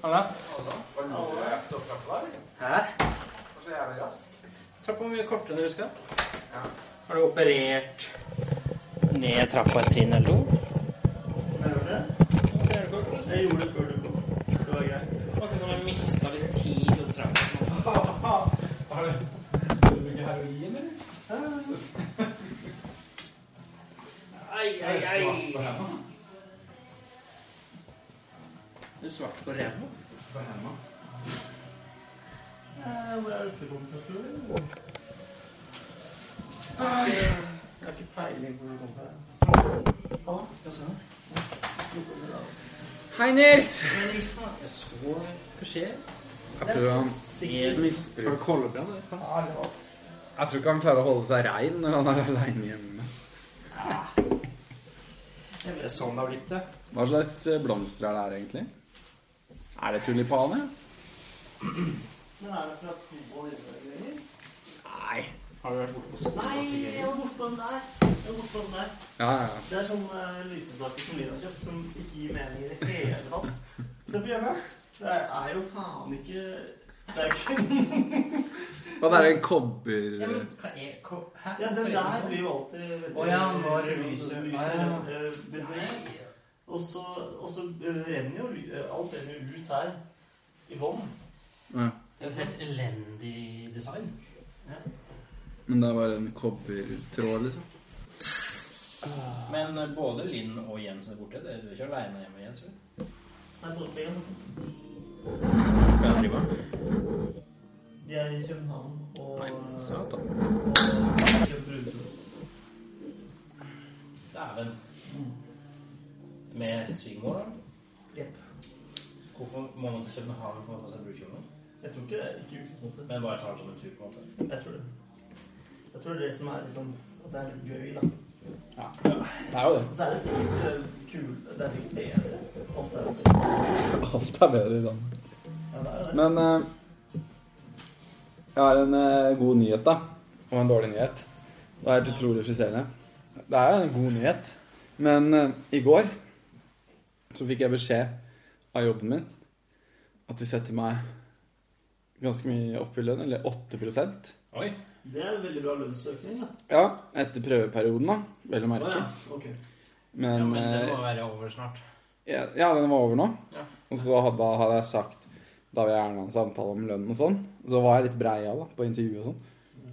Hva da? Var det noe jeg gikk opp trappa der? eller? Hæ? Det var så jævlig rask. Trappa var mye kortere enn du husker. Ja. Har du operert ned trappa et trinn eller to? Jeg gjorde det. Det er det kort, liksom. Jeg gjorde det før du kom. Det var greit. Det var Akkurat som om jeg mista litt tid opp trappa. Har du Skal du bruke heroin, eller? Ai, ai, Jeg er svart på hendene. ai. Du svart på ræva. På hendene. Eh, Hvor er dette kommet fra, tror du? Jeg har ikke peiling på hvor det kom fra. Hallo, hva sa du? Hvor kom det da? Hei, Nils! Men i faen, jeg så Hva skjer? Jeg tror han Ser Har du koldebrann? eller? Ja, det var Jeg tror ikke han klarer å holde seg rein når han er aleine hjemme. Det er sånn det har blitt, det. Hva slags eh, blomster er det her, egentlig? Er det tulipaner? Men er det fra Skogvold innlegger? Nei. Har du vært borte på skolen? Nei, jeg var bortpå den der. Jeg var bortpå den der. Ja, ja. ja. Det er sånne uh, lysestaker som Lina har kjøpt, som ikke gir mening i det hele tatt. Se på hjemme. Det er jo faen ikke Det er ikke Og det er en kobber... Ja, men hva er hva, Hæ? Ja, Hvorfor er det den der sånn? blir jo alltid veldig- Å ja, når det lyser. Ah, eh, brun. Nei. Og så, og så eh, renner jo ly- eh, alt renner jo ut her i vann. Ja. Det er jo et helt elendig design. Men det er bare en kobbertråd, liksom. Men eh, både Linn og Jens er borte. Det- Du er ikke aleine hjemme, Jens? vel? Nei, båtbilen. Hva er det driver med? De er i København og Nei, satan. Nei, Dæven. Med svigermor, da? Jepp. Hvorfor må man til København for å få seg brudekjole? Jeg tror ikke det. Ikke i utgangspunktet. Men bare tar det som en tur, på en måte. Jeg tror det. Jeg tror det er det som er liksom At det er litt gøy, da. Det er jo det. Og så er det sikkert eh, kul Det er sikkert bedre. Alt er Alt er bedre i Danmark. Ja, det er jo det. Men eh, jeg har en eh, god nyhet, da. Og en dårlig nyhet. Det er helt utrolig friserende. Det er jo en god nyhet. Men eh, i går så fikk jeg beskjed av jobben min at de setter meg ganske mye opp i lønn, eller 8 Oi. Det er en veldig bra lønnsøkning, da. Ja, etter prøveperioden, da, vel å merke. Ok. Ja, Men, men det eh, må være over snart. Ja, ja, den var over nå. Ja. Og så hadde, hadde jeg sagt Da vil jeg gjerne ha en samtale om lønn og sånn. Så var jeg litt brei av da, på intervjuet og sånn.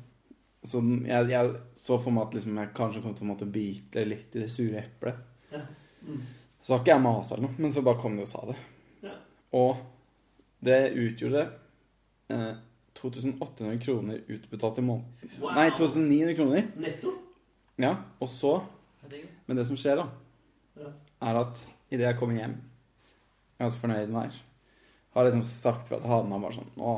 Så den- jeg, jeg så for meg at liksom, jeg kanskje kom til å måtte bite litt i det sure eplet. Ja. Mm. Så har ikke jeg masa eller noe, men så bare kom de og sa det. Ja. Og det utgjorde eh, 2800 kroner utbetalt i måneden. Wow. Nei, 2900 kroner. Netto? Ja, og så men det som skjer, da, Ja. er at idet jeg kommer hjem Jeg er så fornøyd med det her. Har liksom sagt fra til Hanna bare sånn Nå,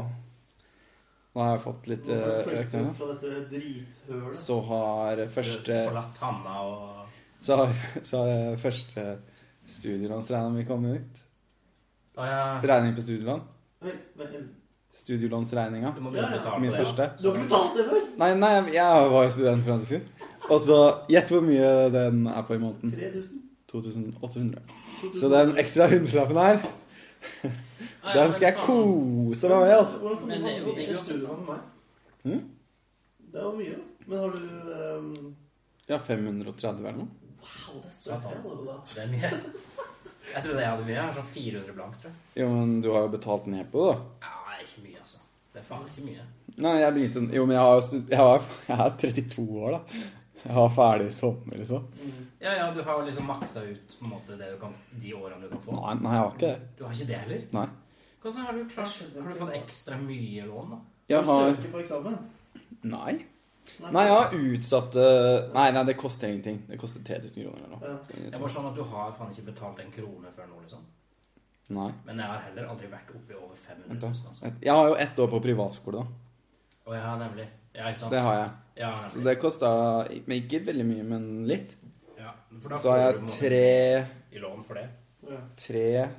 nå har jeg fått litt Hvorfor eh, flytte økt lønn. ut fra dette drithølet? Så har første Forlatt Hanna og Så har, så har jeg første studielånsregna mi kommet ut. Å ja. Regning på studielån. Vel, vel, Studielånsregninga. Du må begynne å betale Min for det. første. Du har ikke betalt det før? Nei, nei, jeg- jeg var jo student fram til i fjor. Og så gjett hvor mye den er på i måneden. 3000? 2800. Mm. Så den ekstra hundrelappen her, Nei, den skal jeg men faen. kose meg med, altså. Hvordan kan Men det du ha er jo mye digg, altså. studier enn meg? Mm. Det er jo mye, da. Men har du ehm, Ja, 530 eller noe. Wow, det er søkt. Satan. Jeg hadde det da. Det er mye. Jeg trodde jeg hadde mye. Jeg har sånn 400 blank, tror jeg. Jo, men du har jo betalt ned på det, da. Ja, det er ikke mye, altså. Det er faen ikke mye. Nei, jeg begynte Jo, men jeg, har, jo stud- jeg, var, jeg er 32 år, da. Jeg var ferdig i sommer, liksom. Ja, ja, du har liksom maksa ut på en måte det du kan, de årene du kan få. Nei, nei, jeg har ikke det. Du har ikke det heller? Nei. Hvordan har du klart Har Mm. du fått ekstra mye lån, da? Jeg Du har strøker på eksamen? Nei. Nei, jeg har utsatt eh, Nei, nei, det koster ingenting. Det koster 3000 kroner eller Ja. Det noe. var sånn at du har faen ikke betalt en krone før nå, liksom. Nei. Men jeg har heller aldri vært oppe i over 500 000, Vent, da. altså. Et- Jeg har jo ett år på privatskole, da. Å ja, nemlig. Ja, ikke sant? Det har jeg. Ja, Så nemlig. det kosta men Ikke veldig mye, men litt. Ja, for da Så har får du på en jeg måte tre i lån for det. Ja. Tre,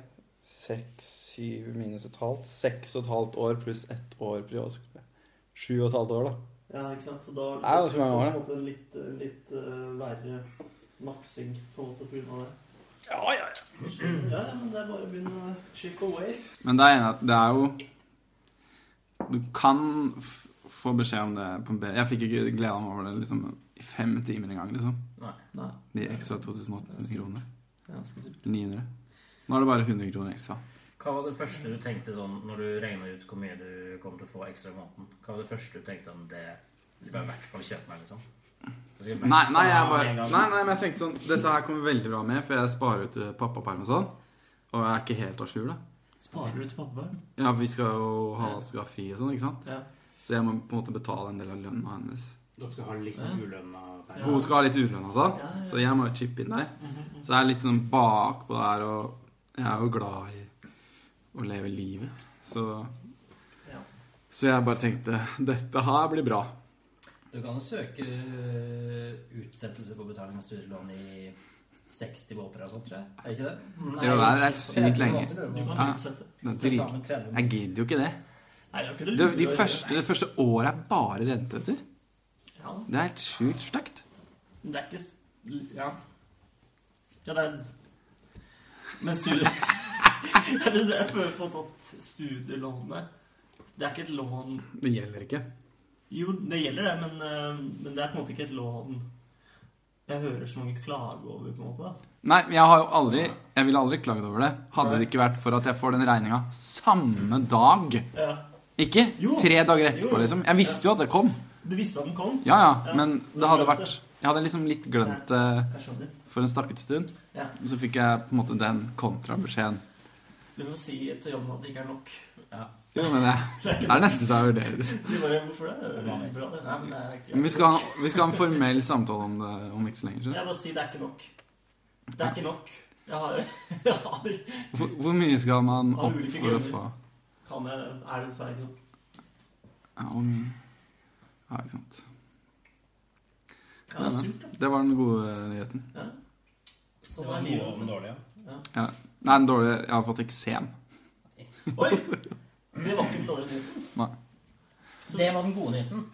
seks, syv minus et halvt. Seks og et halvt år pluss ett år privatskole. Sju og et halvt år, da. ja, ikke sant. Så da Det er ganske mange år, det. Litt, eh, litt eh, verre maksing på en måte på grunn av det. Ja, ja, ja. Ja, ja, men det er bare å begynne å chip away. Men det er enig at det er jo Du kan f få beskjed om det på en bedre Jeg fikk ikke gleda meg over det liksom i fem timer en gang, liksom. Nei. Nei. De ekstra 2800 kronene. Det er ganske sykt. 900. Nå er det bare 100 kroner ekstra. Hva var det første du tenkte sånn når du regna ut hvor mye du kom til å få ekstra i måneden? Hva var det første du tenkte om det skal jeg i hvert fall kjøpe meg, liksom? Det skal jeg i hvert Nei, nei, fall ha jeg bare, en gang. nei, nei, men jeg tenkte sånn Dette her kommer veldig bra med, for jeg sparer ut eh, pappaperm og sånn. Og jeg er ikke helt à jour, da. Sparer du til pappabarn? Ja, vi skal jo ha skal ha fri og sånn, ikke sant? Ja. Så jeg må på en måte betale en del av lønna hennes. Dere skal ha litt sånn ulønna penger. Hun skal ha litt ulønn og sånn, så jeg må jo chippe inn der. Så jeg er litt sånn bakpå der, og jeg er jo glad i å leve livet. Så, Ja. så jeg bare tenkte dette her blir bra. Du kan jo søke øh, utsettelse på betaling av studielån i 60 måneder og sånt, tror jeg. Er det ikke det? Jo, det er- det er sykt lenge. Du kan Ja. utsette. Det er Til drit. sammen 30 Jeg gidder jo ikke det. Nei, det er ikke det Det, de lure å gjøre. første, det første året er bare rente, vet du. Ja, Det er helt sjukt stygt. men det er ikke s- Ja. Ja, det er Men studier Jeg synes- jeg føler på at studielånet Det er ikke et lån Det gjelder ikke. Jo, det gjelder det, men, eh, men det er på en måte ikke et lån jeg hører så mange klage over, på en måte. da. Nei, men jeg har jo aldri Jeg ville aldri klagd over det. Hadde det ikke vært for at jeg får den regninga samme dag. Ja. Ikke Jo. tre dager Jo, etterpå, jo. liksom. Jeg visste jo at det kom. Du visste at den kom? Ja, ja, Ja, men du det hadde glemte. vært Jeg hadde liksom litt glemt det Jeg skjønner. for en stakket stund. Ja. Og så fikk jeg på en måte den kontrabeskjeden. Du må si til John at det ikke er nok. Jo, men jeg, det er nesten så jeg vurderer det. Du bare, Hvorfor det? Det er jo bra, det. Nei, men det er ikke Men vi skal, ha- vi skal ha en formell samtale om det om ikke så lenge. skjønner Jeg bare sier det er ikke nok. Det er ikke nok. Jeg har, jeg har du? Hvor, hvor mye skal man Av opp ulike for å grunner. få Kan jeg Er det dessverre ikke nok? Ja, hvor mye Ja, ikke sant. Ja, det er surt, da. Det var den gode nyheten. Det Sånn var er noe av livet. den dårlige. Nei, den dårlige Jeg har fått eksem. Oi! Det var ikke den dårlige nyheten. Nei. Så Det var den gode nyheten.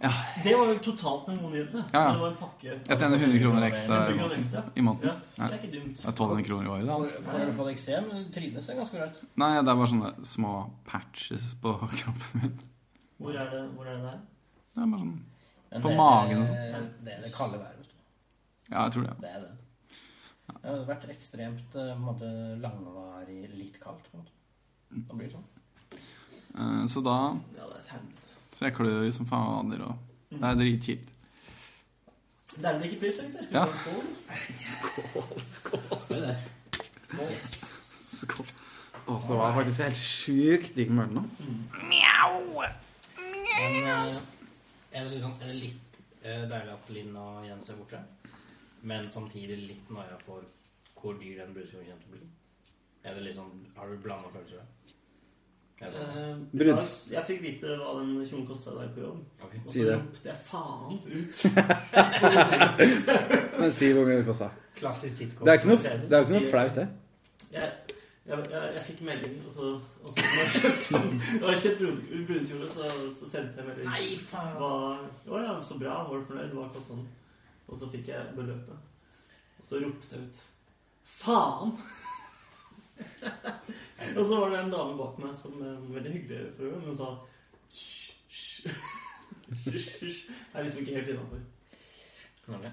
det var jo totalt den gode nyheten. Ja, ja. Det var en pakke. Jeg tjener 100 kroner ekstra i 100 kroner måneden. ekstra. I måneden. Ja, det er ikke dumt. Det er 1200 kroner i året, da. Altså. Har du fått eksem? Trynet ser ganske bra ut. Nei, det er bare sånne små patches på kroppen min. Hvor er det, hvor er det der? Det er bare sånn Men På det er- magen og Det er det kalde været, vet du. Ja, jeg tror det. Det er det. Det har vært ekstremt eh, på en måte, langvarig litt kaldt. på en måte. Da blir det sånn. Eh, Så da Ja, det er et helvete. Så jeg klør jo som fader, og det er dritkjipt. Det er en drikkepils, gutter. Skal vi Ja. ta en skål? Skal vi det? Skål. Skål. Åh, det var faktisk helt sjukt digg med øl nå. Men eh, er det litt, sånn, er det litt eh, deilig at Linn og Jens er borte? Men samtidig litt noia for hvor dyr den brudekjolen kommer til å bli? Er det litt sånn, Har du blanda følelser der? Er det sånn, Eh, Brudd. i dag- Jeg fikk vite hva den kjolen kosta i dag på jobb. ok. Og Si så det. ropte jeg faen ut. Men si hvor mye det kosta. Klassisk sitcom. Det er ikke noe, det er ikke noe flaut, det. Jeg, jeg, jeg, jeg fikk melding, og så, og så når jeg kjøpte, når jeg kjøpte brud- brudekjole, så, så sendte jeg melding. Nei, faen! Hva, å ja, så bra. Var du fornøyd? Hva kostet den? Og så fikk jeg beløpet. Og så ropte jeg ut Faen! og så var det en dame bak meg som eh, var veldig hyggelig, for øvrig, men hun sa Hysj, hysj. Hysj, hysj. Jeg er liksom ikke helt innafor. Norge.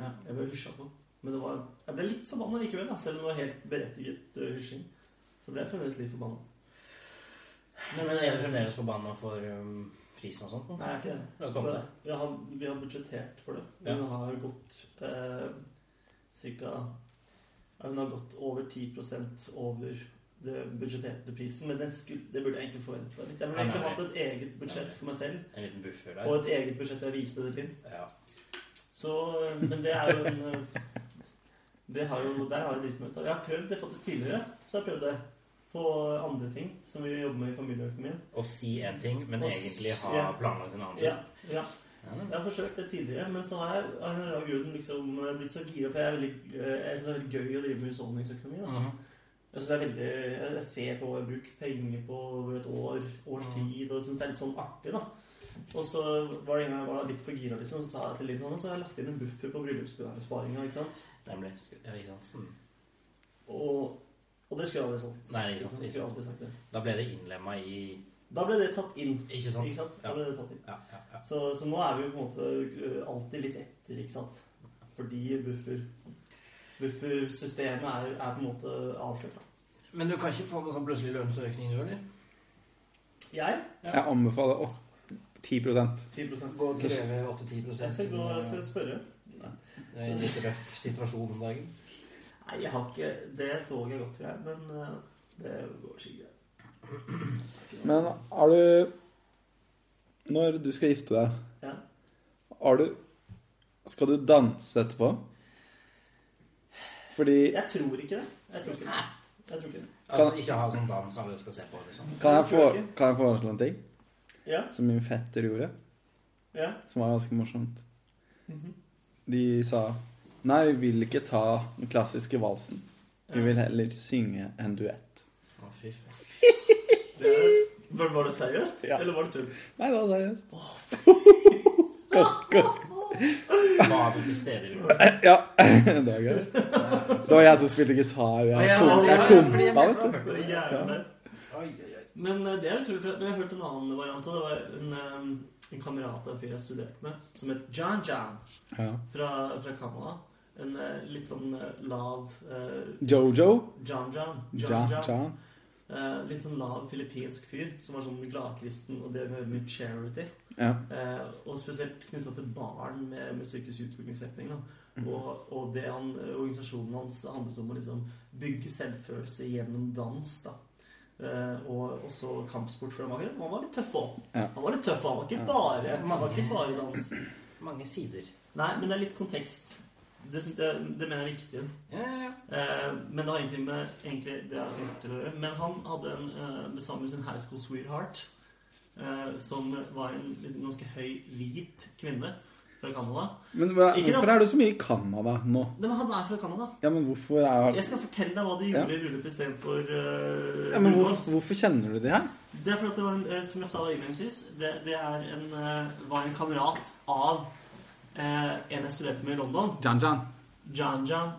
Ja, jeg ble hysja på. Men det var, jeg ble litt forbanna likevel, da, selv om det var helt berettiget eh, hysjing. Så ble jeg fremdeles litt forbanna. Men er du fremdeles forbanna for um, prisen og sånt? Nei, jeg er ikke det. Det har For kommet det, det. vi, har, vi har budsjettert for det. Ja. Hun har gått eh, cirka ja, Hun har gått over 10 over det budsjetterte prisen, men det, skulle, det burde jeg egentlig forventa litt. Jeg burde Nei, egentlig nei. hatt et eget Nei. budsjett for meg selv, En liten buffer og der. et eget budsjett jeg viste det til. Ja. Så, men det er jo en eh, det har jo, Der har jeg dritt meg ut av. Jeg har prøvd det faktisk tidligere. Så har jeg prøvd det på andre ting som vi jobber med i familieøkonomien. Å si én ting, men Å s- egentlig ha ja. planlagt en annen ting. Ja, ja. Ja, Jeg har forsøkt det tidligere, men så har jeg av en eller annen grunn liksom blitt så gira. For jeg er veldig, eh, jeg synes det er veldig gøy å drive med husholdningsøkonomi. da. Mhm. Jeg synes det er veldig, jeg jeg ser på hva jeg bruker penger på over et år, Mm. års tid, og jeg synes det er litt sånn artig. da. Og så var det en gang jeg var litt for gira, liksom, så sa jeg til Linn at så har jeg lagt inn en buffer på bryllupssparinga. ikke sant? Nemlig. Sk- Ja, ikke sant. Mm. Og, og det skulle jeg aldri sagt. Nei, ikke sant, Jeg ikke skulle sant. aldri sagt det. Da ble det innlemma i Da ble det tatt inn. Ikke sant? Ikke sant? Da Ja. ble det tatt inn. Ja, ja, ja. Så, så nå er vi jo på en måte ø, alltid litt etter, ikke sant? Fordi buffer buffersystemet er, er på en måte avslørt. da. Men du kan ikke få noen sånn plutselig lønnsøkning, du, eller? Jeg Jeg anbefaler å, 10 10 Gå og kreve 8-10 Jeg skal gå og s- siden, spørre. eh, i en litt røff situasjon om dagen. Nei, jeg har ikke Det toget er godt, tror jeg, men ø, det går sikkert. greit. Men har du Når du skal gifte deg, Ja. har du Skal du danse etterpå? Fordi Jeg tror ikke det. Jeg tror ikke det. Jeg tror ikke det. Altså ikke ha sånn dans alle skal se på, liksom. Kan jeg, Jeg få, tror ikke. kan jeg foreslå en ting Ja, som min fetter gjorde, ja. som var ganske morsomt? Mhm. De sa Nei, vi vil ikke ta den klassiske valsen. Vi vil heller synge en duett. Å, fy faen. Det- Var, var det seriøst, Ja. eller var det tull? Nei, det var seriøst. Var du til stede, Rune? Ja, det var gøy. Det var jeg som spilte gitar. Jeg kom, jeg kom da, vet du. Det er jævlig flaut. Oi, oi, oi. Men eh, det er utrolig flaut. Men jeg har hørt en annen variant. Og det var en, eh, en kamerat av en fyr jeg studerte med, som het Jan Jan Ja. fra, fra Canada. En eh, litt sånn eh, lav eh, Jojo. Jan Jan. Jan, Jan. Eh, litt sånn lav filippinsk fyr som var sånn gladkristen og drev med mye charity. Ja. Eh, og spesielt knytta til barn med, med psykisk utviklingshemning. da. Mm. Og, og det han, eh, organisasjonen hans handlet om å liksom bygge selvfølelse gjennom dans. da. Eh, og også kampsport. For han var, han var litt tøff òg. Ja. Han var litt tøff, han var ikke bare, han var ikke bare dans. Mange sider. Nei, men det er litt kontekst. Det, synes jeg, det mener jeg er viktig. Ja, ja, ja. Eh, men det har ingenting med egentlig det jeg har gjort til å gjøre. Men han hadde en eh, med sammen med sin high school sweetheart, eh, som var en liksom, ganske høy, hvit kvinne fra Canada. Men hva, Ikke hvorfor er du så mye i Canada nå? Men han er fra Canada. Ja, men hvorfor er Jeg skal fortelle deg hva de gjorde i bryllupet istedenfor uh, ja, men hvorfor, hvorfor kjenner du de her? Det er fordi at det var en, eh, som jeg sa innledningsvis, det, det er en, eh, var en kamerat av eh, en jeg studerte med i London. Jan Jan. Jan-Jan.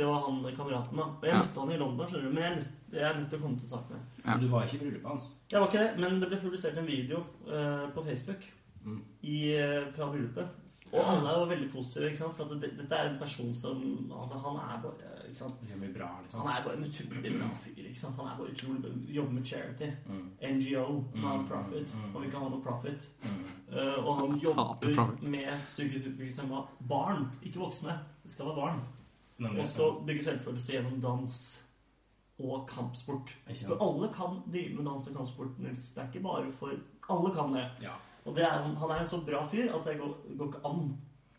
Det var han eh, kameraten, da. Og jeg Ja. møtte han i London, skjønner du. Men jeg, er nødt- jeg er nødt til å komme til sakene. Ja. Men du var ikke i bryllupet hans. Jeg var ikke det, men det ble publisert en video eh, på Facebook Mm. i, eh, fra bryllupet. Og alle var veldig positive, ikke sant? for at det, dette er en person som altså, Han er bare ikke sant? Det gjør mye bra, liksom. Han er bare en utrolig bra fyr. ikke sant? Han er bare utrolig jobber med charity. Mm. NGO, Mm, non-profit. mm, mm. Han vil ikke ha noe profit. Mm. Eh, og han jobber profit. med psykisk utviklingshemma barn, ikke voksne. Det skal være barn. Men Og det- så bygge selvfølelse gjennom dans og kampsport. Ikke sant? For alle kan drive med dans og kampsport, Nils. Det er ikke bare for Alle kan det. Ja. Og det er, han han er en så bra fyr at det går, går ikke an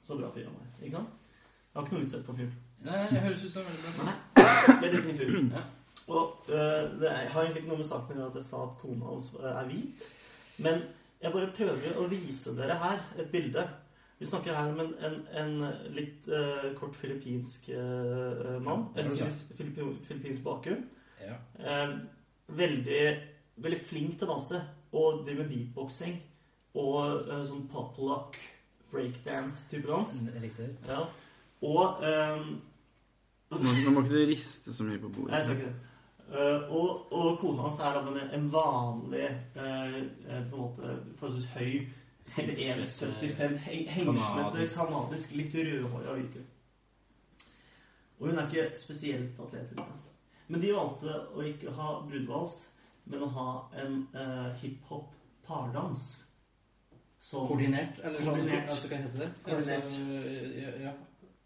så bra fyr han er. Ikke sant? Jeg har ikke noe utsett på fyren. Nei, det høres ut som en veldig bra. Nei. Det er litt min fyr. Ja. Og øh, det er, har egentlig ikke noe med saken å gjøre at jeg sa at kona hans øh, er hvit. Men jeg bare prøver å vise dere her et bilde. Vi snakker her om en, en, en litt øh, kort filippinsk øh, mann. Ja, Eller ja. filippinsk, filippinsk bakgrunn. Ja. Eh, veldig, veldig flink til å danse og driver med beatboxing og eh, sånn papalock breakdance-type dans. Mm, Riktig. Ja. Og eh, Nå, nå må ikke du riste så mye på Nei, jeg sa ikke det. Eh, og, og kona hans er da en, en vanlig, eh, eh, på en måte forholdsvis høy eller eh, 1,75 heng- hengslete Kanadisk. kanadisk, litt rødhåra virker. Og hun er ikke spesielt atletisk. Da. Men de valgte å ikke ha brudevals, men å ha en eh, hiphop-pardans. Som- Koordinert, eller sånn? Koordinert. Altså, hva heter det? Koordinert. Altså, ja, ja.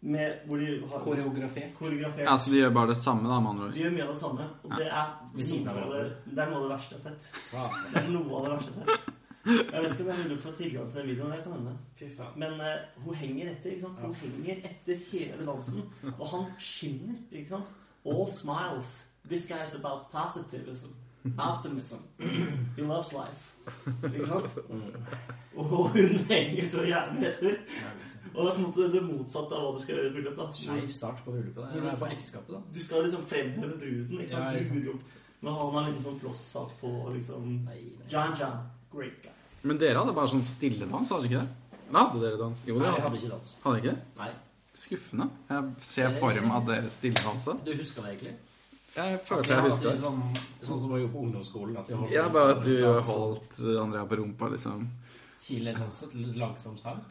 Med, hvor de har Koreografert. koreografert. Ja, så de Altså, gjør bare det samme, da, med andre De gjør mye av det samme, og det er, Ved siden noe av av det, det er noe av det verste jeg har sett. Ja. Det er noe av det verste jeg har sett. Jeg vet ikke om det er mulig å få tilgang til den videoen. Det kan hende. Fy faen. Men eh, hun henger etter. ikke sant? Hun henger etter hele dansen. Og han skinner. ikke sant? All smiles. This guy is about positivism. Optimism. He loves life. Ikke sant? Mm. Og hun henger så gjerne etter. Og det er på en måte det motsatte av hva du skal gjøre i et bryllup. da. Skeiv start på bryllupet. da. Eller på ekteskapet, da. Du skal liksom fremheve bruden. ikke sant? Ja, ikke sant. Brudgom. Men han har litt sånn flosshatt på. liksom... Nei, nei. John John. Great guy. ord. Men dere hadde bare sånn stilledans, hadde dere ikke det? Eller hadde dere dans? Jo, Nei, dere jeg hadde, hadde ikke dans. hadde dere ikke det? Nei. Skuffende. Jeg ser for meg at dere stilledanser. Du husker det egentlig? Jeg At følte vi jeg hadde huska det. liksom, Sånn som var jo på ungdomsskolen. At vi holdt Ja, bare at du Ja, så- holdt eh, Andrea på rumpa, liksom. Til en sånn langsom sang.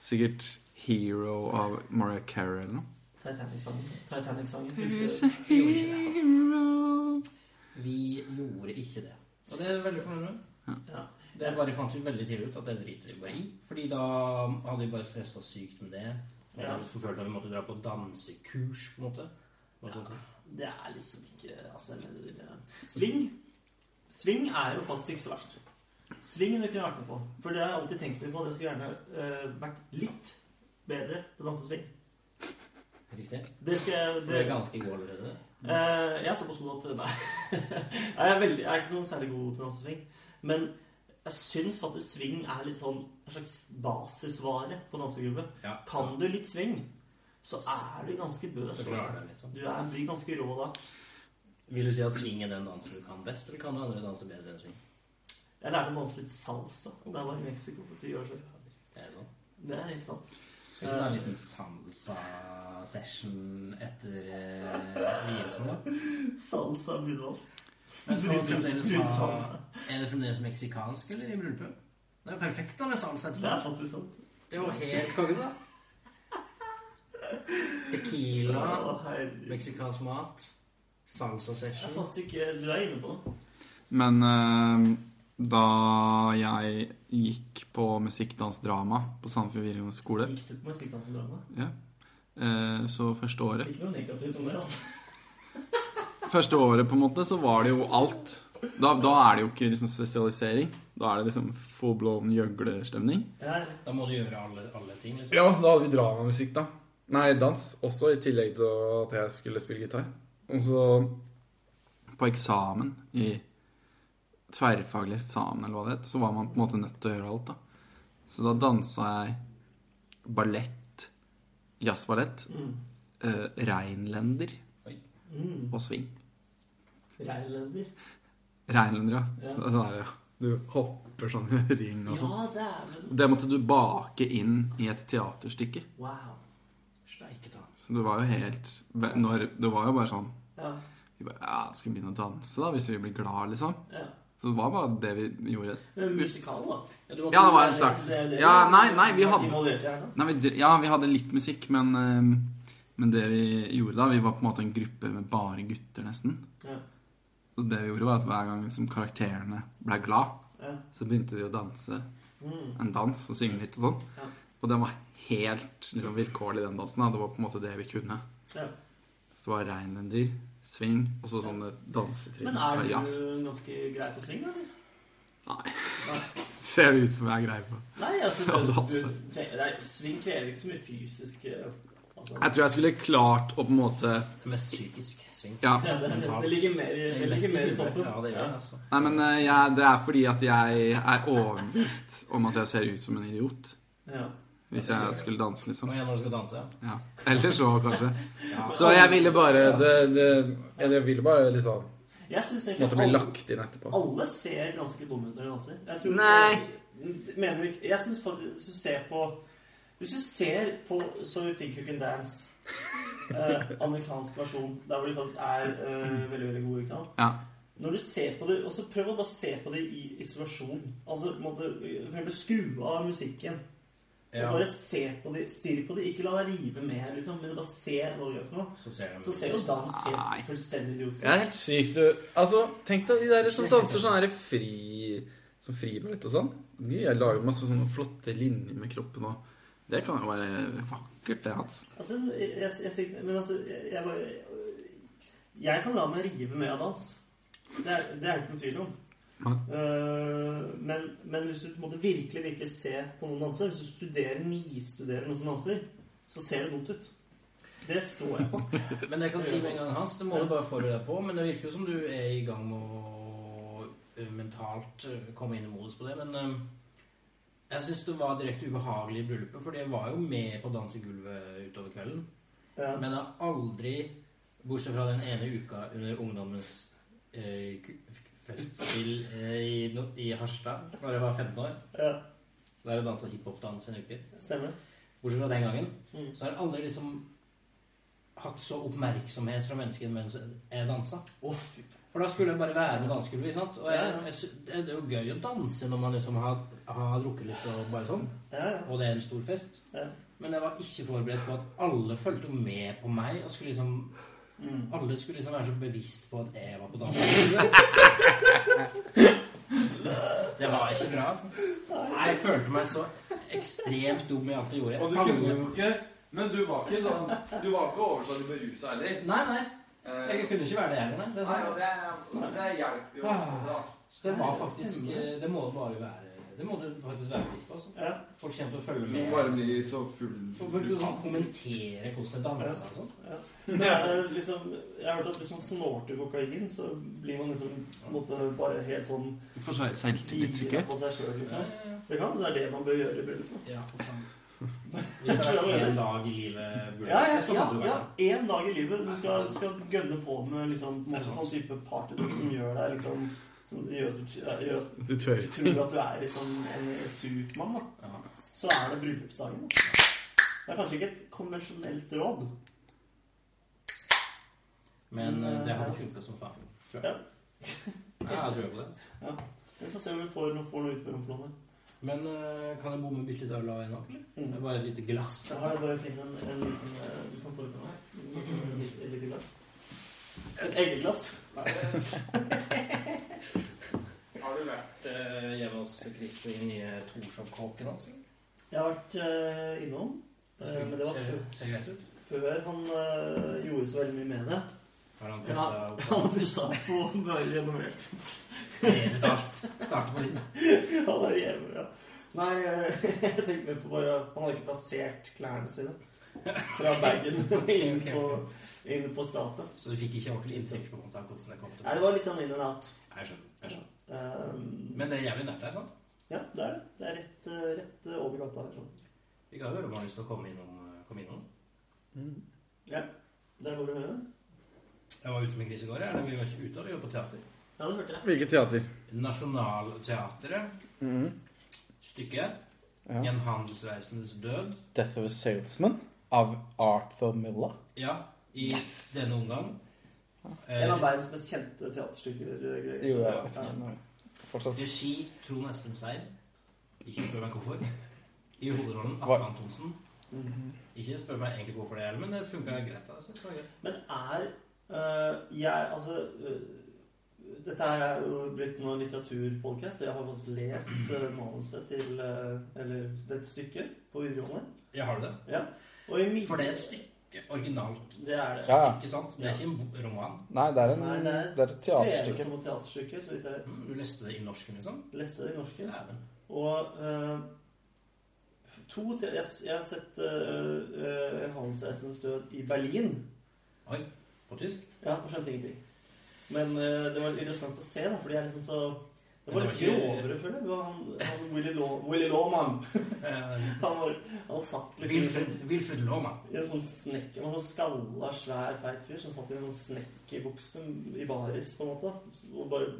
Sikkert Hero av Mariah Carey eller noe. Titanic-sangen. Titanic-sangen. Who's husker a du? hero? Vi gjorde ikke det. Og det er jeg veldig fornøyd med. Ja. Det bare fant vi veldig tidlig ut at det driter vi bare i. Fordi da hadde vi bare stressa sykt med det. Og Ja. vi følte at vi måtte dra på dansekurs, på en måte. sånn? Og sånt. Det er liksom ikke altså, det- det- Sving Sving er jo faktisk ikke så verst. Svingen kunne jeg vært med på. For det har jeg alltid tenkt meg på. Det skulle gjerne eh, vært litt bedre til å danse sving. Riktig. Det skal jeg For det det, er ganske i går allerede. Eh, jeg er såpass god at Nei. Nei, jeg, er veldig, jeg er ikke så særlig god til å danse sving. Men jeg syns faktisk sving er litt sånn en slags basisvare på dansegulvet. Ja. Kan du litt sving, så er du ganske bøs. Så Altså. klarer det, liksom. Du er, blir ganske rå da. Vil du si at swing er den dansen du kan best, eller kan du andre danse bedre enn swing? Jeg lærte å danse litt salsa da jeg var i Mexico for ti år siden. Det er sånn. Det er helt sant. Skal vi ikke ta en liten salsa-session etter eh, vielsen, da? Salsa brudevals. Men skal man fremdeles Brudsalsa. ha Er det fremdeles meksikansk, eller i bryllupet? Det er jo perfekt da med salsa Det etterpå. er faktisk sant. Det er jo helt konge, da. Tequila, Å, herregud. meksikansk mat, salsa Jeg er session faktisk ikke Du er inne på noe. Men eh, da jeg gikk på musikkdansdrama på Sandefjord videregående skole Gikk du på musikkdansedrama? ja, eh, Så første året Ikke noe negativt om det, altså. Første året på en måte så var det jo alt. Da, da er det jo ikke liksom spesialisering. Da er det liksom full blown gjøglestemning. Jeg er Da må du gjøre alle, alle ting, liksom. Ja, da hadde vi dramamusikk, da. Nei, dans også, i tillegg til at jeg skulle spille gitar. Og så På eksamen i tverrfaglig eksamen, eller hva det het, så var man på en måte nødt til å gjøre alt, da. Så da dansa jeg ballett, jazzballett, mm. eh, reinlender mm. og swing. Reinlender. Reinlender, ja. Ja. Det er sånn her, ja. Du hopper sånn i ring og sånn. Ja, dæven. Det måtte du bake inn i et teaterstykke. Wow. Steike ta. Så det var jo helt når, Det var jo bare sånn Ja. Vi bare ja, skal vi begynne å danse da, hvis vi blir glad, liksom? ja. Så det var bare det vi gjorde. Men Musikal, da. Ja, du må- Ja, det var en slags Det er det- Ja, nei, nei, vi hadde Involvert i her, da? Nei, vi, dr- ja, vi hadde litt musikk, men, eh, men det vi gjorde da Vi var på en måte en gruppe med bare gutter, nesten. Ja. Så det vi gjorde, var at hver gang liksom, karakterene ble glad, Ja. så begynte de å danse Mm. en dans og synge litt og sånn. Ja. Og den var helt liksom, vilkårlig, den dansen. Da. Det var på en måte det vi kunne. ja. Så det var reinlender, swing og så sånne dansetrinn Men er fra jazz. du ganske grei på sving, eller? Ser det ut som jeg er grei på. Nei, altså Ja, du, da, du, altså. tre- nei, Sving krever ikke så mye fysisk eh, altså, Jeg tror jeg skulle klart å på en måte Mest psykisk swing. Ja. ja, det, mental. det ligger mer, i- det ligger mer i toppen. Ja, det gjør det, altså. Nei, men eh, jeg, det er fordi at jeg er overbevist om at jeg ser ut som en idiot. Ja. Hvis jeg skulle danse, liksom. Nå igjen når du skal danse, ja. Ja. Eller så, kanskje. ja. Så jeg ville bare det, det, Jeg ville bare liksom Jeg syns Måtte egentlig bli alle, lagt inn etterpå. alle ser ganske dumme ut når de danser. Jeg tror Nei. Mener du ikke Jeg syns faktisk Hvis du ser på Hvis du ser på So You Think You Can Dance eh, amerikansk versjon, der hvor de faktisk er eh, veldig veldig gode. ikke sant? Ja. Når du ser på det, og så Prøv å bare se på det i isolasjon. Altså, på en måte, For eksempel skru av musikken. Og ja. Bare se på de, stirr på de, ikke la deg rive med, liksom, men bare se hva de gjør for noe. Så ser de Så ser jo dans Nei. helt fullstendig idiotisk Det ut. er helt sykt, du. Altså, tenk deg de der som danser sånn her fri Som friballett og sånn. De lager masse sånne flotte linjer med kroppen og Det kan jo være vakkert, det, Hans. Altså, jeg, jeg, jeg, sier ikke- men altså, jeg, jeg bare Jeg kan la meg rive med av dans. Det er det er det ikke noe tvil om. Eh, men, men hvis du på en måte virkelig virkelig se på noen danse, hvis du studerer, nistuderer noen som danser, så ser det dumt ut. Det står jeg på. Men jeg kan si med en gang, Hans, det må du bare forberede deg på. Men det virker jo som du er i gang med å ø, mentalt ø, komme inn i modus på det. Men ø, jeg syns det var direkte ubehagelig i bryllupet, for jeg var jo med på dansegulvet utover kvelden. Ja. Men jeg har aldri, bortsett fra den ene uka under ungdommens ø, ku- festspill ø, i, no- i Harstad, da jeg var 15 år, ja, der jeg dansa hiphop-dans en uke stemmer det? Bortsett fra den gangen, Mm. så har jeg aldri liksom hatt så oppmerksomhet fra mennesker mens jeg dansa. Å, fy faen. For da skulle jeg bare være med dansegulvet. ikke sant? Og jeg, Ja, ja. jeg, sy- det det er jo gøy å danse når man liksom har, har drukket litt og bare sånn. Ja, ja. Og det er en stor fest. ja. Men jeg var ikke forberedt på at alle fulgte jo med på meg. og skulle liksom... Mm. Alle skulle liksom være så bevisst på at jeg var på dansegulvet. Det var ikke bra. altså. Nei, Jeg følte meg så ekstremt dum i alt jeg gjorde. Og du Jeg kunne jo angret- ikke Men du var ikke sånn Du var ikke overstadig berusa heller. Nei, nei. Eh, Jeg kunne ikke være det heller. nei. Det, Ah. er Nei, og sant. det, er- det hjelper jo. Da. Så det var faktisk eh, Det må det bare være Det må du faktisk være bevisst på. Altså. ja. Folk kommer til å følge Du med. må bare bli så full Folk burde jo sånn kommentere hvordan jeg danser og sånn. Ja. Men er det liksom, jeg har hørt at hvis man snorter kokain, så blir man liksom på en måte bare helt sånn For så selvtillit, gira sikkert. på seg sjøl. Ja, Liksom. ja, Det kan hende det er det man bør gjøre i bryllupet. ja, for faen. Hvis det er en dag i livet burde Ja, ja, så ja, kan du ja, være en dag i livet. Du skal, du skal gønne på med liksom, på en Det er måte, sant. sånn type partydrikk som gjør deg liksom Som gjør, gjør at Du tør du tror at du er liksom en supermann, da. Ja. Så er det bryllupsdagen. da. Det er kanskje ikke et konvensjonelt råd. Men Men, eh, det hadde ja. funka som faen. Tror Ja. jeg. Ja, jeg tror på det. altså. Vi får se om vi får, får noe ut på romplanet. Men eh, kan jeg bomme bitte litt øl av en annen? Mm. Bare et lite glass? Så her er det bare å finne en, en liten eh, Du kan få litt av meg. Et lite glass. Et eggeglass. Har du vært hjemme hos Chris i nye Torshov-kåken altså. hans? Jeg har vært eh, innom, eh, men det var ser, før, ser greit ut. før han eh, gjorde så veldig mye med det. Har han Ja, pusset opp han pussa opp og var renovert. revet alt? Starter på nytt? Han var hjemme, ja. Nei, eh, jeg tenkte mer på bare Han hadde ikke plassert klærne sine fra bagen inn på, inn på skapet. Så du fikk ikke ordentlig inntrykk på hvordan hvordan det kom til Nei, det var litt sånn in and out. Jeg skjønner. jeg skjønner. Eh, Men det er jævlig nært her, sant? ja, det er det. Det er rett, eh, rett eh, over gata her. Sånn. Vi kan jo høre om han har lyst til å komme innom. eh, Komme innom. Mm. Ja, der går eh, du høyre. Jeg var ute med Chris i går. jeg. Eller vi var ikke ute, vi var på teater. Ja, det hørte jeg. Hvilket teater? Nationaltheatret. Stykket. Mm-hmm. Ja. En handelsreisendes død. Death of a Salesman av Arthur Miller. Ja, i Yes! denne omgang. Eh, En av verdens mest kjente teaterstykker. eh, Greg. Jo, jeg vet Ja. ikke. Nei. Fortsatt. regi Trond Espen Seim. Ikke spør meg hvorfor. I hovedrollen Hva- Atle Antonsen. Mhm. Ikke spør meg egentlig hvorfor det, men det funka greit. da. Jeg synes det var greit. Men er øh, jeg, altså, øh, Dette her er jo blitt noe litteraturpodcast, så jeg har faktisk lest øh, manuset til øh, Eller det stykket på videregående. Ja, har du det? Ja. Og i mine, For det er et stykke originalt. Det er det. Ja. Ikke sant? Det er ikke en bo- roman. Nei, det er, en, Nei, det er et skrevet teaterstykke. som et teaterstykke, så vidt jeg vet. Du leste det i norsken, liksom? leste det i norsken. Dæven. Og øh, to te jeg, jeg har sett øh, øh, En handelsreisendes død i Berlin. Oi. På tysk? Ja, jeg skjønte ingenting. Men eh, det var interessant å se, da, fordi jeg liksom så Men det Det var litt var ikke- grovere, føler jeg. Det var Han, han Willy, Law, Willy Lawman. Eh, Han, var, han satt liksom i en Wilfred, sånn- Wilfred Loma. i en sånn snekk Han var noen skalla, svær, feit fyr som satt i en sånn snekkerbukse i baris, på en måte. da. Og bare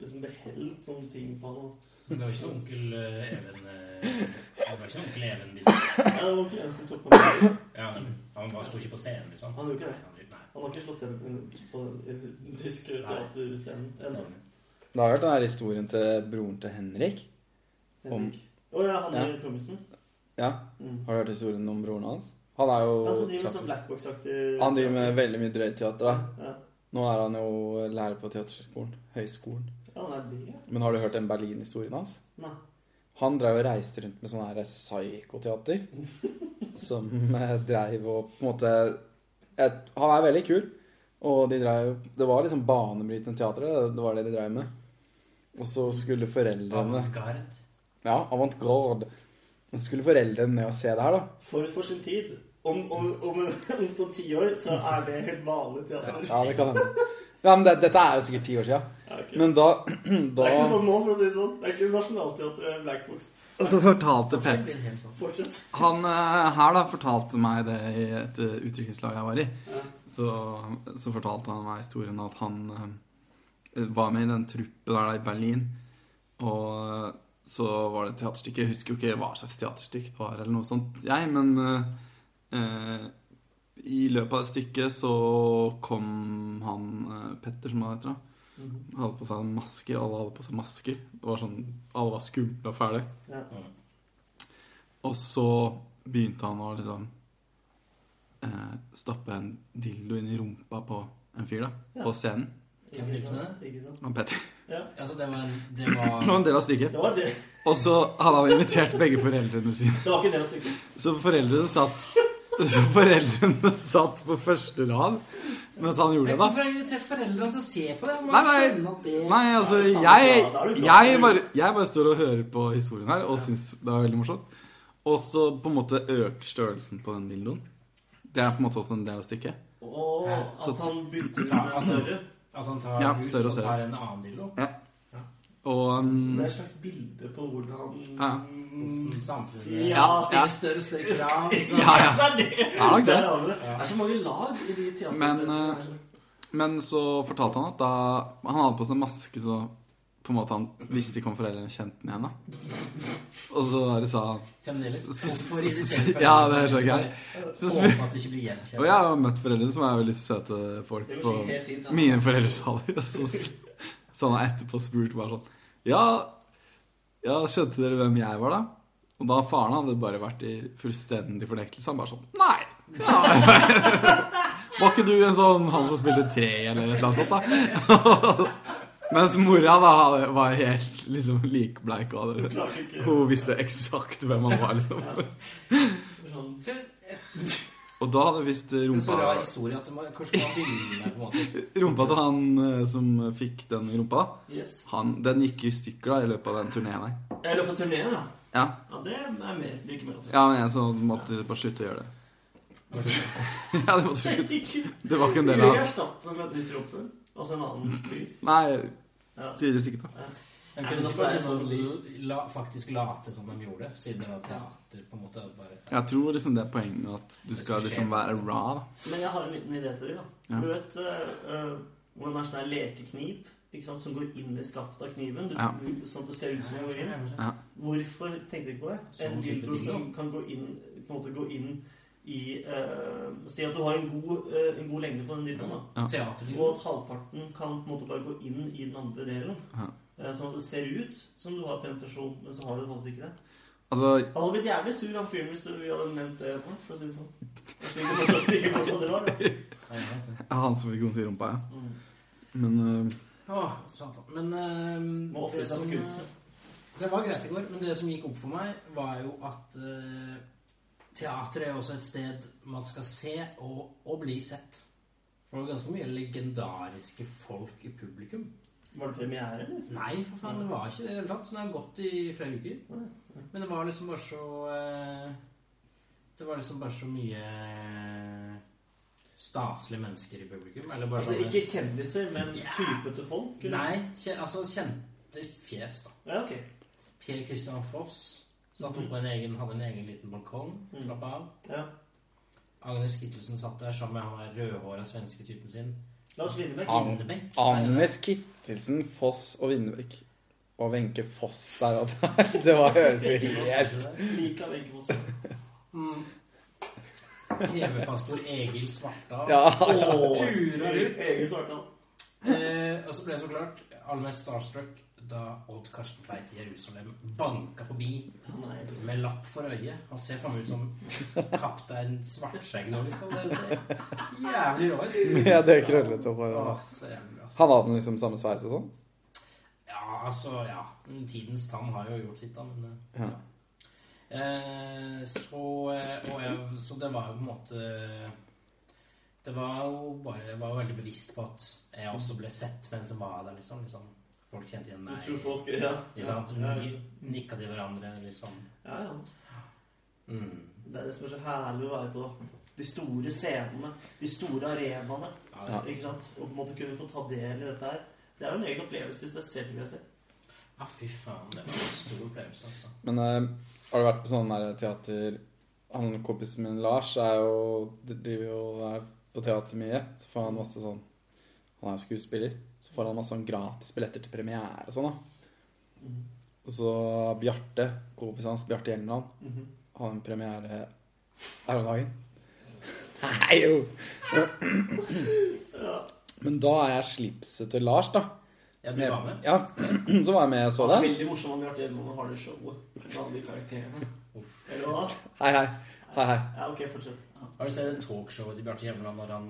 liksom behelt sånne ting på han. og- Det var ikke noe onkel eh, Even eh, Det var ikke noe onkel Even liksom. Ja, det var ikke en som tok på meg. Ja, men Han bare sto ikke på scenen, liksom. Han gjorde ikke det. Nei, han gjorde- nei. Han har ikke slått igjen på den i den tyske teaterscenen ennå. Du har hørt den her historien til broren til Henrik? Om- Henrik. Å ja, han er trommisen. Ja, Mm. Har du hørt historien om broren hans? Han Altså, er jo Han som driver med sånn teater- blackbox-aktig Han driver med veldig mye drøyt teater, da. Ja. Nå er han jo lærer på teaterskolen. Høgskolen. Ja, han er det. Men har du hørt den Berlin-historien hans? Nei. Han drev og reiste rundt med sånn her psykoteater. som eh, dreiv og på en måte et, Han er veldig kul. Og de dreiv Det var liksom banebrytende teater. det- Det var det de dreiv med. Og så skulle foreldrene Avantgarde. Ja, avantgarde. Så skulle foreldrene ned og se det her, da. Forut for sin tid. Om, om, om, om sånn ti år så er det helt vanlig teater. Ja, det kan hende. Ja, men det, dette er jo sikkert ti år sia. Ja, ok. Men da, Det er ikke da sånn nå, for å si det sånn. Det er ikke Nationaltheatret Blackbox. Så fortalte Pet Det blir helt sånn. Fortsett. Han eh, her da fortalte meg det i et eh, utdrikningslag jeg var i. Ja. Så, så fortalte han meg historien at han eh, var med i den truppen der i Berlin. Og så var det et teaterstykke. Jeg husker jo ikke hva slags teaterstykke det var, eller noe sånt, jeg, men eh, eh, i løpet av det stykket så kom han eh, Petter, som han heter, da. Mhm. Han hadde på seg masker. Alle hadde på seg masker. Det var sånn, Alle var skumle og fæle. Ja. Mm. Og så begynte han å liksom eh, stappe en dildo inn i rumpa på en fyr, da. Ja. På scenen. Kan vi Ikke drikke med sant? Ikke sant? Han Petter. Ja. Altså, det var, det Det var var en del av stykket. Det var det. Og så hadde han invitert begge foreldrene sine. Det var ikke det å stykket. Så foreldrene satt Så foreldrene satt på første rad mens han gjorde det, da. Hvorfor har jeg invitert foreldrene til å se på det? Man Nei, nei. skjønner at det- Nei, altså, Ja, det er sant, jeg, ja, da er du glad. jeg, bare, jeg bare står og hører på historien her og syns det er veldig morsomt. Og så på en måte øker størrelsen på den dildoen. Det er på en måte også en del av stykket. Og Ja, så- at han bytter ut med en større. At han tar Ja, ut større og og større. tar en annen dildo? Og Det um, er et slags bilde på hvordan Ja. Mm. Hvordan samfunnet Ja, Ja. stiller større og større krav. ikke sant? ja, ja. Det er det! Det er nok det. Der har vi det. Det er så mange lag i de Men, teaterstedene. sånn- eh, Men så fortalte han at da Han hadde på seg maske, så på en måte han visste ikke om foreldrene kjente han igjen. da Og så bare sa han Fremdeles. S- s- Hvorfor irritere foreldrene? ja, det er så greit. Så spør- Håper at du ikke blir gjenkjent. Og jeg har jo møtt foreldre som er veldig søte folk det går på sikkert helt fint. da. mine foreldres alder. og Så, så han har etterpå spurt bare sånn Ja, ja, skjønte dere hvem jeg var, da? Og da faren hadde bare vært i fullstendig fornektelse. Han bare sånn Nei! Ja. Var ikke du en sånn han som spilte tre, eller et eller annet sånt, da? Mens mora da var helt liksom likbleik og Du hadde- klarte ikke hun visste eksakt hvem han var, liksom. sånn Og da hadde visst Det er så rumpa rar historie at det må, kanskje man begynner på en måte. Rumpa til han eh, som fikk den rumpa, da, Yes. han, den gikk i stykker da i løpet av den turneen her. Jeg løp på turné, da. Ja. Ja, det er mer, like mer. ja, men jeg så måtte bare slutte å gjøre det. ja, det måtte du slutte. Ikke Det var ikke en Vi del av erstatte med et nytt rumpe. Altså en annen fyr. Nei, Ja. tydeligvis ikke. da. Men Nei, men kunne altså, det er man sånn- la, faktisk late som de gjorde, siden det var teater, på en måte. at Bare, Jeg tror liksom det er poenget med at du skal liksom være raw. da. Men jeg har en liten idé til deg, da. Ja. Du vet eh, eh, hvordan det er sånn her lekekniv ikke sant, som går inn i skaftet av kniven? Du, Ja. Sånn at det ser ut som den går inn. Hvorfor tenkte du ikke på det? Sånn en type dildo dildo. som kan gå inn, på en måte gå inn i eh, Si at du har en god, eh, en god lengde på den dildoen. da. Og Teaterliv. at halvparten kan på en måte bare gå inn i den andre delen. Ja. Eh, Sånn at det ser ut som du har penetrasjon, men så har du det faktisk ikke det. Altså, Han hadde blitt jævlig sur, han fyren, hvis du- vi hadde nevnt det. for for å si det sånn. Jeg tror ikke fortsatt sikkert fortsatt det var, da. han som fikk vondt i rumpa, ja. Mm. Men eh, Åh, sant. Men ehm, Må ofre det seg som for kunsten. Det var greit i går, men det som gikk opp for meg, var jo at eh, teater er også et sted man skal se og, og bli sett. For det var ganske mye legendariske folk i publikum. Var det premiere, eller? Nei, for faen, det var ikke det i det hele tatt. Så det har gått i flere uker. Nei, Men det var liksom bare så eh, Det var liksom bare så mye eh, staselige mennesker i publikum. Eller bare Altså, sånne ikke kjendiser, men Ja. type til folk? eller? Nei, kje, altså kjente fjes, da. Ja, ok. Per Christian Foss satt oppe på en egen, hadde en egen liten balkong. Mhm. Slapp av. Ja. Agnes Kittelsen satt der sammen med han der rødhåra svenske typen sin. Lars Lindebekk. An- Andebekk. Agnes Kittelsen, Foss og Vindbekk. Og Wenche Foss der og der. Det var høres jo helt Mikael Enkefoss. Mm. TV-pastor Egil Svartdal. Ja. turer ut. Egen svartall. Eh, og så ble jeg så klart aller mest starstruck da Odd Karsten Tveit i Jerusalem banka forbi Han er helt med lapp for øyet. Han ser faen meg ut som kaptein Svartskjegg nå, liksom. Det ser jævlig rå ut. Med det krøllete håret. Åh, så jævlig bra. altså. Han hadde liksom samme sveis og sånn? Ja, altså, ja. Tidens tann har jo gjort sitt, da. Men, eh, Ja. Eh, så, eh, og jeg, så det var jo på en måte Det var jo bare Jeg var jo veldig bevisst på at jeg også ble sett mens jeg var der, liksom. liksom. Folk kjente igjen Du meg. tror folk Ja. Ikke sant? Ja, Vi ja. nikka til hverandre, liksom. ja, ja. Mm. Det er det som er så herlig å være på. De store scenene, de store arenaene. Ja. Ikke sant? Og på en måte kunne få ta del i dette her. Det er jo en egen opplevelse i seg selv. vil jeg si. ja, fy faen. Det var en stor opplevelse, altså. Men eh, har du vært på sånn der teater Han kompisen min Lars er jo driver jo er på teater mye. Så får han masse sånn Han er jo skuespiller. Så får han masse sånn gratis billetter til premiere og sånn, da. Mhm. Og så Bjarte, kompisen hans, Bjarte Hjelmeland, Mhm. har en premiere her om dagen. Nei, jo. Men da er jeg slipset til Lars, da. Ja, du var med? Ja, så var jeg med og så det. Veldig morsom om vi har vært hjemme og har det showet med alle de karakterene. Eller hva? Hei, hei. Hei, hei. Ja, ok, fortsett. Ja. Har du sett det talkshowet til Bjarte Hjemland når han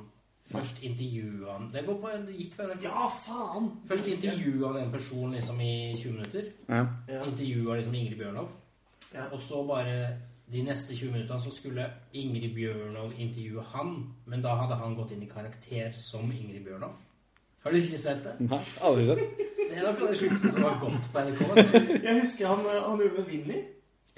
først intervjua han Det går på, det gikk på NRK. Ja, faen! Først intervjua han en person liksom i 20 minutter. Ja. Ja. Intervjua liksom Ingrid Bjørnov. Ja. Og så bare de neste 20 minuttene så skulle Ingrid Bjørnov intervjue han. Men da hadde han gått inn i karakter som Ingrid Bjørnov. Har du ikke sett det? Nei, aldri sett. Det er noe av det sjukeste som har gått på NRK. altså. Jeg husker han, eh, han gjorde med Vinni.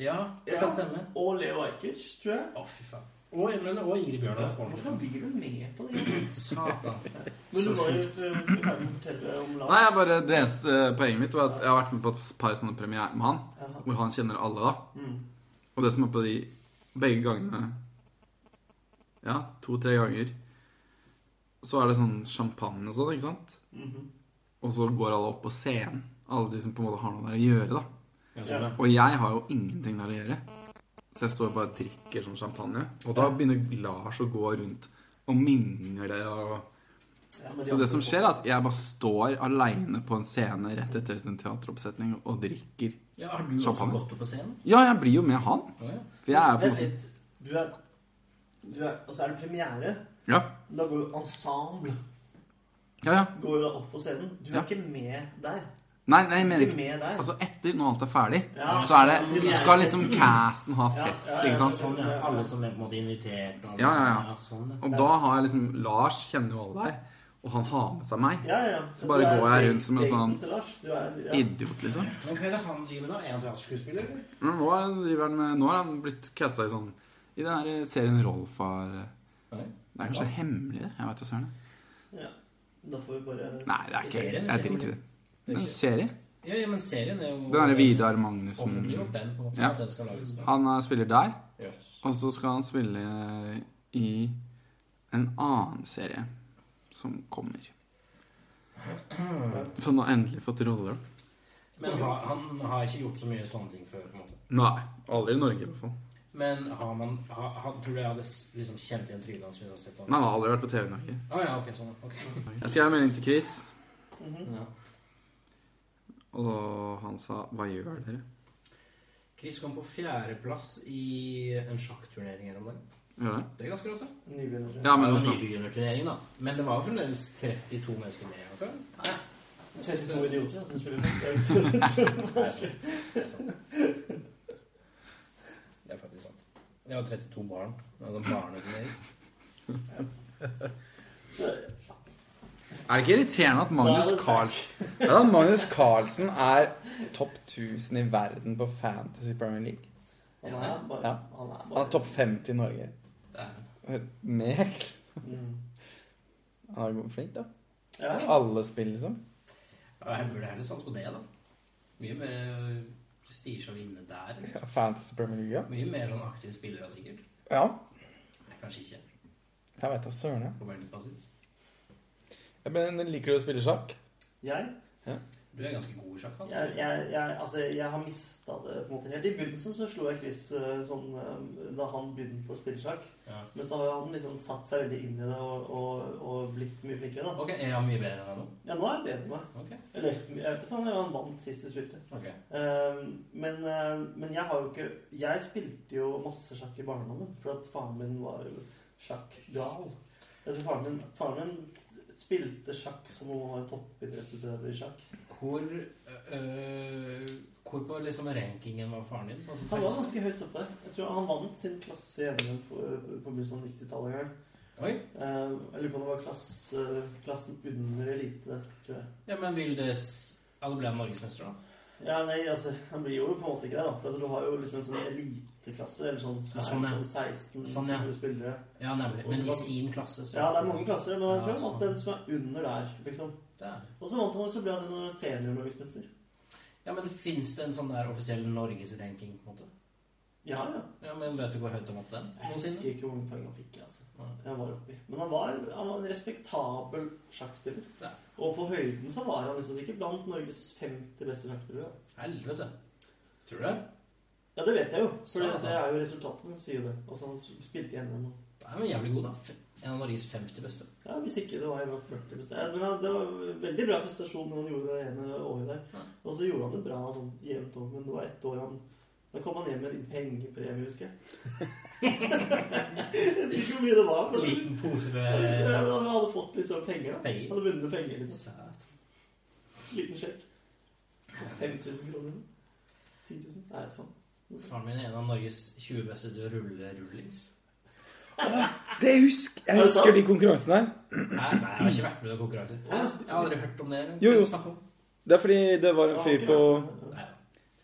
Ja, det kan stemme. Og Leo Ajkic, tror jeg. Å, fy faen. Og, men, og Ingrid Bjørnov. på ordentlig. Mm-hmm. Hvorfor blir du med på det? Satan. Men du var jo eh, i ferd med å fortelle om Lars. Nei, jeg bare, Det eneste poenget mitt var at jeg har vært med på et par sånne premierer med han. Jaha. Hvor han kjenner alle, da. Mm. Og det som er på de begge gangene Ja, to-tre ganger Så er det sånn champagne og sånn, ikke sant? Mhm. Og så går alle opp på scenen. Alle de som på en måte har noe der å gjøre, da. Ja, sånn, ja. Og jeg har jo ingenting der å gjøre. Så jeg står bare og drikker sånn champagne. Og da begynner Lars å gå rundt og mingle og Ja, men de Så andre det som folk- skjer, er at jeg bare står aleine på en scene rett etter en teateroppsetning og drikker. ja, Har du også Champagne. gått opp på scenen? Ja, jeg blir jo med han. Å, ja. For jeg er på en Vent måte litt. Du er, du er Og så er det premiere. Ja, Da går jo ensemble ja. ja. Går jo da opp på scenen. Du er Ja. ikke med der. Nei, nei, jeg Du er mener ikke ikke med der. Altså etter, når alt er ferdig, Ja, så, er det, så skal liksom casten ha Ja, fest, ja, ja, ikke sant? Sånn, ja. Alle som er på en måte invitert. Og alle Ja, ja, ja. som- sånn, ja. Og da har jeg liksom Lars kjenner jo alle der, og han har med seg meg. ja, ja, ja. Så bare Du er går jeg rundt som en date- sånn- daten til Lars. Du er, ja. Idiot, liksom. Men hva er det han driver med da? Er han teaterskuespiller? eller? Men nå er- driver han med Nå har han blitt casta i sånn I den her serien Rolf har Nei. Det er kanskje hemmelig, det? Jeg vet da søren. Ja. Da får vi bare Nei, det er ikke Serien, Jeg det er driter i det. Det er ikke- en serie. Ja, ja, men serien er jo Den derre Vidar Magnussen Offentliggjort den, på en måte. Ja. At den skal lages. da. Han er- spiller der, Yes. og så skal han spille i en annen serie som kommer. Mm. Så nå har han endelig fått roller. Men har, han har ikke gjort så mye sånne ting før. på en måte. Nei. Aldri i Norge, i hvert fall. Men har man har, har, tror du jeg hadde s- liksom kjent igjen trynet hans hvis jeg hadde sett Nei, ham? han har aldri vært på TV i Norge. Å ja, ok, sånn. ok. Jeg skrev en melding til Chris, Ja. og han sa 'hva gjør dere'? Chris kom på fjerdeplass i en sjakkturnering her om dagen. Gjør det? Det er ganske rått, da. nybegynnere. Ja, men altså. det var også, nybegynnerturnering, da. Men det var jo fremdeles 32 mennesker med. vet du. 32 idioter, altså. Spiller det er ikke så- Det er faktisk sant. Det var 32 barn. Det var barneturnering. så- er det ikke irriterende at Magnus Carlsen Ja, Magnus Carlsen er topp 1000 i verden på Fantasy Premier League. Han er bare Ja. Han er Han bare er topp 50 i Norge. Det er Meg. Mm. Han er god- flink, da. Ja, ja. Alle spill, liksom. Ja, jeg burde heller satse på det, da. Mye mer eh, prestisje å vinne der. Ja, Fantasy Premier League, ja. Mye mer sånn aktive spillere, sikkert. Ja, Nei, kanskje ikke. jeg veit da søren, jeg. På verdensbasis. Ja, Men liker du å spille sjakk? Jeg, Du er ganske god i sjakk, altså. jeg, jeg, jeg, altså, jeg har mista det på en måte helt. I begynnelsen så slo jeg Chris eh, sånn eh, da han begynte å spille sjakk. Ja. Men så har jo han liksom satt seg veldig inn i det og, og, og blitt mye flinkere, da. Ok, er han mye bedre enn deg nå? Ja, nå er jeg bedre enn meg. Ok. Eller jeg vet ikke om han vant sist vi spilte. ok. Ehm, men, ehm, men jeg har jo ikke Jeg spilte jo masse sjakk i barndommen, for at faren min var jo sjakkgal. Jeg tror faren min, faren min spilte sjakk som om han var toppidrettsutøver i sjakk. Hvor, øh, hvor på liksom rankingen var faren din? Altså, Han var ganske høyt oppe. Jeg tror Han vant sin klasse i NM på øh, på begynnelsen av 90-tallet en gang. Oi. Ehm, jeg lurer på om det var klasse, klassen under elite, tror jeg. Ja, men vil det s- Altså, ble han norgesmester, da? Ja, nei, altså, Han blir jo på en måte ikke der, da. For at du har jo liksom en sånn eliteklasse, eller sånn som er Sånn, ja. liksom 16 Sånn, ja. spillere. Ja, nemlig. Men i sin klasse, så Sånn. Ja, det er mange klasser, men jeg tror han Ja, vant sånn. den som er under der, liksom. Der. Og så vant han, så ble han en senior-norgesmester. Ja, men fins det en sånn der offisiell norgesranking, på en måte? Ja, ja. Ja, men vet du hvor høyt han opp den? Jeg noensinne? husker ikke hvor mange poeng han fikk, altså. Nei. Jeg var oppi. Men han var, han var en respektabel sjakkspiller. Ja. Og på høyden så var han liksom sikkert blant Norges 50 beste sjakkspillere. da. Helvete. Tror du det? Ja, det vet jeg jo. For Så- det er jo resultatene, sier jo det. Altså, han spilte i NM og Det er jo jævlig god, da. En av Norges 50 beste. Ja, Hvis ikke det var en av 40 hvis det er- Men ja, det var en veldig bra prestasjon han gjorde det ene året der. Ja. Og så gjorde han det bra sånn jevnt over, men det var ett år han Da kom han hjem med en pengepremie, husker jeg. jeg vet ikke hvor mye det var. En Men liten pose med ja, men han hadde fått liksom penger. da Penger. Han hadde vunnet penger. liksom Sæt. Liten sjekk. 5000 kroner. 10 000? Nei, vet faen. Faren min er en av Norges 20 beste til å rulle rullings. Det husker, Er jeg husker det sant? de konkurransene her. Nei, nei, jeg har ikke vært med i noen konkurranse. Hæ? Jeg har aldri hørt om det. eller Jo, jo. snakket om. Det er fordi det var en Ja, fyr ikke på det. Nei, ja.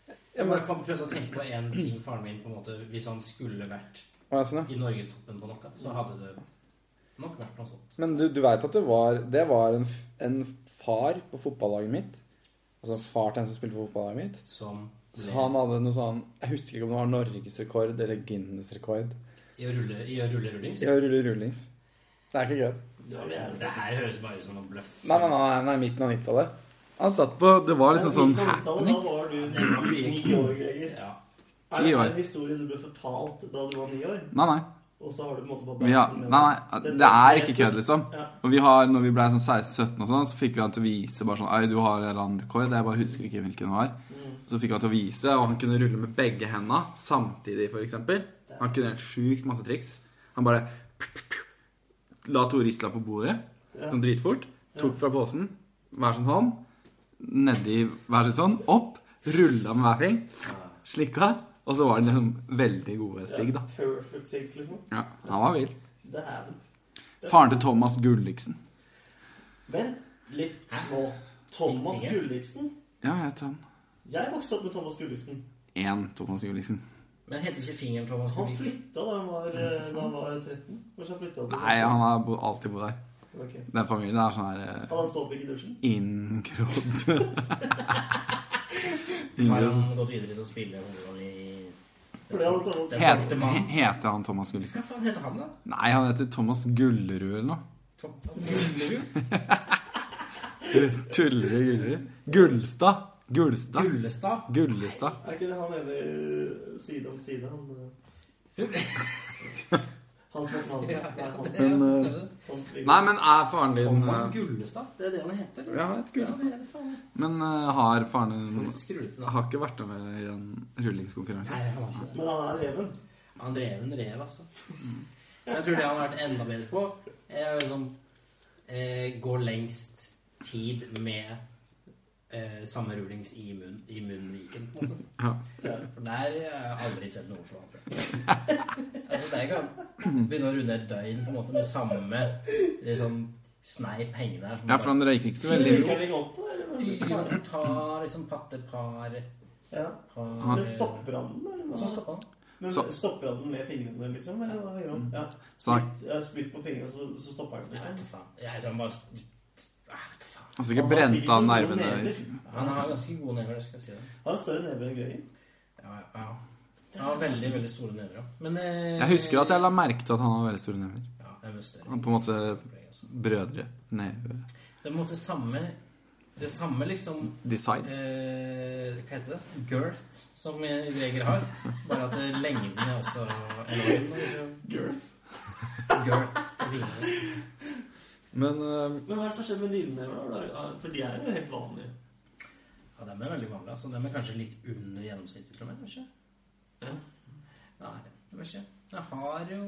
Ja, Jeg men- bare kom- prøvde å tenke på én ting faren min på en måte, Hvis han skulle vært Hva er det sånn, ja? i norgestoppen på noe, så hadde det nok vært noe sånt. Men du, du veit at det var Det var en, f- en far på fotballaget mitt. Altså far til en som spilte på fotballaget mitt. Som Så han hadde noe sånn Jeg husker ikke om det var norgesrekord eller Guinness-rekord i å rulle, i å rulle rullings. i å rulle rullings. Det er ikke gøy. Det var jævlig. Det her høres bare ut som noe bløff. Nei, nei, nei, nei midten av 90-tallet. Han satt på Det var liksom sånn På 90-tallet, Da var du Det var mye ni kul. år, Greger. Ja. Er det Ti år. en historie du ble fortalt da du var ni år? Nei, nei. Og så har du på en måte bare Vi har, nei, nei. Det er ikke kødd, liksom. Ja. Og vi har, når vi ble sånn 16-17 og sånn, så fikk vi han til å vise bare sånn Ei, du har en eller annen rekord. Jeg bare husker ikke hvilken det var. mm. Så fikk han til å vise, og han kunne rulle med begge henda samtidig, for eksempel. Han kunne helt sjukt masse triks. Han bare la to ristler på bordet, Ja. sånn dritfort. Tok fra posen hver sin hånd, nedi hver sin sånn, opp. Rulla med hver fing. Slikka. Og så var han liksom veldig gode sigg, da. Perfect Six, liksom. Ja, han var vill. Det er den. Faren til Thomas Gulliksen. Men litt nå. Thomas Gulliksen. Ja, jeg heter han. Jeg vokste opp med Thomas Gulliksen. Én Thomas Gulliksen. Men heter ikke fingeren Thomas Han Gulliksen? flytta da han var, eh, da han var 13. Kanskje han flytta Nei, han har bo, alltid bodd der. Ok. Den familien er sånn her Hadde han ståpikk i dusjen? eh, inngrådd. Har Inngrådd. han gått videre til å spille hovedrollen i For det hadde Thomas Det er Het, Thomas Mann. heter han Thomas Gulliksen? Hva faen heter han, da? Nei, han heter Thomas Gullerud eller noe. Thomas Gullerud? Tu- Tullerud Gullerud. Gullstad. Gullstad. Gullestad? Gullestad. Er ikke det han ene eh, side om side, han eh, Hans Morten Hansen. Ja, Nei, Hans- Men, ja, stemmer eh, det. Hans Viggo. Nei, men er faren din Thomas eh, Gullestad? Det er det han heter? Ja, han heter Gullestad. Ja, det er det faen. Men eh, har faren din For et skrullete navn. Har ikke vært med i en rullingskonkurranse? Mm. Nei, han har ikke det. Men han er reven. Han drev en rev, altså. Mm. Jeg tror det han har vært enda bedre på, er å liksom eh, gå lengst tid med eh, samme rullings i, munn, i munnviken. på en måte. Ja. Ja. For der eh, har jeg aldri sett noe så annet. Altså, der kan begynne å runde et døgn på en måte med samme liksom, sneip hengende her. som ja, for han røyker ikke så Veldig veldig. Virker den ikke opp, da? eller bare- hva? Fyren som tar liksom pattepar Ja. par- eh, Så det stopper han den, eller? Og så hva? stopper han. Men Så- Mm. stopper han den med fingrene, liksom? Eller hva gjør han? Ja. Så han Spytt- ja, Spytt på fingrene, så, så stopper han Jeg vet liksom. ikke faen. Jeg tror han bare Ah, Jeg vet ikke faen. har sikkert Han har sikkert brent av noen nervene. never. i- Han har ganske gode never, det skal jeg si deg. Har han større never enn Greger? Ja, ja. Jeg har veldig, veldig store never, ja. Men eh, Jeg husker at jeg la merke til at han har veldig store never. Ja, jeg var større. Han på en måte Altså. brødre neve Det er på en måte samme Det samme liksom design. eh, Hva heter det? Girth, som Greger har. Bare at eh, lengden er også enorm. Girth. Girth. på vingene. Men eh, Men hva er det som skjer med dine never? da? Ja, For de er jo helt vanlige. Ja, dem er veldig vanlige. Altså, dem er kanskje litt under gjennomsnittet, til og med. Kanskje? Ja. Nei, jeg vet ikke. Jeg har jo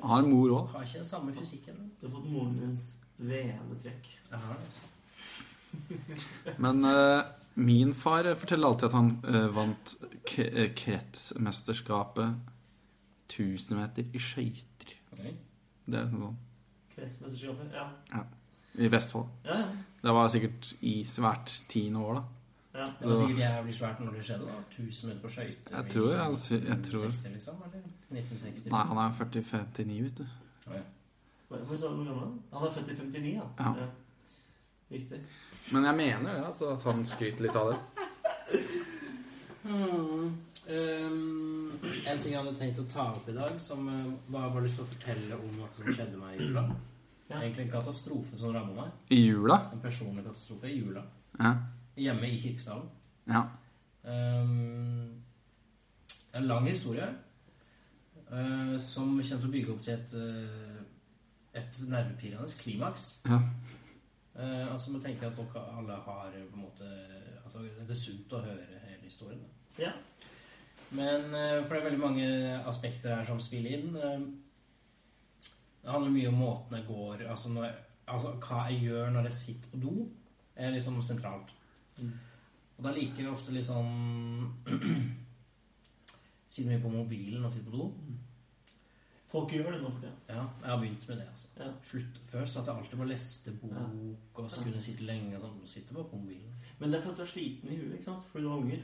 han har en mor òg. Har ikke den samme fysikken. Du har fått moren dins vene trekk. Jeg har det, altså. Men eh, min far forteller alltid at han eh, vant k eh, kretsmesterskapet 1000 meter i skøyter. Ok. Det er liksom sånn. Kretsmesterskapet. Ja. I Vestfold. Ja, ja. Det var sikkert i svært tiende år, da. ja. Det var sikkert jævlig svært når det skjedde. da 1000 meter på skøyter. Jeg tror i jeg, sy- jeg tror 1960, liksom, eller? 1960. Nei, han er 40-59, vet du. Å, ja. Hva hva sa du hvor gammel er han? Han er født i 59, ja. Ja. Riktig. Men jeg mener det, altså, at han skryter litt av det. Hmm, ehm, en ting jeg hadde tenkt å ta opp i dag, som eh, bare var lyst til å fortelle om noe som skjedde meg i jula. Ja. Egentlig en katastrofe som rammet meg. I jula? En personlig katastrofe i jula. Ja. Hjemme i Kirkesdalen. ja. Ehm, en lang historie. eh, som kommer til å bygge opp til et, eh, et nervepirrende klimaks. Ja. Eh, og så må jeg tenke at dere alle har eh, på en måte At det er sunt å høre hele historien. da. Ja. Men eh, for det er veldig mange aspekter her som spiller inn. Eh, Det handler mye om måten jeg går Altså, når, altså hva jeg gjør når jeg sitter på do, er liksom sentralt. Mm. Og da liker jeg ofte litt sånn Sitter mye på mobilen og sitter på do. Folk gjør det nå for tiden. Ja, jeg har begynt med det. altså Ja. Slutt, Før satt jeg alltid på lestebok og så kunne jeg sitte lenge. og Sånn. Nå sitter jeg bare på mobilen. Men det er for at du er sliten i huet, ikke sant? Fordi du har unger.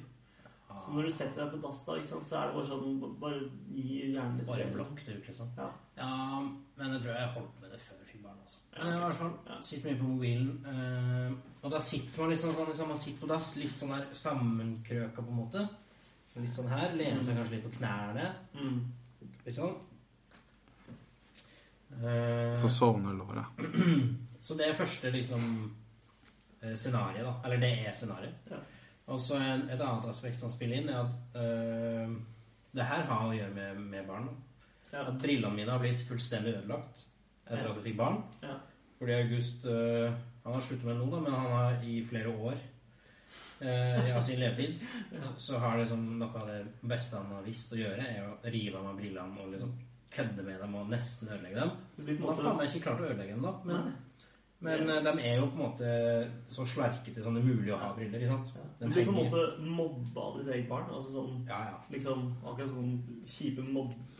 Ja, Så når du setter deg på dass, da, ikke sant, så er det bare sånn Bare gi hjernen litt bare fred. blokk det ut, liksom. Ja. Ja, men jeg tror jeg holdt med det før fibberen. Altså. Ja, Men i ok. hvert fall, Ja. sitter mye på mobilen. eh, og da sitter man litt sånn, sånn liksom, man sitter på dass, litt sånn her sammenkrøka, på en måte. Litt sånn her. Lener seg kanskje litt på knærne. Mm. Litt sånn. Eh, Så sovner låret. Så det er første liksom eh, scenario, da. Eller det er scenario. Ja. Og så en- et annet aspekt som spiller inn, er at eh, det her har å gjøre med, med barn. da. Ja. At brillene mine har blitt fullstendig ødelagt etter Ja. at jeg fikk barn. Ja. Fordi August eh, Han har sluttet med det nå, da, men han har i flere år eh, av sin levetid Ja. så har liksom noe av det beste han har visst å gjøre, er å rive av meg brillene og liksom kødde med dem og nesten ødelegge dem. Det blir på Han en har faen måte meg ikke klart å ødelegge dem, da. Men Nei. men eh, de er jo på en måte så slerkete som det er mulig å ha briller. ikke sant? Ja. De Du blir på en henger- måte mobba av ditt eget barn. Altså sånn Ja, ja. liksom Akkurat sånn kjipe mobbescener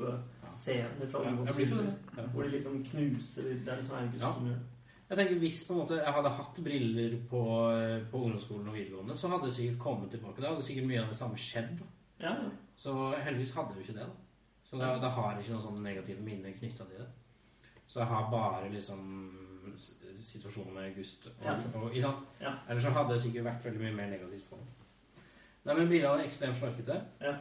fra ja jeg blir for ungdomsskolen. det. Ja. Hvor de liksom knuser Det er liksom August Ja. som gjør det. Jeg tenker Hvis på en måte jeg hadde hatt briller på, eh, på ungdomsskolen og videregående, så hadde det sikkert kommet tilbake. Da hadde sikkert mye av det samme skjedd. da. Ja, ja. Så heldigvis hadde jeg jo ikke det. da. Så da, da har jeg ikke noen sånne negative minner knytta til det. Så jeg har bare liksom s- situasjonen med August. Og, Ja. og, ikke sant? Ja. Ellers så hadde det sikkert vært veldig mye mer negativt for meg. Nei, men brillene er ekstremt slarkete. Ja.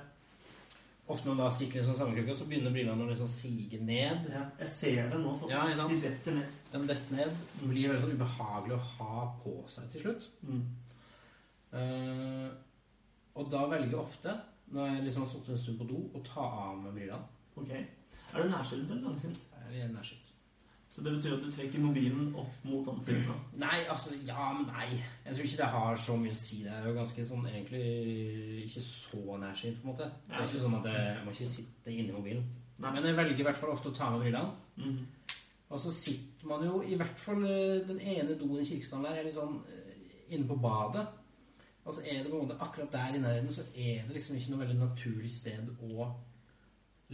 Ofte når man da sitter liksom sammenkrøkka, så begynner brillene å liksom sige ned. ja. Jeg ser det nå, faktisk. Ja, ikke sant? de detter ned. De detter ned. Det blir veldig sånn ubehagelig å ha på seg til slutt. Mm. Eh, og da velger jeg ofte, når jeg liksom har sittet en stund på do, å ta av meg brillene. Ok. Er du nærsynt eller langsynt? Jeg er nærsynt. Så det betyr at du trekker mobilen opp mot ansiktet? da. Nei, altså Ja, men nei. Jeg tror ikke det har så mye å si. Det er jo ganske sånn egentlig ikke så nærsynt, på en måte. Det er ikke sånn at jeg, jeg må ikke sitte inni mobilen. Nei. Men jeg velger i hvert fall ofte å ta med brillene. Mhm. Og så sitter man jo i hvert fall eh, den ene doen i Kirkesand der, er litt sånn eh, inne på badet. Og så er det på en måte akkurat der i nærheten, så er det liksom ikke noe veldig naturlig sted å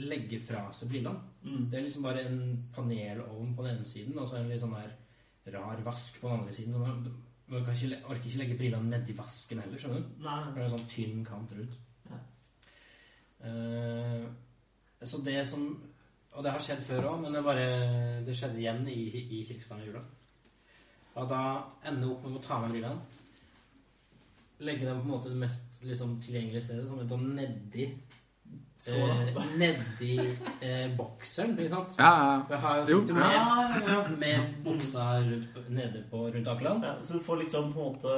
legge fra seg brillene. Mm. Det er liksom bare en panelovn på den ene siden, og så en litt sånn der rar vask på den andre siden. Så man, man kan ikke, le- orker ikke legge brillene nedi vasken heller, skjønner du? Nei, For nei. det er en sånn tynn kant rundt. Ja. Eh, så det som Og det har skjedd før òg, men det, bare, det skjedde igjen i, i Kirkestad i jula. Og da ender jeg opp med å ta med brillene. Legge dem på en måte det mest liksom, tilgjengelige stedet, som er da nedi Skål, eh, Nedi eh, bokseren, ikke sant? Ja, ja. Jeg har jo Jo. sittet Ja, med, Ah, ja, ja. med buksa rundt, nede på rundt ankelen. Ja, så du får liksom på en måte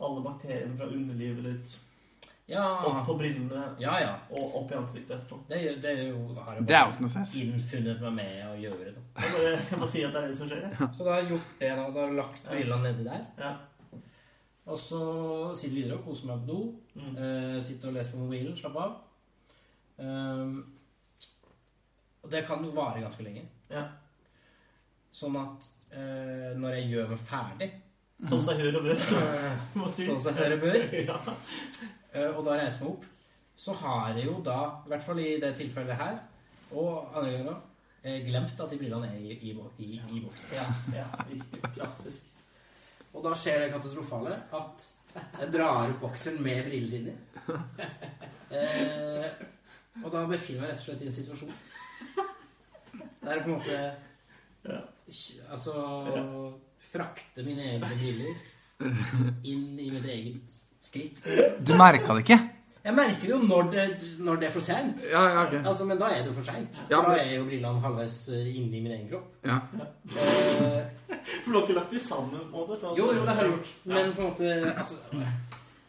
alle bakteriene fra underlivet ditt opp Ja, på brillene ja. ja. og opp i ansiktet etterpå. Det, gjør- det er jo, har jeg Det er jo bare ikke noe stress. innfunnet meg med å gjøre. Da. Jeg bare, jeg bare sier at det er det som skjer. jeg. Så da har jeg gjort det. Da, da har jeg lagt brillene nedi der. Ja. Og så sitter jeg videre og koser meg på do. Mm. Eh, sitter og leser på mobilen. Slapp av. Ehm, og det kan jo vare ganske lenge. Ja. Sånn at eh, når jeg gjør meg ferdig, Som seg hør og bør. så, Må si. sånn som jeg hører bør, Ja. Eh, Og da reiser jeg meg opp. Så har jeg jo da, i hvert fall i det tilfellet her, og andre ganger òg, glemt at de brillene er i, i, bo- i, i boksen. Ja, ja, riktig. Klassisk. Og da skjer det katastrofale at jeg drar opp boksen med briller inni. Eh, og da befinner jeg meg rett og slett i en situasjon der jeg på en måte Ja. kj- Altså frakter mine egne briller inn i mitt eget skritt. Du merka det ikke? Jeg merker jo når det, når det er for sent. Ja, ja, ok. Altså, men da er det jo for seint. Ja, men- Da er jo brillene halvveis eh, inni min egen kropp. Ja. Eh, For du har ikke lagt de sammen? på en måte? sånn at- jo, jo, det har jeg gjort. Men på en måte altså, sånn det,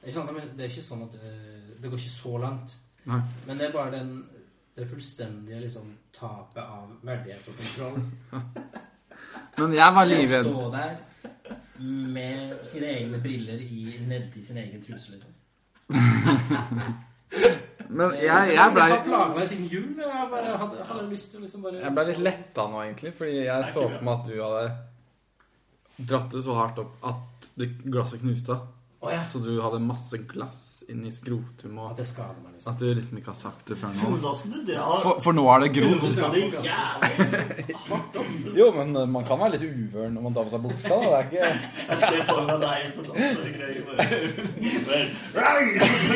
er ikke sant, men det er ikke sånn at eh, Det går ikke så langt. Nei. Men det er bare den Det fullstendige liksom tapet av verdighet og kontroll. Men jeg var Å livredd. stå der med sine egne briller i, nedi sin egen truse, liksom. Men jeg, jeg blei har plaga meg siden jul. og Jeg bare hadde, hadde lyst til å liksom bare Jeg ble litt letta nå, egentlig, fordi jeg så for meg at du hadde dratt det så hardt opp at det glasset knuste. Å, ja. Så du hadde masse glass inni skrotum, og At det skader meg, liksom. at du liksom ikke har sagt det før Jo, nå. da skal du dra For, for nå er det Du grodd. skal det jævlig hardt opp. Jo, men eh, man kan være litt uvøren når man tar på seg buksa. Da. Det er ikke Jeg ser for meg deg på dansegreier bare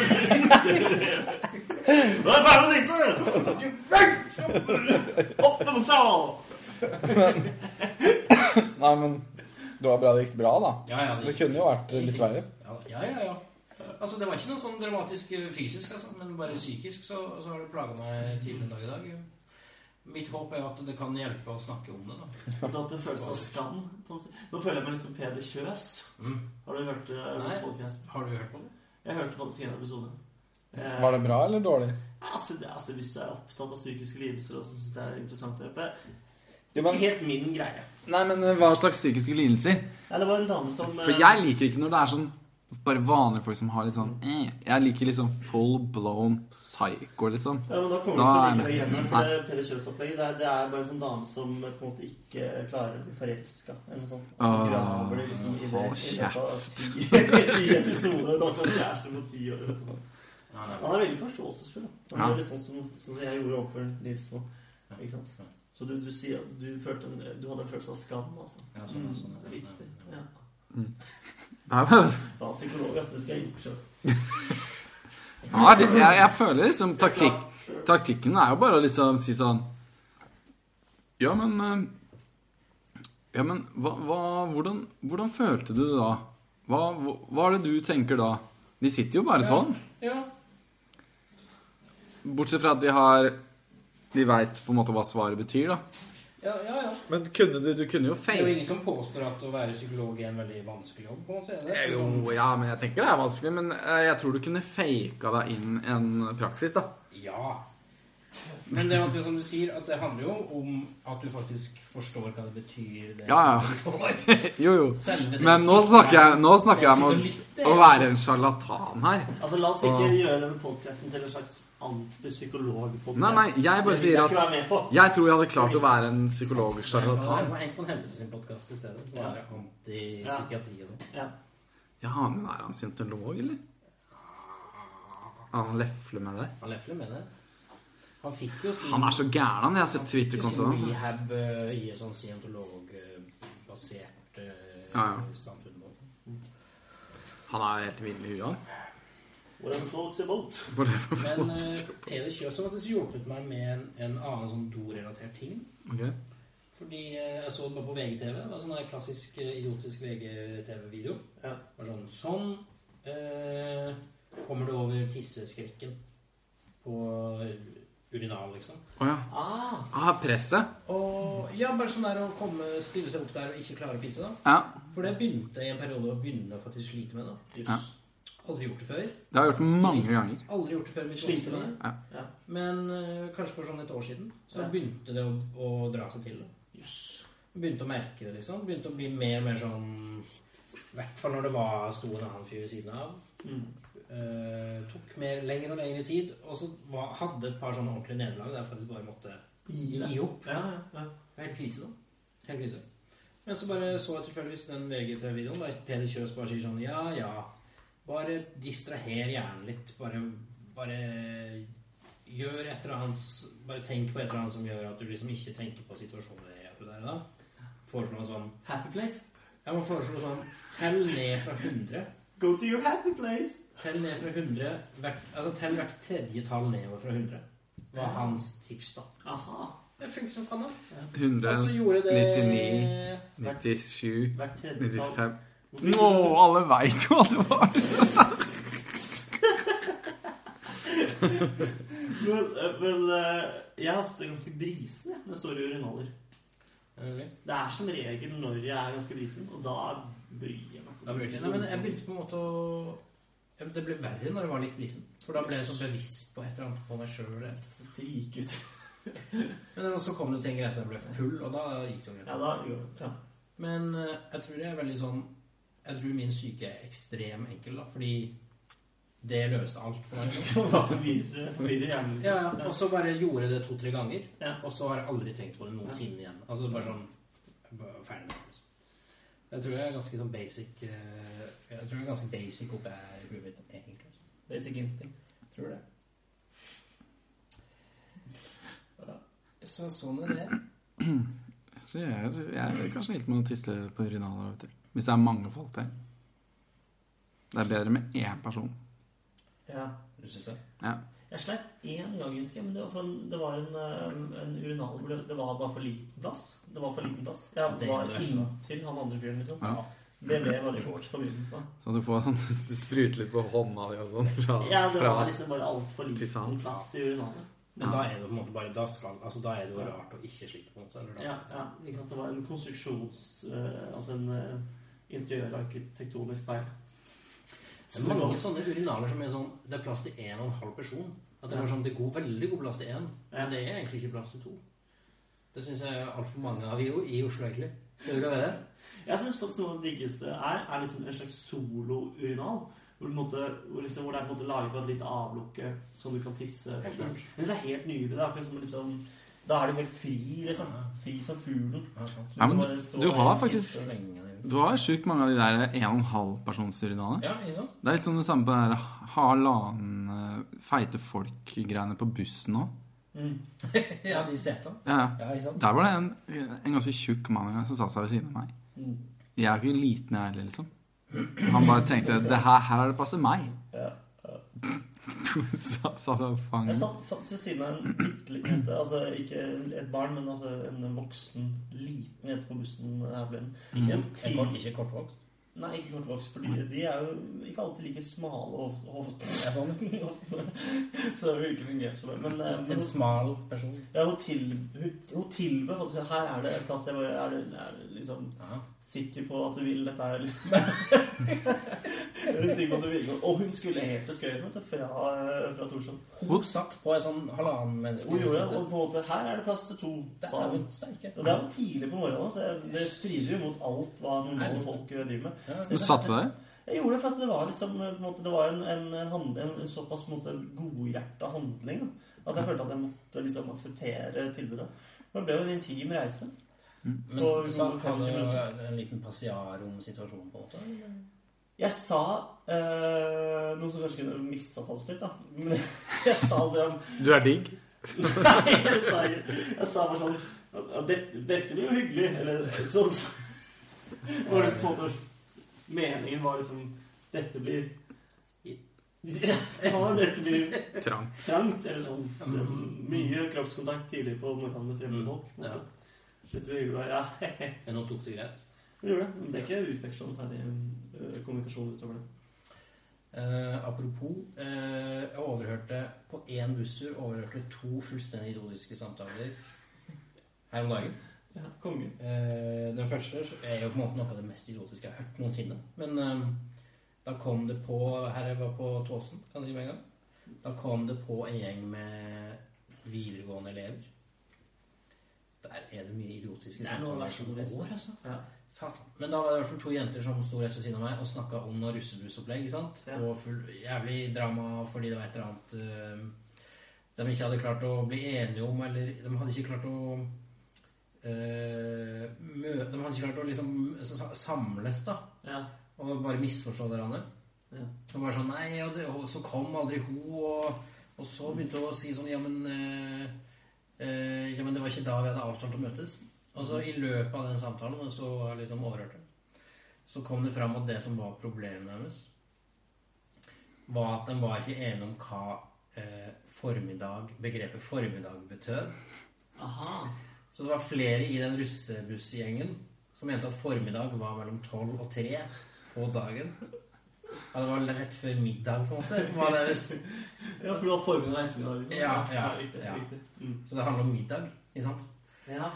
Nå er jeg ferdig med å drite! Opp med buksa! Nei, men det var bra det gikk bra, da. Ja, ja, Det kunne jo vært litt verre. Ja, ja, ja. ja. Altså, Det var ikke noe sånn dramatisk eh, fysisk, altså, men bare psykisk så, så har det plaga meg til en dag i dag. Mitt håp er jo at det kan hjelpe å snakke om det. da. Du har hatt en følelse av skam. på en måte. Nå føler jeg meg litt som Peder Kjøs. Mm. Har du hørt det? Nei. podcasten? Har du hørt på det? Jeg hørte faktisk en episode. Eh, Var det bra eller dårlig? Altså, det, altså, hvis du er opptatt av psykiske lidelser, og så syns det er interessant å høre på Jo, Ikke men, eh, helt min greie. Nei, men hva slags psykiske lidelser? Nei, det var en dame som For jeg liker ikke når det er sånn bare vanlige folk som har litt sånn eh. Jeg liker liksom sånn full blown psycho, liksom. eh, Ja, men Da kommer Da er du til å like deg det- igjen. Nei. For det Peder Kjøs-opplegget det, er- det er bare en sånn dame som på en måte ikke klarer å bli forelska, eller noe sånt. Og så Åh, graver det liksom i det. Ah, hold i løpet av ti- Ti episoder. Da kan kjæreste på ti år. eller noe sånt. Nei, nei, Han er veldig forståelsesfull. da. Han Ja. er litt sånn som, sånn som jeg gjorde overfor Nils nå. Ikke sant? Så du, du sier at du, følte en, du hadde en følelse av skam, altså. Ja, sånn, ja, sånn, ja. Viktig. Ja. Nei, men- Jeg var psykolog, altså. Det skal jeg gjort selv. Ja, det, jeg, jeg føler liksom taktikk, Taktikken er jo bare å liksom si sånn Ja, men eh, Ja, men hva, hva, hvordan, hvordan følte du det da? Hva, hva, hva er det du tenker da? De sitter jo bare sånn. Ja. Bortsett fra at de har De veit på en måte hva svaret betyr, da. Ja, ja, ja. Men kunne du Du kunne jo Det er jo fake ingen som påstår at å være psykolog er en veldig vanskelig jobb. på en måte, er det? Jo, ja, men jeg tenker det er vanskelig. Men eh, jeg tror du kunne faka deg inn en praksis, da. Ja. Men det, er jo som du sier, at det handler jo om at du faktisk forstår hva det betyr. Det Ja, ja. som du får. Jo, jo. Selve det Men nå som snakker er- jeg, nå snakker det jeg som om du å, lytter, å være en sjarlatan her. Altså, La oss ikke Ah. gjøre denne podkasten til en slags antipsykolog-podkast. Nei, nei, jeg bare sier Jeg vil ikke at være med på. jeg tror jeg hadde klart å være en Det psykologsjarlatan. var Henk von Helvete sin podkast i stedet. Som Ja. er antipsykiatri og sånn. Ja. Ja, men er han scientolog, eller? Han lefler med deg. Han lefler med det. Han fikk jo sin Han er så gæren, han. Jeg har sett fikk jo sin Twitter-kontoen hans. rehab eh, i et sånn scientologbasert eh, Ja, ja. samfunn. nå. Han er helt vill i huet, han. Hvordan floats your boat? Bare for Men folk. eh, Peder Kjøs har faktisk hjulpet meg med en, en annen sånn dorelatert ting. Ok. Fordi eh, jeg så det bare på VGTV. Det var sånn der klassisk eh, idiotisk VGTV-video. Ja. Det var sånn Sånn eh, kommer du over tisseskrekken på eh, urinal, liksom. Å ja. Ah, Ah, presset. Og ja, bare sånn der å komme, stille seg opp der og ikke klare å pisse, da. Ja. For det begynte jeg i en periode å begynne å faktisk slite med, da. Ja. Aldri gjort det før. Det har jeg gjort mange ganger. Aldri gjort det før. mitt Sliter voksne med liv. det? Ja. Men eh, kanskje for sånn et år siden så Ja. begynte det å, å dra seg til. da. Begynte å merke det, liksom. Begynte å bli mer og mer sånn I hvert fall når det var, sto en annen fyr ved siden av. Mm. Eh, tok mer, lengre og lengre tid. Og så var, hadde et par sånne ordentlige nederlag der jeg faktisk bare måtte Gi deg. gi opp. Ja, ja, ja. Helt krise, da. Helt krise. Men så bare så jeg tilfeldigvis den VGTV-videoen der Peder Kjøs bare sier sånn Ja, ja. Bare distraher hjernen litt. Bare, bare gjør et eller annet s- Bare tenk på et eller annet som gjør at du liksom ikke tenker på situasjonen du er i akkurat der og da. Foreslå en sånn Happy place. Jeg må foreslå sånn Tell ned fra 100. Go to your happy place. Tell ned fra 100 hvert, Altså tell hvert tredje tall nedover fra 100. Var hans tips, da. Aha. Det funker som faen, da. Og så 100, gjorde det 99. 97, Hvert tredje 95 tall. Nå, alle veit jo hva det var! Vel, eh, vel eh, jeg er ofte ganske brisen jeg, når jeg står i urinaler. Okay. Det er som regel når jeg er ganske brisen, og da bryr jeg meg. Da blir det til. Nei, men jeg begynte på en måte å Ja, men Det ble verre når det var litt brisen. For da ble jeg så bevisst på et eller annet på meg sjøl. Frik ut. Men så kom det til en grense der jeg ble full, og da gikk det jo greit. Ja, da jo, ja. Men eh, jeg tror jeg er veldig sånn Jeg tror min syke er ekstrem enkel, da, fordi det løste alt for meg. liksom. Bare forvirre forvirre hjernen. Ja, ja, Og så bare gjorde jeg det to-tre ganger, Ja. og så har jeg aldri tenkt på det noensinne igjen. Altså bare sånn bare Ferdig med det. liksom. Jeg tror jeg er ganske sånn basic eh, Jeg tror jeg er ganske basic oppe i huet mitt egentlig. altså. Basic instinct. Tror det. Så sånn er det. Så jeg, jeg, jeg kanskje helt må tisle på urinaler. vet du. Hvis det er mange folk der. Det er bedre med én person. Ja. Du syns det? Jeg sleit én gang, husker jeg, men det var, for en, det var en, eh, en urinal hvor det, det var bare for liten plass. Det var for liten plass. Jeg Det er var det verste, da. inntil han andre fyren, liksom. Ja. Det ble veldig fort forvirrende. da. Så du får sånn Du spruter litt på hånda di og sånn. Fra, Ja, det fra var liksom bare altfor liten Tissan. plass i urinalet. Men da er det jo på en måte bare Da, skal, altså, da er det jo rart å ikke slite på en måte. Eller da, Ja, ja, ikke sant? Det var en konstruksjons... eh, altså en eh, interiørarkitektonisk feil. Det er mange sånne urinaler som er sånn Det er plass til én og en halv person. At det Ja. var sånn, det er god, veldig god plass til én, Ja. men det er egentlig ikke plass til to. Det syns jeg er altfor mange av i, i Oslo, egentlig. Tror du det er det? Jeg syns faktisk noe av det diggeste er, er liksom en slags solo-urinal. Hvor, du måtte, hvor, liksom, hvor det er på en måte laget for et lite avlukke som du kan tisse Helt Men klart. det er helt nydelig. Det er akkurat som liksom, da er du helt fri, liksom. Fri som fuglen. Ja, men kan bare stå du der har og faktisk- tisse. Så lenge det er- Du har sjukt mange av de der en og en halv persons urinaler. Ja, ikke sant? Det er litt som det samme på den der halvannen eh, feite folk-greiene på bussen òg. mm. Ja, de setter den. Ja, ja. Ja, ikke sant? Der var det en, en ganske tjukk mann en gang som satte seg ved siden av meg. Mm. Jeg er jo ikke liten, jeg heller, liksom. Han bare tenkte det her, her er det plass til meg. Ja. Så Satt og Jeg fanget. satt faktisk ved siden av en bitte liten jente. Altså ikke et barn, men altså en voksen, liten jente på bussen her forleden. Ikke, Mm. jeg går ikke kortvokst. Nei, ikke kortvokst, fordi de er jo ikke alltid like smale og hoft... Jeg er sånn. så det vil ikke fungere så bra. Men, eh, men En smal person. ja, hun, til, hun, hun tilbød faktisk at her er det plass. Jeg bare er du, er du liksom Ja. sikker på at du vil dette her? eller?» er du sikker på at du vil? Og hun skulle helt til Skøyen vet du, fra, eh, fra Torshov. Hun satt på en sånn halvannen menneske. Hun gjorde det, og på en måte Her er det plass til to, Det sa er hun. jo sterke. Og det er jo tidlig på morgenen, så jeg- det strider jo mot alt hva normale folk eh, driver med. Ja. Du satte deg? Jeg gjorde det for at det var liksom på en måte, Det var en, en, en, hand- en såpass på en måte, godhjerta handling. Da. At jeg følte at jeg måtte liksom akseptere tilbudet. Men det ble jo en intim reise. Men Og så- så gode hadde 50 jo en liten passiarom-situasjon, på en måte. Jeg sa eh, noe som kanskje kunne misoppfattes litt, da. Men jeg sa det om Du er digg? Nei, jeg sa ikke- jeg sa bare sånn ja, dette, dette blir jo hyggelig. Eller sånn. Var det på en måte Meningen var liksom Dette blir ja, dette blir Trang. trangt, eller sånn. Mye kroppskontakt tidlig på morgenen med fremmede folk. på en Ja. måte. Litt hyggelig, ja. Men hun tok det greit. Vi gjorde det. Men det er ikke utvekslende særlig ø, kommunikasjon utover det. Eh, apropos, eh, jeg overhørte på én busstur overhørte to fullstendig idoliske samtaler her om dagen. Ja, konge. Eh, den første er jo på en måte noe av det mest idiotiske jeg har hørt noensinne. Men eh, da kom det på Her jeg var på Tåsen, kan jeg si med en gang. Da kom det på en gjeng med videregående elever. Der er det mye idiotiske Det er noe av det verste som som finnes. går, altså. Ja. Satan. Men da var det i hvert fall to jenter som sto rett ved siden av meg og snakka om noe russebussopplegg. ikke sant? Ja. Og full, jævlig drama fordi det var et eller annet eh, de ikke hadde klart å bli enige om, eller de hadde ikke klart å eh, mø De hadde ikke klart å liksom sa- samles, da. Ja. Og bare misforstå hverandre. Ja. Og bare sånn Nei, og, det, og så kom aldri hun, og, og så begynte hun å si sånn Ja, men eh, eh, Ja, men det var ikke da vi hadde avtalt å møtes. Og så i løpet av den samtalen, og så var jeg liksom overhørte, så kom det fram at det som var problemet deres, var at de var ikke enige om hva eh, formiddag, begrepet formiddag betød. Aha. Så det var flere i den russebussgjengen som mente at formiddag var mellom tolv og tre på dagen. Ja, det var rett før middag, på en måte. Var det hvis- Ja, for du har formiddag og ettermiddag? Liksom. Ja, ja, riktig. ja. riktig. Mm. Så det handler om middag, ikke sant? ja.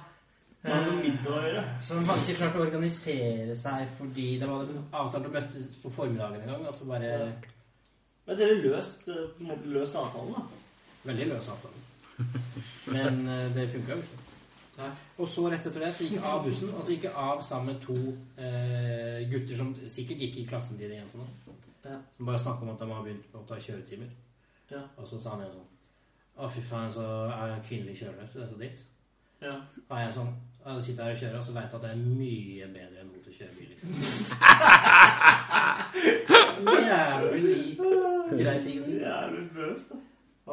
Det har noe Eh. med middag å gjøre. Så de hadde ikke klart å organisere seg fordi det var avtalt å møtes på formiddagen en gang, og så altså bare Men dere løst, eh, på en måte løst avtalen, da. Veldig løs avtale. Men eh, det funka jo ikke. Nei. Og så rett etter det så gikk jeg av bussen, og så gikk jeg av sammen med to eh, gutter som sikkert gikk i klassen til de jentene. Ja. Som bare snakka om at de har begynt å ta kjøretimer. Ja. Og så sa han jo sånn Å, fy faen, så er jeg en kvinnelig kjører, så det er så dritt. Ja. Og jeg er sånn Jeg sitter her og kjører, og så veit jeg at det er mye bedre enn hun til å kjøre bil, liksom. Jævlig grei ting å si. Jævlig løst, da.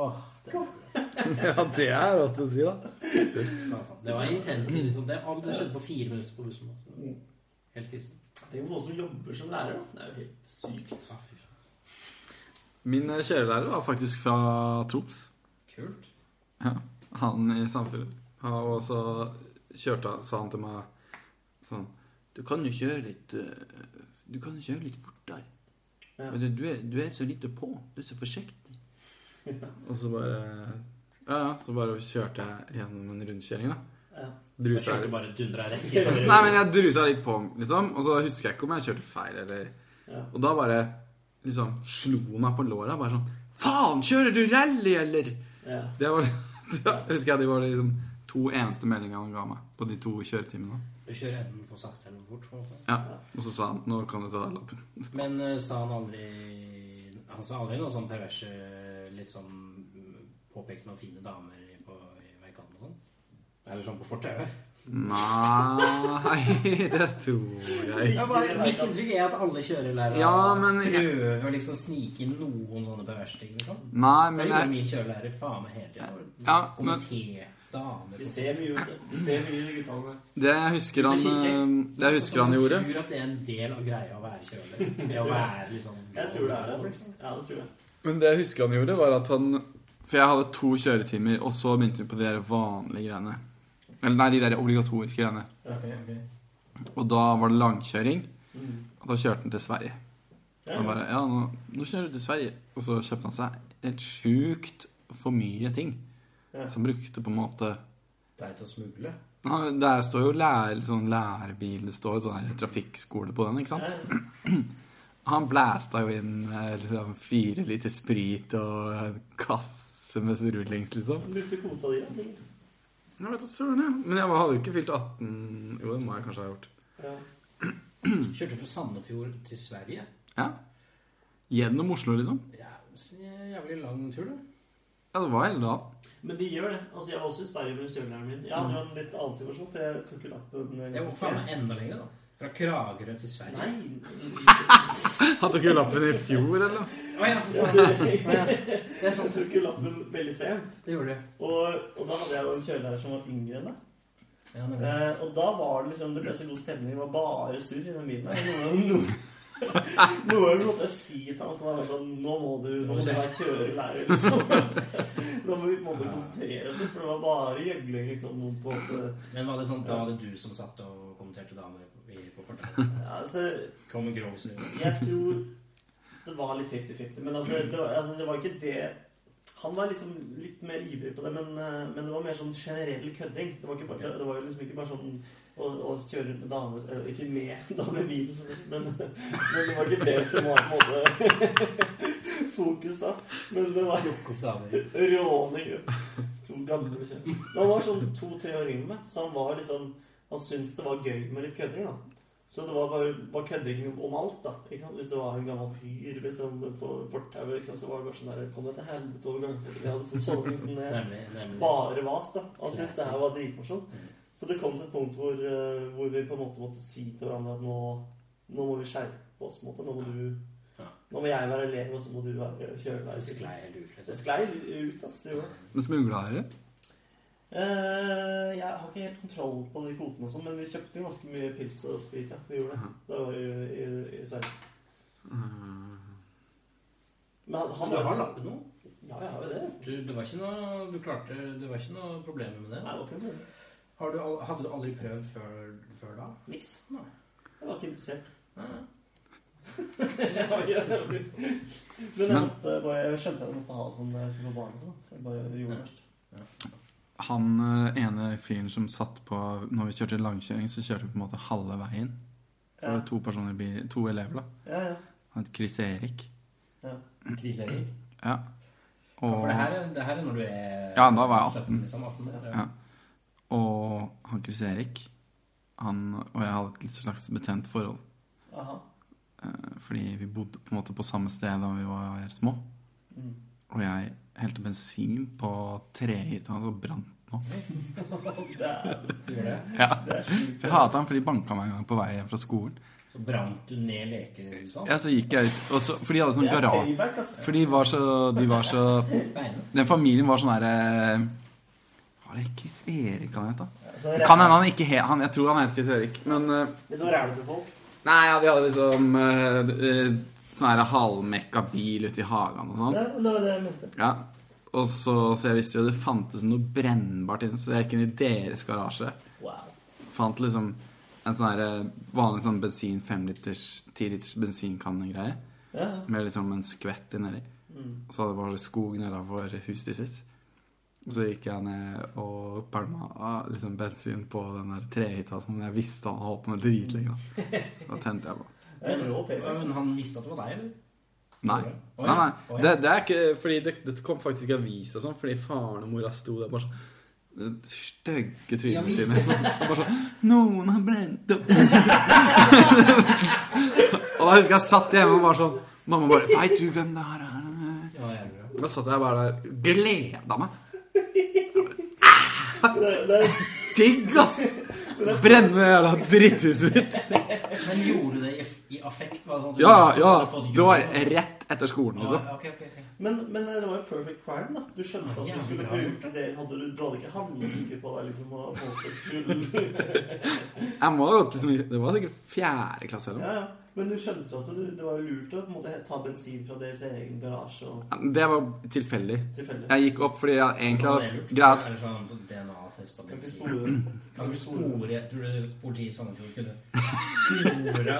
Åh, det, Ja, det er rått å si, da. satan. det var intenst. Liksom. Det, alt det skjedde på fire minutter på bussen. Mm. da. Helt krise. Tenk på noen som jobber som lærer, da. Det er jo helt sykt. Å, fy faen. Min eh, kjørelærer var faktisk fra Troms. Kult. Ja, han i samfunnet. Han var også kjørte, han- sa han til meg sånn Du kan jo kjøre litt eh, Du kan jo kjøre litt fortere. Ja. Men du, du, er, du er så lite på. Du er så forsiktig. Og så bare Ja, ja. Så bare kjørte jeg gjennom en rundkjøring, da. Ja. Jeg Drusa kjørte litt. bare dundra rett Nei, gjennom. men jeg drusa litt på, liksom. Og så husker jeg ikke om jeg kjørte feil, eller Ja. Og da bare liksom slo han meg på låra. Bare sånn Faen, kjører du rally, eller? Ja. Det var, da husker jeg de var liksom to eneste meldingene han ga meg på de to kjøretimene. Du kjører enten for sakte eller for fort. på en måte. Ja, Og så sa han 'nå kan du ta av lappen'. Men eh, sa han aldri Han sa aldri noe sånn perverse Litt sånn mm, påpekte noen fine damer i- på i veikanten og sånn? Eller sånn på fortauet? Nei, det tror jeg ikke. Ja, bare- Mitt inntrykk er at alle kjørelærere Ja, men- prøver å liksom snike inn noen sånne perverse ting. Liksom. Nei, Det men gjør jeg min kjørelærer faen meg Sånn hele tiden. Ja, men- Komité, damer De ser mye ut, da. De ser mye ut, de guttene. Det jeg husker han, eh, det jeg husker han gjorde Jeg tror at det er en del av greia å være kjørelærer. Det å tror- være liksom Jeg tror det er det. faktisk. Ja, det tror jeg. Men det jeg husker han gjorde, var at han For jeg hadde to kjøretimer, og så begynte vi på de der vanlige greiene. Eller nei, de der obligatoriske greiene. Og da var det langkjøring. Og da kjørte han til Sverige. Så han bare, ja, nå, nå kjører du til Sverige. Og så kjøpte han seg helt sjukt for mye ting. Ja. Som brukte på en måte Deg til å smugle. Nei, Der står jo lærer, sånn lærebil, det står sånn her trafikkskole på den, ikke sant? Han blæsta jo inn eh, liksom, fire liter sprit og en kasse med rullings, liksom. De brukte kvota di, da, sikkert. Jeg vet da søren, jeg. Men jeg hadde jo ikke fylt 18 Jo, det må jeg kanskje ha gjort. Ja. Kjørte fra Sandefjord til Sverige. Ja. Gjennom Oslo, liksom. Ja, så jævlig lang tur, da. Ja, det var hele dagen. Men de gjør det. Altså, Jeg var også i Sverige med kjølelæreren min. Jeg hadde jo en litt annen situasjon, for jeg tok jo lappen eh, Det var ganske faen sent. meg enda lenger, da. Fra Kragerø til Sverige. Nei! Han tok jo lappen i fjor, eller? Å ja, for faen. Å, ja. Det er Jeg sant. tok jo lappen veldig sent. Det gjorde det. Og, og da hadde jeg jo en kjølelærer som var yngre enn meg. Ja, men, Eh, og da var det liksom Det ble så god stemning. Det var bare surr i den bilen. her. Noen noen- noen ganger måtte jeg si til han sånn, jeg var sånn Nå må du nå må du være kjørelærer, liksom. Nå må vi må du konsentrere oss litt, for det var bare gjøgling, liksom. Noen på men var det sånn, da var det du som satt og kommenterte damer i- på fortauet? ja, altså, Kom en grov snø. Jeg tror det var litt 50-50. Men altså, det, var, altså, det var ikke det Han var liksom litt mer ivrig på det, men, eh, men det var mer sånn generell kødding. Det var, ikke bare, det var jo liksom ikke bare sånn å, å kjøre rundt med damer eller, Ikke med damer i bilen, selvfølgelig, men, men det var ikke det som var på en måte fokus da. Men det var Plukke opp damer. råning. To gamle kjønn. Men han var sånn to-tre år yngre enn meg, så han var liksom Han syntes det var gøy med litt kødding, da. Så det var bare, bare kødding om alt, da. Ikke sant? Hvis det var en gammel fyr liksom, på fortauet, liksom, så var det bare sånn der Kom deg til helvete over gangfeltet. Jeg hadde sånn liksom, eh, Nemlig. nemlig. bare vas, da. Han syntes det her var dritmorsomt. Så det kom til et punkt hvor, eh, hvor vi på en måte måtte si til hverandre at nå, nå må vi skjerpe oss. på en måte. Nå må du Ja. Nå må jeg være elev, og så må du være kjørelærer. Det sklei helt ut. Det liksom. sklei ut, ass. Det gjorde det. Men smugla dere? Eh, jeg har ikke helt kontroll på de kvotene, og sånn, men vi kjøpte jo ganske mye pils og sprit. Ja. Vi gjorde det. Det var jo i, i Sverige. Men han, Men han du har lappet noe? Ja, jeg har jo det. Du, det var ikke noe du klarte Det var ikke noe problemer med Nei, det? det var ikke noe problem. Har du, al- hadde du aldri prøvd før, før da? Niks. Nei. Jeg var ikke interessert. Nei, nei. Jeg var ikke- men jeg, måtte bare, jeg skjønte at jeg måtte ha det som jeg skulle få barn. og Sånn. da. Jeg bare gjorde det først. Han eh, ene fyren som satt på Når vi kjørte langkjøring, så kjørte vi på en måte halve veien. Så var det to personer i bil, to elever, da. Ja, ja. Han het Chris Erik. Krise Erik. Ja, Og, for det her, er- det her er når du er Ja, da var jeg 17, liksom, 18 år. Ja. og han Chris Erik han og jeg hadde et slags betent forhold. Aha. eh, Fordi vi bodde på en måte på samme sted da vi var små. Mm. Og jeg helte bensin på trehytta hans og brant den opp. Det er, Du gjorde det. det er sjukt. Jeg hata han fordi de banka meg en gang på vei hjem fra skolen. Så brant du ned liksom, lekehusene. Ja, så gikk jeg ut, og så, For de hadde Det sånn er garasje payback, ass. For de var så, de var så Beina. Den familien var sånn herre Hva er det Chris Erik han het, da? Så Det Kan hende han ikke het han, Jeg tror han het Chris Erik, men eh, Litt sånn rævete folk. Nei, ja, de hadde liksom eh, eh, sånn her halvmekka bil ute i hagen og sånn. Ja, men det var det jeg mente. Ja. Og så, så jeg visste jo det fantes noe brennbart inne, så jeg gikk inn i deres garasje. Wow. Fant liksom en sånn her eh, vanlig sånn bensin, femliters, tiliters bensinkanne-greie. Ja. Med liksom en skvett nedi. Mm. Og så hadde det bare skog nedafor huset sitt. Og så gikk jeg ned og pælma ah, liksom bensin på den der trehytta som jeg visste han holdt på med dritlenge. da. Da tente jeg på. Det er en rå Ja, payback. Men han visste at det var deg, eller? Nei. Gjorde det? Å, ja. Nei, nei. Å, ja. Det, det er ikke Fordi det, det kom faktisk i avis og sånn, fordi faren og mora sto der bare sånn det Stygge Ja, trynene visst. sine. Og bare sånn 'Noen har brent opp' Og da husker jeg satt hjemme og bare sånn Mamma bare 'Veit du hvem det her er?' Ja, jeg gjorde det. Da satt jeg bare der gleda meg. Det, det, Digg, ass! Brenne det jævla dritthuset ditt. Men gjorde du det i, i affekt? Var det sånn at du- Ja, du ja. hadde fått Det var jul? rett etter skolen, Ja, liksom. ok, ok, ok. men, men det var jo perfect crime, da. Du skjønte at du Jævlig skulle bra gjort, bruke det. Hadde du, du hadde ikke handlestykke på deg, liksom. Og voldtektsfull. Jeg må ha gått liksom i- Det var sikkert fjerde klasse eller noe. ja, ja. Men du skjønte jo at du, det var lurt å på en måte ta bensin fra deres egen garasje og Det var tilfeldig. tilfeldig. Jeg gikk opp fordi jeg Det egentlig er hadde lurt. greit Eller sånn DNA-test av Kan ikke bensin. spore det. Kan du spore Tror du politiet i Sandefjord kunne spora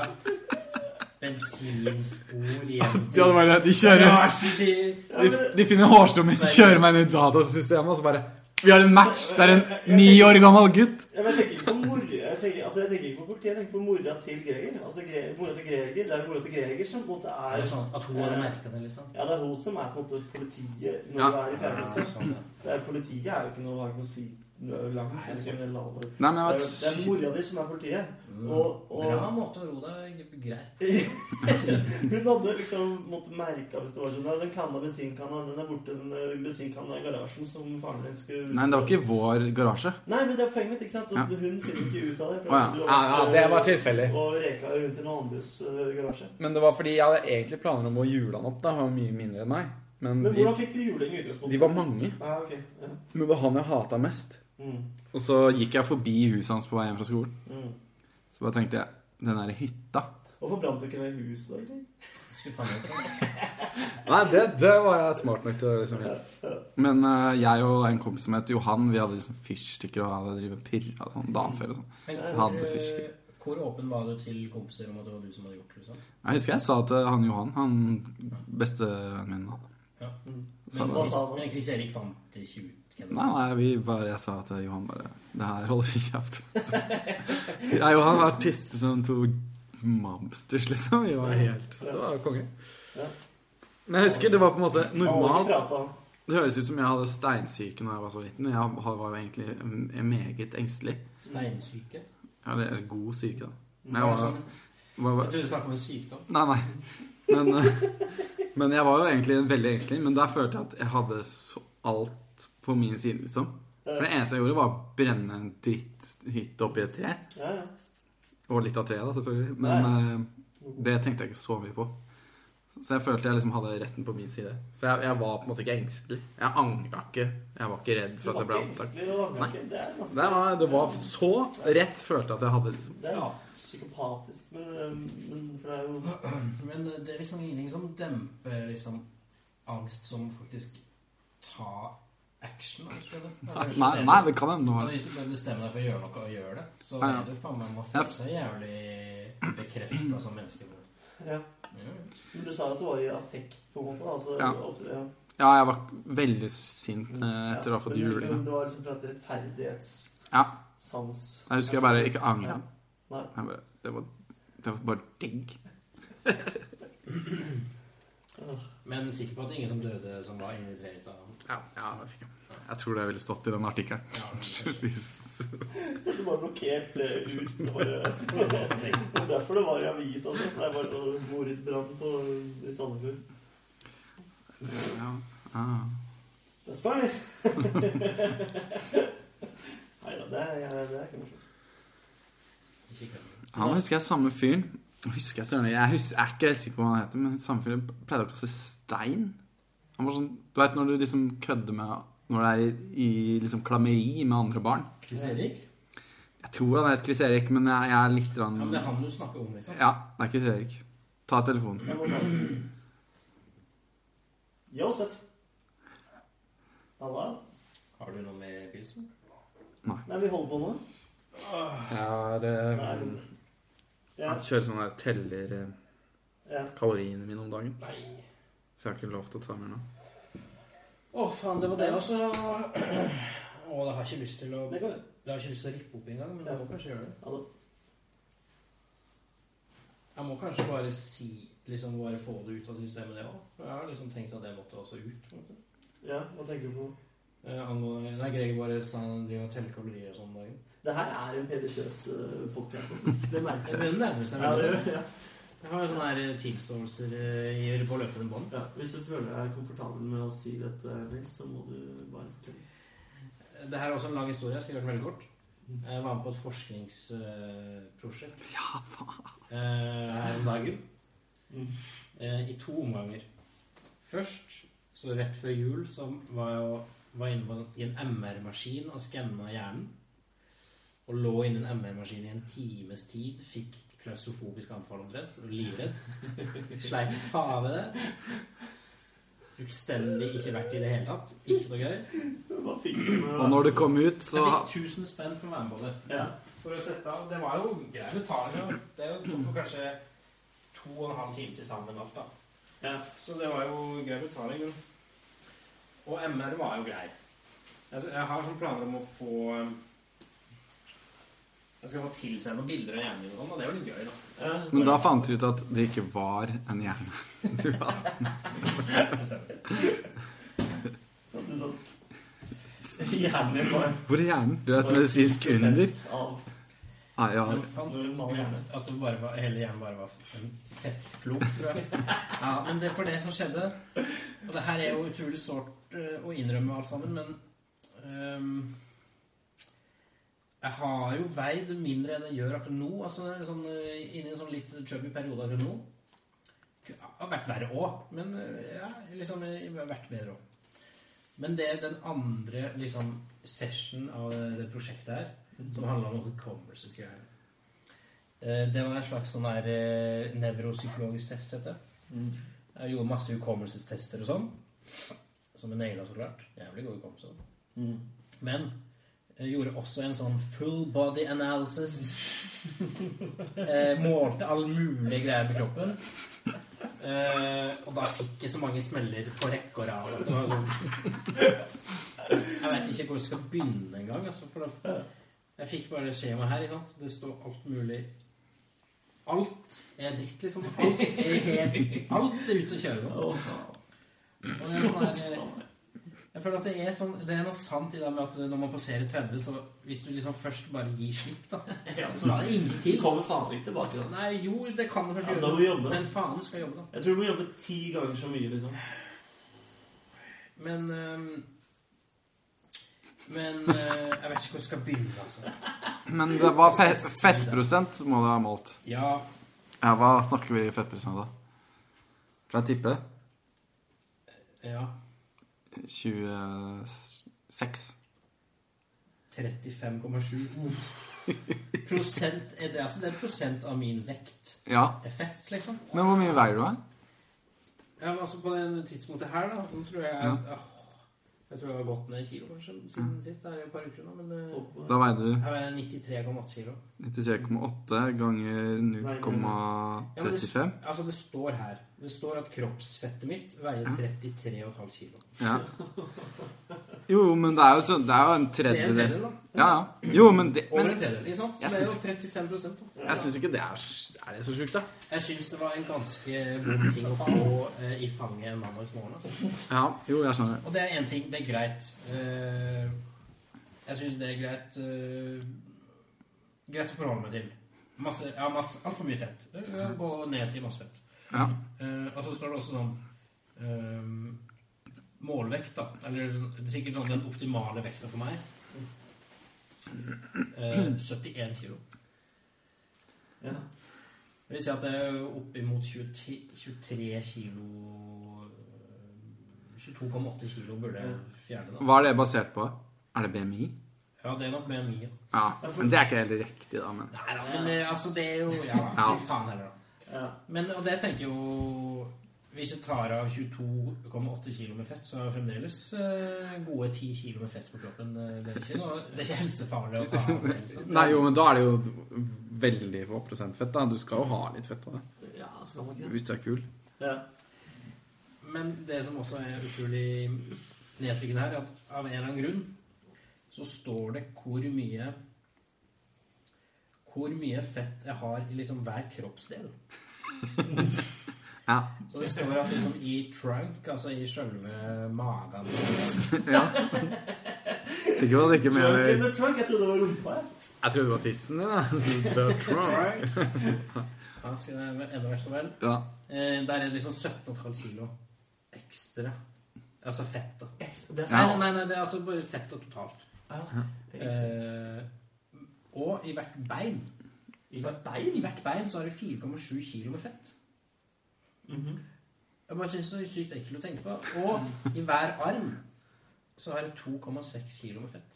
bensinspor igjen De hadde bare De kjører Garasjetid! De, de finner hårstrået mitt, de kjører meg inn i datasystemet, og så bare Vi har en match! Det er en ni år gammel gutt! Ja, men jeg tenker ikke på mora jeg tenker, altså, jeg tenker ikke på politiet, jeg tenker på mora til Greger. Altså, Gre mora til Greger, Det er mora til Greger som på en måte Er er det sånn at hun hadde merka det, liksom? Ja, det er hun som er på en måte politiet når Ja. du er i fjerde klasse. sånn, ja. Det er Politiet er jo ikke noe har ikke noe å si du er jo langt Nei, i kriminell alder. Det Nei, men jeg er var jo- det er et mora di som er politiet. Mm. Og- og- Bra måte å roe deg greit Hun hadde liksom måttet merka hvis det var sånn ja, Den kanna bensinkanna, den er borte. Den eh, bensinkanna i garasjen som faren din skulle Nei, men det var ikke vår garasje. Nei, men det er poenget mitt, ikke sant? At Ja. Hun finner ikke ut av det. Å, ja. at du har Ja, ja, vært, det var eh, tilfeldig. Og reka rundt i noen andres eh, garasje. Men det var fordi jeg hadde egentlig planer om å jule han opp. Da. Han var mye mindre enn meg. Mm, Men, Men de, hvordan fikk du juling i utgangspunktet? de var mange. Ja, ok. Ja. Men det var han jeg hata mest. Mm. Og så gikk jeg forbi huset hans på vei hjem fra skolen. Mm. Så bare tenkte jeg Den der hytta Hvorfor brant du ikke ned huset, da? egentlig? Skulle faen meg ikke Nei, det, det var jeg smart nok til å liksom gjøre. Men eh, jeg og en kompis som het Johan, vi hadde liksom fyrstikker og hadde drevet pirra og sånn dagen før og sånn. Men Jeg hvor, hadde fisker. eh, Hvor åpen var du til kompiser om at det var du som hadde gjort det? liksom? Jeg husker jeg sa til han Johan, han bestevennen min da. Ja. Mm. Sa Men hva bare, sa han? Chris- Men Chris Erik fant det ikke ut? hvem det nei, var. nei, vi bare, jeg sa til Johan bare Det her holder vi kjeft. Så- Jeg og Johan var artister som to mobsters, liksom. Vi var helt Det var konge. Ja. Men jeg husker det var på en måte Han hadde ikke normalt pratet, han. Det høres ut som jeg hadde steinsyke da jeg var så liten. men Jeg var jo egentlig mm, meget engstelig. Steinsyke? Eller eller god syke, da. Men Hva er det jeg var, som- var, var Jeg trodde du snakket om en sykdom. Nei, nei. Men, eh, men jeg var jo egentlig veldig engstelig. Men der følte jeg at jeg hadde så alt på min side, liksom. For det eneste jeg gjorde, var å brenne en dritthytte oppi et tre. Ja, ja. Og litt av treet, da, selvfølgelig. Men eh, det tenkte jeg ikke så mye på. Så jeg følte jeg liksom hadde retten på min side. Så jeg, jeg var på en måte ikke engstelig. Jeg angra ikke. Jeg var ikke redd Du for at var jeg ble ikke antatt. engstelig, og Nei. var ikke. Det er ganske Det var, det var så rett følte jeg at jeg hadde, liksom. Det er Ja. psykopatisk, men, eh, men for det er jo Men eh, det er liksom ingenting som demper liksom angst som faktisk ta action. da, tror jeg det. Eller Nei, så nei, det er nei, det. det kan hende. Men det var- Hvis du bare bestemmer deg for å gjøre noe og gjør det, så Ja, ja. er du faen meg må Ja. føle seg jævlig bekrefta som menneske. Ja. Ja. Men du sa jo at du var i affekt, på en måte. da, Altså, Ja. og- ja. Ja, jeg var veldig sint eh, etter å ha fått Men du- juling. da. men Det var liksom fra et rettferdighetssans. Ja. Jeg husker jeg bare ikke angra. Nei. Jeg bare- Det, var- det var bare digg. Men sikker på at det er ingen som døde som var invitert av Ja, ja det fikk jeg. Jeg tror det ville stått i den artikkelen. ja, Hvis- Du bare blokkert flere ut. Det var det var derfor det var i avisa. altså, For det var bare mordbrann på- i Sandefjord. ja. Ah. That's funny! Nei da, det, er- det er ikke morsomt. Ikke kødd. Han husker jeg samme fyren. Husker jeg, søren, jeg, husker, jeg er ikke helt sikker på hva han heter, men samme fyren pleide å kaste stein. Han var sånn, Du veit når du liksom kødder med Når det er i, i liksom klammeri med andre barn. Chris Erik? Jeg tror han het Chris Erik, men jeg, jeg er litt Ja, rann, men det er han du snakker om, liksom. Ja, det er Chris Erik. Ta telefonen. Jeg må ta- Josef. Halla. Har du noe med pilsen? Nei, vi holder på nå. Jeg Nei, ja, kjører sånn der teller ja. kaloriene mine om dagen. Nei. Så jeg har ikke lov til å ta mer nå. Å, faen, det var det også. Å, det har jeg ikke lyst til å Det kan vi. Det har jeg ikke lyst til å rippe opp engang, men jeg må kanskje gjøre det. Ja, da. Jeg må kanskje bare si Liksom bare få det ut av systemet, det òg. Jeg har liksom tenkt at det måtte også ut. på en måte. ja, hva tenker du på? nå? Eh, angående Nei, Greger bare sa han driver og teller kalorier og sånn om dagen. Det her er en Peder Kjøs-podkast. Det merker jeg. Det nærmer seg Ja, veldig. det, ja. Jeg har jo sånne her tilståelser eh, gjør på løpende bånd. Ja, hvis du føler deg komfortabel med å si dette, Nils, så må du bare fortelle. Det her er også en lang historie. Jeg skal gjøre den veldig kort. Jeg var med på et forskningsprosjekt Ja, faen. eh, her om dagen. Mm. eh, I to omganger. Først, så rett før jul, så var jeg og- var inne på, i en MR-maskin og skanna hjernen. Og lå inni en MR-maskin i en times tid. Fikk klaustrofobisk anfall omtrent. og Livredd. Sleit faen med det. Fullstendig ikke verdt i det hele tatt. Ikke noe gøy. Hva fikk du med Og når du kom ut, så Jeg fikk 1000 spenn for å være med på det. Ja. For å sette av, Det var jo grei betaling. og Det er jo tok jo kanskje to og en halv time til sammen alt, da. Ja. Så det var jo grei betaling. men- Og MR var jo grei. Altså, jeg har sånn planer om å få um, Jeg skal få tilsendt noen bilder av hjernen min og sånn, og det er jo litt gøy, da. ja. Men da fant du ut at det ikke var en hjerne. Du hadde. At du da- Hjernen din var Hvor er hjernen? Du er et medisinsk under. av Ah, ja. Jeg fant normal hjerne. ut at det bare var, hele hjernen bare var en fettklump, tror jeg. Ja, men det er for det som skjedde. Og det her er jo utrolig sårt eh, å innrømme alt sammen, men ehm, Jeg har jo veid mindre enn jeg gjør akkurat nå. Altså det er sånn, eh, Inni en sånn litt chubby periode akkurat nå. Det har vært verre òg, men eh, ja, liksom jeg har vært bedre òg. Men det er den andre liksom, session av det prosjektet her, som handla om hukommelsesgreier. Eh, Det var en slags sånn her eh, nevropsykologisk test, heter det. Mm. Jeg gjorde masse hukommelsestester og sånn. Som jeg naila, så klart. Jævlig god hukommelse. Mm. Men jeg gjorde også en sånn full body analysis. eh, målte all mulig greier med kroppen. Eh, og da fikk jeg så mange smeller på rekke og rad. at det var Sånn. Jeg veit ikke hvor jeg skal begynne engang. Altså, for da, jeg fikk bare skjema her. Ikke sant? Det står alt mulig Alt er dritt, liksom. Alt er, helt, alt er ute å kjøre nå. Å, faen. Og det er sånn her, jeg føler at det er, sånn, det er noe sant i det med at når man passerer 30, så hvis du liksom først bare gir slipp, da Ja, Så så er det ingen du til. kommer faen ikke tilbake da. Nei, jo, det kan du kanskje Ja, gjøre. da må du jobbe. Men faen, du skal jobbe, da. Jeg tror du må jobbe ti ganger så mye, liksom. Men øhm, Men øh, jeg vet ikke hvor jeg skal begynne, altså. Men det var fe fettprosent må du ha målt. Ja, Ja, hva snakker vi i fettprosent, da? Kan jeg tippe? ja 26. 35,7 Prosent er det, altså, det er prosent av min vekt. Ja. Det er fett, liksom. Men hvor mye veier du, da? Ja, men altså På det tidspunktet her, da, så tror jeg Ja. åh, Jeg tror jeg har gått ned et kilo, kanskje, siden sist. Det er jo et par uker nå, men eh, Og- Da veide du her er jeg 93,8 kilo. 93,8 ganger 0,35. Altså, det står her Det står at kroppsfettet mitt veier 33,5 kilo. Ja. Jo, men det er jo, sånn- det er jo en Det er en tredjedel. tredjedel, da. Ja, ja. Jo, men det Over men, en tredjedel. ikke sant? Så Jeg det er jo 35 da. Jeg syns ikke det er, s- er det så sjukt, da. Jeg syns det var en ganske vond ting å få eh, i fanget en mandag morgen. Altså. Ja, jo, jeg skjønner. Og det er én ting. Det er greit. Eh, jeg syns det er greit eh, Greit å forholde meg til. Masse, ja, masse, Altfor mye fett. Eh, Gå ned til masse fett. Ja. Eh, og så står det også sånn eh, Målvekt, da. Eller det er sikkert sånn den optimale vekta for meg. Eh, 71 kilo. Ja. Det vil si at det er oppimot 20 23 kilo øh, 22,8 kilo burde jeg fjerne, da. Hva er det basert på? Er det BMI? Ja, det er nok BMI. ja. Ja, men det er ikke helt riktig, da. Men Nei da, men det, altså, det er jo Ja, Ja. fy faen heller, da. ja. Men og det tenker jeg jo Hvis jeg tar av 22,8 kilo med fett, så er det fremdeles øh, gode 10 kilo med fett på kroppen. øh, Det er ikke, noe, det er ikke helsefarlig å ta av. det, liksom. Nei, jo, men da er det jo veldig få prosent fett, da. Du skal jo ha litt fett på det. ja skal man ikke det? Hvis du er kul. Ja. Men det som også er utrolig nedtrykkende her, er at av en eller annen grunn så står det hvor mye Hvor mye fett jeg har i liksom hver kroppsdel. Ja. Så det står at liksom i trunk, altså i sjølve magen Sikkert var det ikke Trunk in mener the trunk. Jeg trodde det var rumpa, jeg. Jeg trodde det var tissen din, da. The trunk. Trunk! Ja, skal det være enda vært så vel. Ja. Eh, Der er det liksom 17,5 kilo ekstra. Altså fett, da. Yes, Det er Nei, Ja. nei, nei, det er altså bare fett og totalt. ja. det er riktig. Eh, og i hvert bein I hvert I bein. hvert bein så er det 4,7 kilo med fett. Mhm. Jeg bare synes det er sykt ekkelt å tenke på. Og i hver arm så er det 2,6 kilo med fett.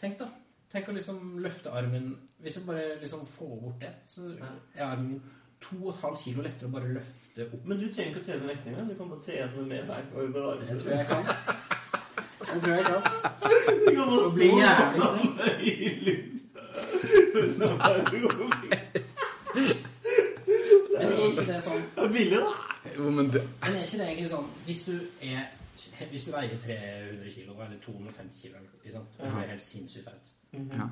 Tenk da. Tenk å liksom løfte armen Hvis jeg bare liksom får bort det, så er armen min 2,5 kilo lettere å bare løfte opp. Men du trenger ikke å trene vektinga. Du kan bare trene med bein over Det tror armene. jeg jeg kan. Det tror jeg jeg kan. Du kan bare Det stå blir jævlig sånn snill. i lufta. Uten å være rolig. Men er ikke det sånn Det er billig, da. Jo, men det Men er ikke det egentlig sånn Hvis du, er, hvis du veier 300 kilo eller 250 kilo ikke sant? Det er helt sinnssykt teit. Ja.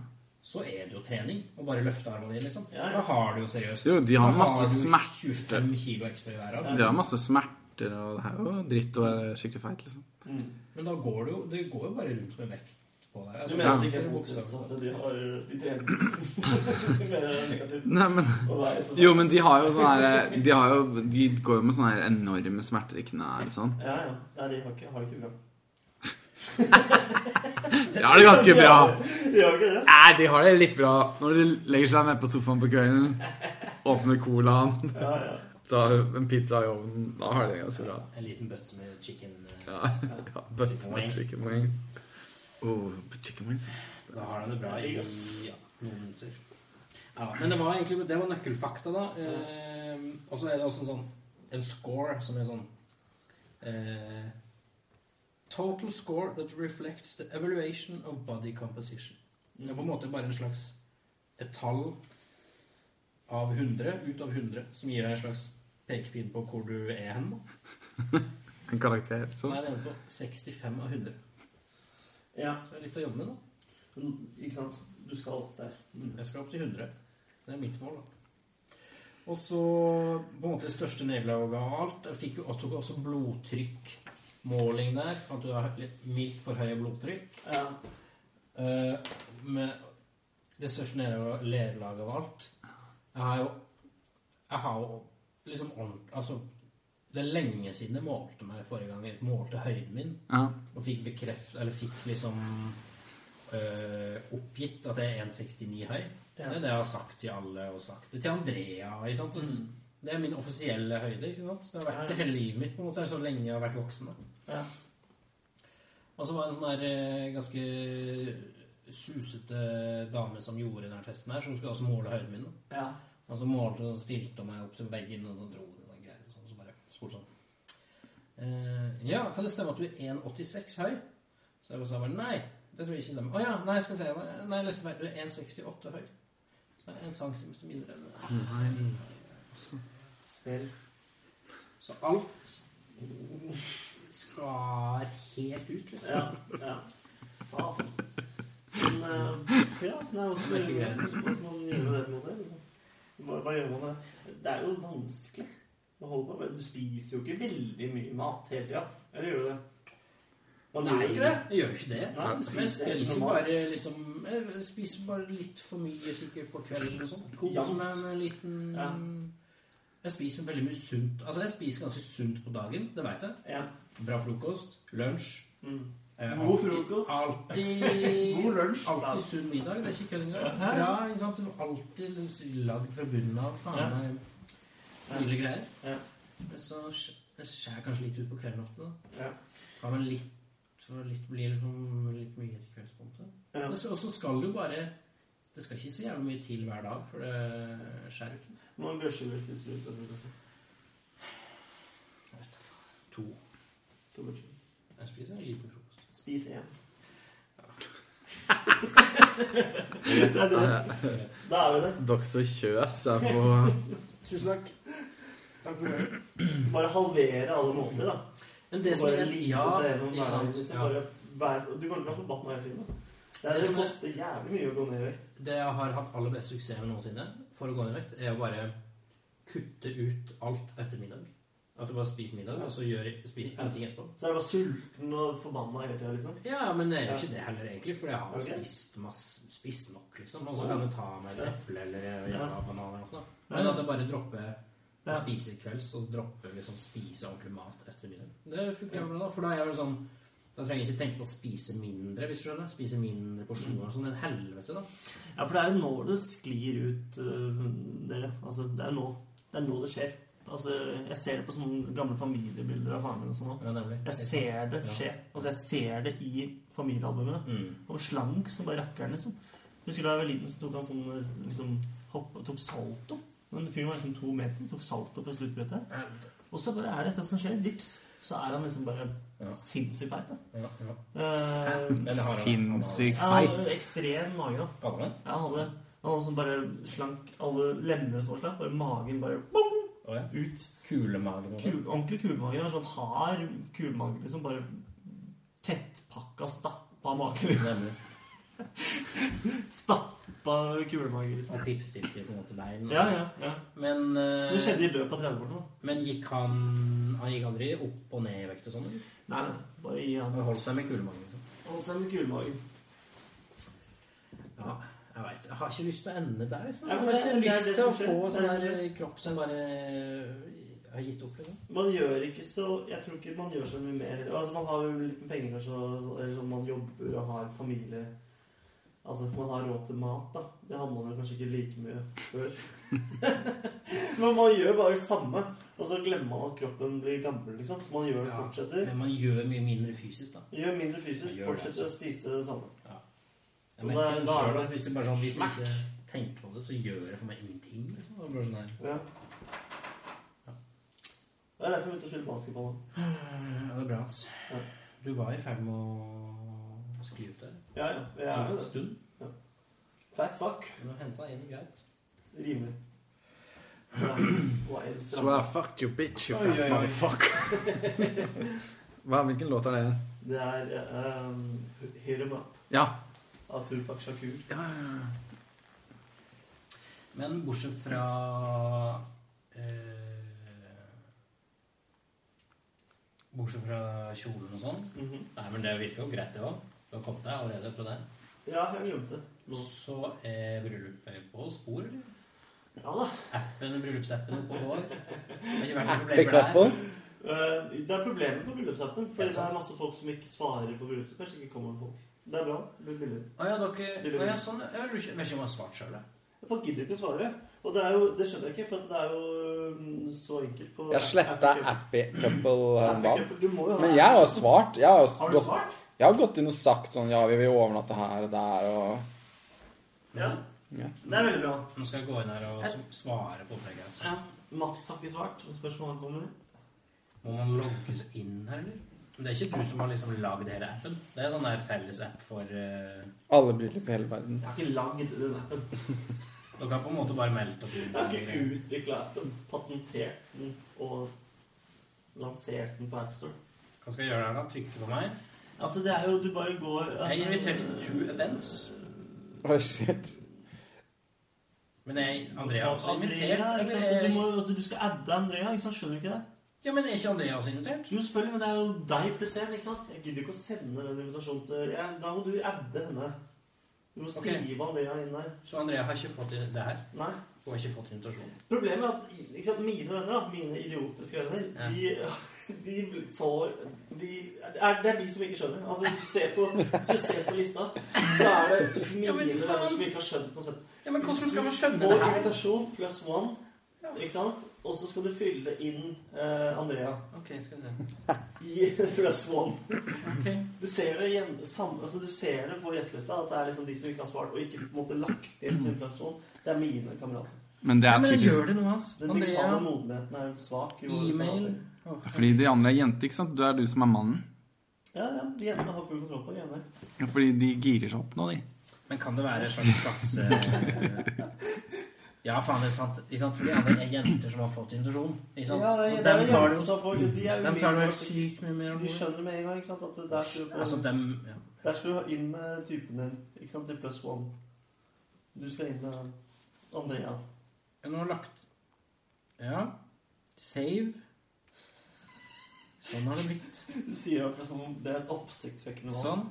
Så er det jo trening å bare løfte armene dine. Liksom. Ja. Da har du jo seriøst Jo, de har Da masse du smerter. 25 kilo ekstra i hver arm. Det er masse smerter, og det er jo dritt å være skikkelig feit, liksom. Men da går du jo Du går jo bare rundt med vekt på deg. Du Altså, mener at det det ikke er er positivt bokstav. at de har de trener? Du mener det er negativt Nei, men å være sånn? Jo, men de har jo sånne her eh, De, har jo, de går jo med sånne her enorme smerter i knærne og sånn. Ja, ja. Nei, de har, ikke, har det ikke bra. De har det ganske bra. De har ikke det. Nei, de har det litt bra når de legger seg nede på sofaen på kvelden, åpner colaen, Ja, ja. tar en pizza i ovnen. Da har de det ganske bra. En liten bøtte med chicken eh, Ja, ja But med chicken wings. Oh, but chicken wings. Da har han det bra i Ja. ja, noen minutter. Ja, men det var egentlig det var nøkkelfakta, da. Eh, og så er det også sånn en score som er sånn eh, Total score that reflects the evaluation of body composition. Det er på en måte bare en slags et tall av 100 ut av 100 som gir deg en slags pekepinn på hvor du er hen. da. En karakter. Nå Sånn. er det nede på 65 av 100. ja. Så det er litt å jobbe med, da. Ikke sant. Du skal opp der. Mm. Jeg skal opp til 100. Det er mitt mål, da. Og så på en måte det største nedlaget av alt. Jeg fikk jo også, tok også blodtrykkmåling der. Fant du har litt mildt for høye blodtrykk. Ja. Eh, med det største nederlag- nederlaget av alt Jeg har jo Jeg har jo liksom ordentlig Altså, det er lenge siden jeg målte meg forrige gang. Jeg målte høyden min. Ja. Og fikk bekreft, eller fikk liksom øh, oppgitt at jeg er 1,69 høy. Det Ja. er det jeg har sagt til alle, og sagt det til Andrea. Ikke sant? Og s- Mm. Det er min offisielle høyde. Ikke sant? Det har vært det hele livet mitt på en måte, så lenge jeg har vært voksen. Da. ja. Og så var det en sånn der øh, ganske susete dame som gjorde den her testen her, som skulle også måle høyden min. Da. ja. Og så målte hun og stilte hun meg opp til veggen, og så dro hun og greier. Og sånn, så bare spurte sånn eh, Ja, kan det stemme at du er 1,86 høy? Så jeg bare sa bare nei. Det tror jeg ikke stemmer. Å ja, nei, skal vi se. Nei, neste vei. Du er 1,68 høy. Så det er en centimeter mindre. enn det. Selv. Så alt skar deg helt ut, liksom. Ja, ja. Satan. Men eh, ja, det er også veldig greit. Hvordan man gjør det med det? liksom. Hva, hva gjør man det? Det er jo vanskelig å holde på med. Du spiser jo ikke veldig mye mat hele tida. Eller gjør du det? Man gjør jo ikke det. jeg gjør ikke det. Nei, du Men jeg spiser helt spiser normalt. bare, liksom, jeg spiser bare litt for mye sikkert på kvelden og sånn. Koser Jevnt. meg med en liten Ja. Jeg spiser veldig mye sunt. Altså, jeg spiser ganske sunt på dagen, det veit jeg. Ja. Bra frokost, lunsj. Mm. eh, God alltid- frokost. Alltid God lunsj. Alltid sunn middag. Det er ikke kødd engang. Bra, ikke sant? Alltid lagd fra bunnen av. Faen meg nydelige greier. Ja. Men Så skj- det skjærer kanskje litt ut på kvelden ofte. da. Ja. Tar meg litt for litt blir liksom litt mye til kveldspunktet. Ja. Men så og så skal det jo bare Det skal ikke så jævlig mye til hver dag, for det skjærer ut. Man brøsjer vel plutselig ut av frokosten. Jeg vet da faen. To. To brøsjer. Jeg spiser en liten frokost. Spis én. det er det. Da er vi det. Eh, Doktor Kjøs er på Tusen takk. Takk for det. Bare halvere alle måter, da. Men det som bare er lite ja, seg gjennom ikke hverdagen. sant? Liksom. Ja. Bare vær- Du kommer til å bli forbanna hele tiden. da. Det, Det er, det som er- koster jævlig mye å gå ned i vekt. Det jeg har hatt aller best suksess med noensinne for å gå ned i vekt, er å bare kutte ut alt etter middag. At du bare spiser middag, og så gjør, spiser ingenting etterpå. Så er du bare sulten og forbanna hele tida, liksom. Ja, men det er jo ikke det heller, egentlig, for jeg har jo Ok. spist, masse, spist nok, liksom. Og så kan du ta med et eple eller en Ja. jævla banan eller noe. da. Men at jeg bare dropper å Ja. spise kvelds, og dropper liksom spise ordentlig mat etter middag. Det funker jævlig bra, da. For da er jeg vel sånn da trenger jeg ikke tenke på å spise mindre, hvis du skjønner. Spise mindre porsjoner og sånn. En helvete, da. Ja, for det er jo nå det sklir ut, øh, dere. Altså, det er nå det, er nå det skjer. Altså, jeg ser det på sånne gamle familiebilder av faren min og sånn nå. Ja, nemlig. Jeg ser det skje. Altså, jeg ser det i familiealbumene. Mm. Han var slank som bare rakkeren, liksom. Husker du da jeg var liten, så tok han sånn liksom, hopp, tok salto. Men fyren var liksom to meter, tok salto fra sluttbrettet. Og så bare er det dette som skjer. Vips, så er han liksom bare Ja. sinnssykt feit. da. Ja, ja. Eh, Eller har han- Sinnssykt ja, han feit. hadde ekstrem mage, da. Hadde han? Ja, han hadde, han hadde sånn bare slank alle lemmer og så slapp. Bare magen bare bong, Å ja. ut. Kulemagen og Kul, ordentlig kulemage. Det var Sånn hard kulemage. Liksom bare tettpakka, stappa mage. Nemlig. Stappa kulemage, liksom. Han pipestilte på en måte bein. og- Ja, ja, ja. Men, eh, Det skjedde i løpet av 30-årene. da. men gikk han Han gikk aldri opp og ned i vekt og sånn? eller? Nei, nei, bare gi han Han holdt seg med kulemagen? Liksom. Hold seg med kulemagen. Ja, jeg veit. Jeg har ikke lyst til å ende der. Så. Ja, Jeg men har det- ikke det er lyst det til som å skjer. få Det er sånn det som der kropp som bare eh, har gitt opp. Liksom. Man gjør ikke så Jeg tror ikke man gjør så mye mer. Altså, man har jo litt med penger, og så, så, eller sånn man jobber og har familie Altså, man har råd til mat, da. Det hadde man jo kanskje ikke like mye før. Men man gjør bare det samme, og så glemmer man at kroppen blir gammel, liksom. Så man gjør det, Ja. fortsetter. Men man gjør mye mindre fysisk, da. Gjør mindre fysisk, Man gjør det, altså. fortsetter å spise det samme. Jeg Og merker da- det da er selv det- at hvis jeg bare sånn Hvis jeg ikke tenker på det, så gjør det for meg ingenting. Liksom. Det er bare sånn der. Ja. Det er derfor jeg begynte å spille basketball. da. Ja, det er bra, ass. Ja. Du var i ferd med å skli ut der. Ja, ja. Jeg er jo en det. stund. Fat fuck. Men å hente deg inn, greit. Rimelig. Hva er det So I fuck you bitch, you Oi, oi, fat oi. motherfucker. Hva, hvilken låt er det? Det er um, Hit 'em up Ja. av Tupac Shakur. ja, ja, ja. Men bortsett fra eh, Bortsett fra kjolen og sånn. Mhm. Nei, men det virker jo greit, det òg. Du har kommet deg allerede fra der. Ja, jeg glemte det. Nå. Så er bryllupet på spor. eller? Ja da. Appen, bryllupsappen oppe og går. Det har ikke vært noe Pick problemer up der. on. Eh, det er problemer på bryllupsappen. Fordi Helt det sant. er masse folk som ikke svarer på bryllupet. Kanskje ikke kommer folk. Det er bra. Det blir billig. Å ja, dere å ja, sånn, Jeg vet ikke jeg vet ikke om jeg har svart sjøl, jeg. Folk gidder ikke å svare. Og det, er jo, det skjønner jeg ikke, for at det er jo mm, så enkelt på Jeg sletta Apple Cup. Appy Couple her om dagen. Apple Cup, Du må jo ha Men jeg har svart. Jeg har, Har du gått, svart? jeg har gått inn og sagt sånn Ja, vi vil overnatte her og der og Ja. Ja. Det er veldig bra. Nå skal jeg gå inn her og s- svare på opplegget. Altså. Mats har ikke svart. Spørsmålet kommer. Må man logge seg inn her, eller? Men Det er ikke du som har liksom lagd hele appen. Det er en sånn der felles app for eh, alle bryllup i hele verden. Jeg har ikke lagd den appen. Dere har på en måte bare meldt dere Jeg har ikke inn. utvikla appen, patentert den og lansert den på AppStore. Hva skal jeg gjøre der, da? Trykke på meg? Altså, det er jo Du bare går altså, Jeg er invitert til two events. Oi, shit. Men jeg, Andrea er også invitert. Andrea, ikke sant? Du, eller- må, jo- du skal adde Andrea, ikke sant? Skjønner du ikke det? Ja, men er ikke Andrea også invitert? Jo, selvfølgelig, men det er jo deg pluss én, ikke sant? Jeg gidder ikke å sende den invitasjonen til ja, Da må du adde henne. Du må skrive Andrea inn der. Så Andrea har ikke fått det her. Nei. Hun har ikke fått invitasjon. Problemet er at ikke sant, mine venner, da, mine idiotiske venner, de, de får de, er, Det er de som ikke skjønner. Altså, hvis du ser på, hvis du ser på lista, så er det mine Ja, men faen. venner som ikke har skjønt konseptet. Ja, men hvordan skal man Du skjønne får det her? invitasjon pluss one, ikke sant? Og så skal du fylle inn eh, Andrea Ok, skal vi se. i pluss one. Ok. Du ser det, igjen, samme, altså, du ser det på gjestelista at det er liksom de som ikke har svart, og ikke på en måte lagt inn sin pluss one. Det er mine kamerater. Men det Ja, er men typisk gjør det noe, altså. Den Andrea, digitale modenheten er svak. jo e-mail Fordi de andre er jenter, ikke sant? Du er du som er mannen. Ja, ja, de jentene har full kontroll på det. jenter. Fordi de girer seg opp nå, de. Men kan det være en slags klasse Ja, faen, det er sant. Ikke sant? For de andre er jenter som har fått invitasjon. Ikke sant? Ja, Og det er, det er dem tar det jenter jo som får det. De er jo dem tar det jo med- sykt mye mer De alvorlig. skjønner med en gang ikke sant, at det der skal du få Altså, dem ja. Der skal du ha inn med typen din. Ikke sant, til pluss one. Du skal inn med Andrea. Ja, Nå har lagt Ja. Save. Sånn har det blitt. Du sier jo akkurat som om det er et oppsiktsvekkende valg. Sånn.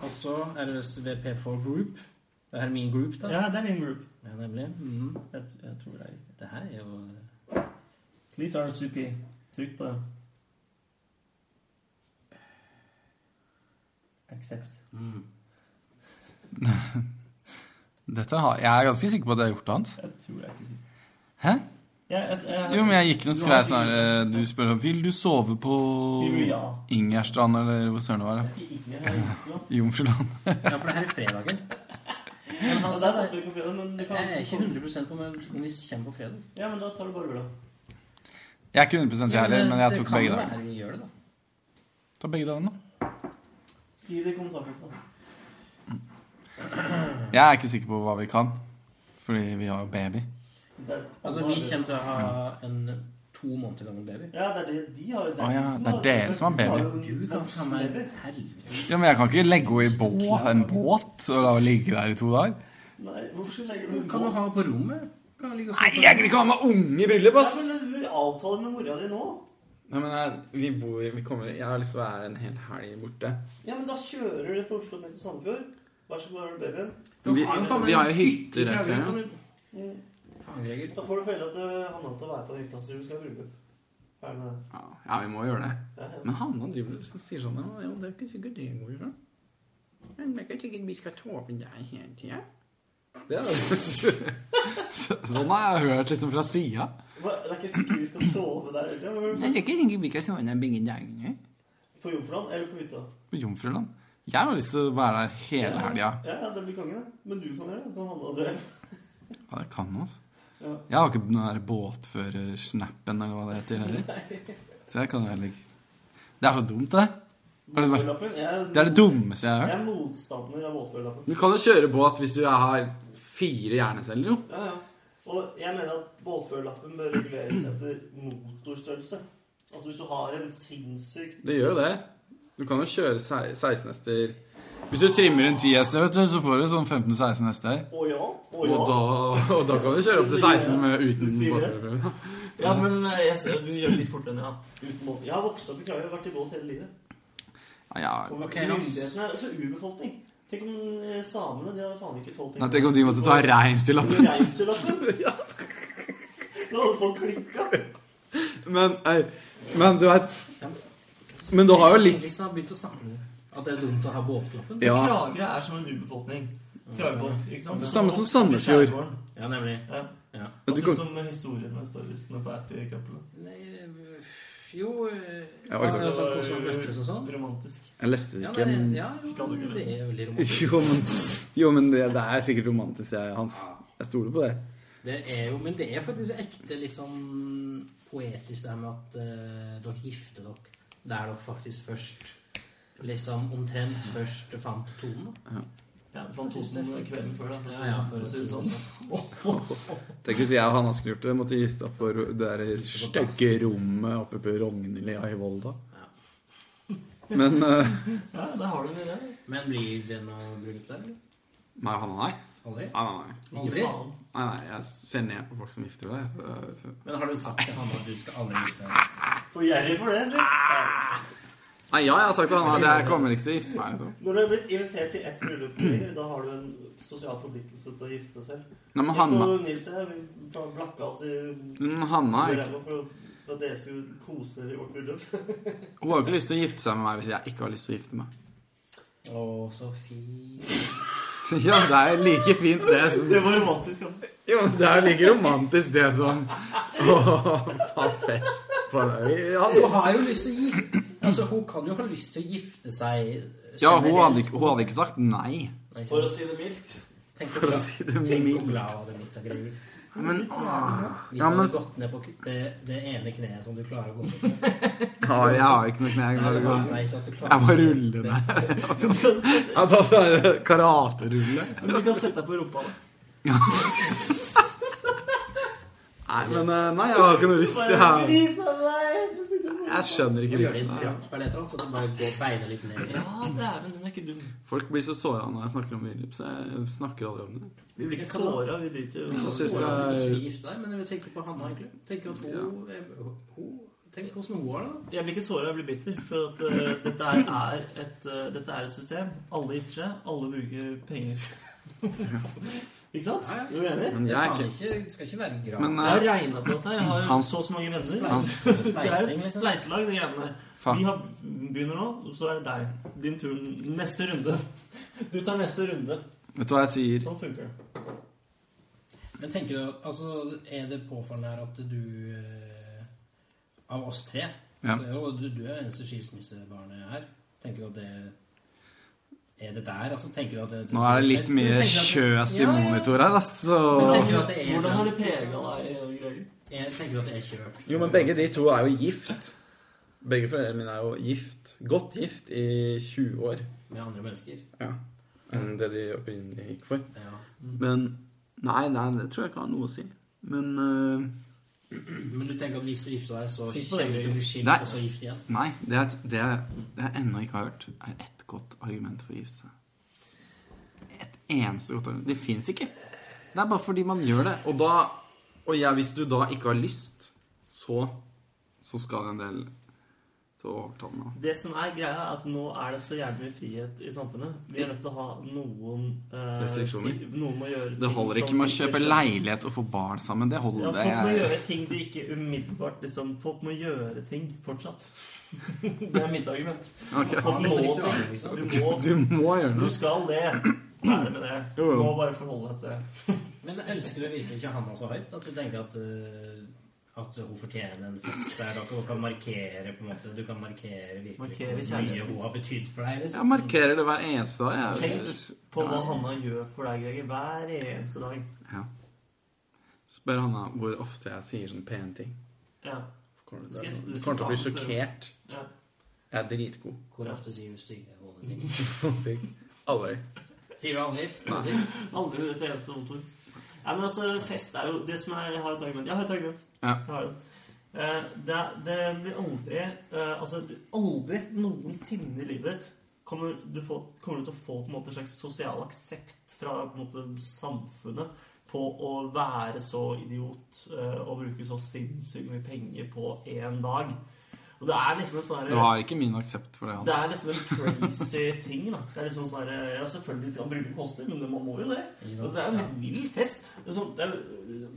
Og så er det VP4 Group. Det her er min group, da. Ja, det er min group. Ja, nemlig. Mm. Jeg, jeg tror det er riktig. Det her er jo Please RSVP. Trykk på den. Accept. mm. Dette har, jeg er ganske sikker på at jeg har gjort det hans. Jeg tror jeg ikke sier Hæ? ja, jeg, jeg, Jo, men jeg gikk noe Du så har jeg sånn her, eh, Du spør Vil du sove på Sier du ja? Ingerstrand, eller hvor søren det var? ja? Ingen har gjort noe. Jomfruland. Ja, for det her er fredagen. Men Ja, han det sa er tatt på fredag, men du kan Jeg er ikke 100 på men om vi kommer på fredag. Ja, men da tar du bare øl, da. Jeg er ikke 100 jeg heller, men jeg tok begge Det kan dager. være vi gjør det, da. Ta begge dagene, da. Skriv det i kommentarfeltet. Jeg er ikke sikker på hva vi kan, fordi vi har jo baby. Det er- Altså, vi kommer til å ha en to måneder gammel baby. Ja, det er det de har jo Å ja, de det er har- dere som har de har baby. jo en Du kan voksen ta meg baby. Helvete. Ja, Men jeg kan ikke legge henne i bå- en båt og la henne ligge der i to dager. Nei, hvorfor skal du legge den Kan du ha på rommet? Kan du ligge og Nei, jeg gidder ikke ha med unge i bryllup, ass! Ja, men du avtaler med mora di nå. Nei, men jeg, vi bor vi kommer, Jeg har lyst til å være en hel helg borte. Ja, men da kjører du fra Oslo ned til Sandefjord. Vær så god, her har du babyen. Du Vi- har jo faen meg vi har jo en hytter hytte rett i ved, Kragerø, ja. kan du- Faen, Greger. Da får du foreldra til Hanna til å være på den hytta si du skal ha bryllup. Ferdig med det. Ja, ja, vi må gjøre det. Ja, ja. Men Hanna driver og sier sånn Ja, ja, det er ikke sikkert det går ifra. Men det er ikke sikkert vi skal tåle deg hele tida. Det er jo Så- Sånn har jeg hørt liksom fra sida. Hva, det er ikke sikkert vi skal sove der er ikke heller. sikkert vi skal sove der begge dagene. På Jomfruland eller på hytta. På Jomfruland. Jeg har lyst til å være der hele helga. Ja, ja, det blir konge, det. Men du kan gjøre det. Du kan Hanna og Andrea. Ja, det kan altså. Ja. Jeg har ikke den der båtførersnappen, eller hva det heter, heller. Så jeg kan jo heller ikke Det er så dumt, det. Har du vært- Båtførerlappen, jeg- Det er det dummeste jeg har Jeg hørt. er motstander av båtførerlappen. Du kan jo kjøre båt hvis du har fire hjerneceller, jo. Ja, ja. Og jeg mener at båtførerlappen bør reguleres etter motorstørrelse. Altså hvis du har en sinnssyk Det gjør jo det. Du kan jo kjøre se- 16 hester Hvis du trimmer en 10 hester, vet du, så får du sånn 15-16 hester. Å ja, å og ja. da, og da kan du kjøre opp til 16 med, uten båtførerprøve. Ja, men eh, jeg ser, du gjør det litt fortere enn jeg har. Uten båt. Jeg har vokst opp i Kragerø, vært i båt hele livet. Ja, ja. Og Ok, ja. Myndighetene er altså urbefolkning. Tenk om eh, samene de hadde faen ikke tålt Nei, tenk om de måtte ta reinsdyrlappen. reinsdyrlappen. Da hadde folk klikka. Men, ei, men du vet Men du har jo litt Eriksen har begynt å snakke om det. At det er dumt å ha båtlappen. Ja. Kragerø er som en urbefolkning. Kragerø, ikke sant? Samme som Sandefjord. Ja, nemlig. Ja. Ja. Ja, du Altså kan- som historiene står visstnok på Appy-kappelet. Nei, øh, jo øh, Jeg orker altså, Hvordan man møttes og sånn. Romantisk. Jeg leste det Ja, ikke. nei, men- ja, jo, det er jo veldig romantisk. Jo, men, jo, men det, det er sikkert romantisk, jeg, Hans. Jeg stoler på det. Det er jo, men det er faktisk ekte litt sånn poetisk det her med at eh, dere gifter dere der dere faktisk først Liksom omtrent først fant tonen. da. Ja, fant Toten kvelden før, da. Ja, ja, for å si det sånn. Tenk hvis jeg og Hanna skulle gjort det. Måtte gifte opp på ro- det der stygge rommet oppe på Rognlia i Volda. Ja. Men eh, Ja, der har du det. der. Men blir det noe bryllup der? eller? Nei, han og nei. Aldri? Nei, nei, nei. Aldri? Faen. nei, nei. Jeg ser ned på folk som gifter seg. Eh, Men har du sagt til han at du skal aldri gifte deg? For gjerrig for det, si. Ah! Nei, ja, jeg har sagt til han at jeg kommer ikke til å gifte meg. Liksom. Når du er blitt invitert til ett bryllup, da har du en sosial forpliktelse til å gifte deg selv. Nei, men Hanna. Hanna, Nils og jeg vi bare blakka oss i men Hanna er ikke- ræva for å- for at dere skulle kose dere i vårt bryllup. hun har ikke lyst til å gifte seg med meg hvis jeg ikke har lyst til å gifte meg. Å, så fint. Ja, det er jo like fint det som Det var romantisk, altså. Jo, det er jo like romantisk det som å ha fest på deg. Ja, Hun har jo lyst til å gifte Altså, hun kan jo ha lyst til å gifte seg øh, ja hun, hadde ikke, hun hadde ikke sagt nei. For å si det mildt. Tenk For å si det Tenk hvor mildt. glad hun hadde blitt av greier. Men åh, Hvis ja, du men hadde gått ned på k- det, det ene kneet som du klarer å gå ned på. har, jeg har ikke noe kne. Jeg Nei, klarer det var- ikke å- nei, sant, du klarer Jeg må ikke. rulle ned. Du kan, sette- Jeg tar sånn karaterulle. du kan sette deg på rumpa. da. Nei, men eh, nei, jeg har ikke noe lyst til Bare jeg, glis av meg! jeg skjønner Du ikke gjør det i en vitsen. her. trapp eller et eller annet, så du bare går beina litt ned. Ja, dæven, den er ikke dum. Folk blir så såra når jeg snakker om bryllup, så jeg snakker aldri om det. Vi blir ikke såra, vi driter jo Så synes Hun har lyst jeg- til å gifte deg, men jeg vil tenke på Hanna, egentlig. Tenk at hun, hun Tenk hvordan hun har det, da. Jeg blir ikke såra, jeg blir bitter. For at eh, dette, her er et, eh, dette er et system. Alle gifter seg, alle bruker penger. ikke sant? Ja, ja. Er du enig? Men Det jeg er er faen ikke ikke, det skal ikke være gratis. Men Jeg har eh, regna på dette. her. Jeg har Hans- så og så mange venner. Hans- Det er et Spleising, liksom. spleiselag, de greiene der. Vi faen. har, begynner nå, og så er det deg. Din tur. Neste runde. Du tar neste runde. Vet du hva jeg sier? Sånn funker det. Men tenker du, altså, er det påfallende her at du eh, Av oss tre Ja. så er jo, du, du er eneste skilsmissebarnet her. Tenker du at det Er det der? Altså, tenker du at det, Nå er det litt mye tenker du at kjøs i Ja, ja. monitor her, altså. Men tenker du at det er Hvordan har det den- Sånn. prega deg? Greger? Jeg tenker at det er kjørt. Jo, men begge de to er jo gift. Begge foreldrene mine er jo gift. Godt gift i 20 år. Med andre mennesker. Ja. Enn det de opprinnelig gikk for. Ja. Men Nei, nei, det tror jeg ikke har noe å si. Men eh, Men du tenker at hvis du gifter deg, så Sitt på det, kjenner du du. blir skilt, Nei. og så gift igjen? Nei, det, er et- det, er- det jeg ennå ikke har hørt, er ett godt argument for å gifte seg. Et eneste godt argument. Det fins ikke. Det er bare fordi man gjør det. Og da Og ja, hvis du da ikke har lyst, så Så skal det en del til å overtale meg. Det som er greia, er at nå er det så jævlig mye frihet i samfunnet. Vi er nødt til å ha noen eh, Restriksjoner. ti- Noen må gjøre Det ting holder som ikke med å ikke kjøpe skjer. leilighet og få barn sammen. Det Ja, holder. folk må Jeg- gjøre ting de ikke umiddelbart liksom, Folk må gjøre ting fortsatt. det er mitt argument. Ok. Folk Ja, må det er riktig, ting. liksom. Du må Du må gjøre Du noe. skal det. Ferdig med det. Du Jo, jo. må bare forholde deg til det. Men elsker du virkelig ikke Hanna så høyt? At du tenker at, eh, at hun fortjener en fest der dere kan markere på en måte, Du kan markere virkelig Markere hvor mye kjærligheten. hun har betydd for deg? liksom. Jeg markerer det hver eneste dag. Jeg. Tenk på hva Hanna gjør for deg, Greger, hver eneste dag. Ja. Spør Hanna hvor ofte jeg sier sånne pene ting. Ja. Kommer Skal jeg- til- Du skal kommer jeg til å bli ta den for- sjokkert. ja. Jeg er dritgod. Hvor ofte sier du stygge hodeting? på ting. Aldri. Sier du aldri? Aldri? Aldri et eneste vondt ord. Nei, men altså, fest er jo det som er Jeg har et argument. Jeg har et argument. Ja. Jeg har det. Eh, det, det blir aldri eh, Altså, du, aldri noensinne i livet ditt kommer du, få, kommer du til å få på en måte en slags sosial aksept fra på en måte, samfunnet på å være så idiot eh, og bruke så sinnssykt mye penger på én dag. Og det er liksom en sånn her- Du har ikke min aksept for det. det Hans. er liksom en crazy ting, da. Det er liksom sånn der, Ja, selvfølgelig skal bryllup koste, men man må jo det. Ikke Så sant? det er jo en helt vill fest. Det er, sånn, det er jo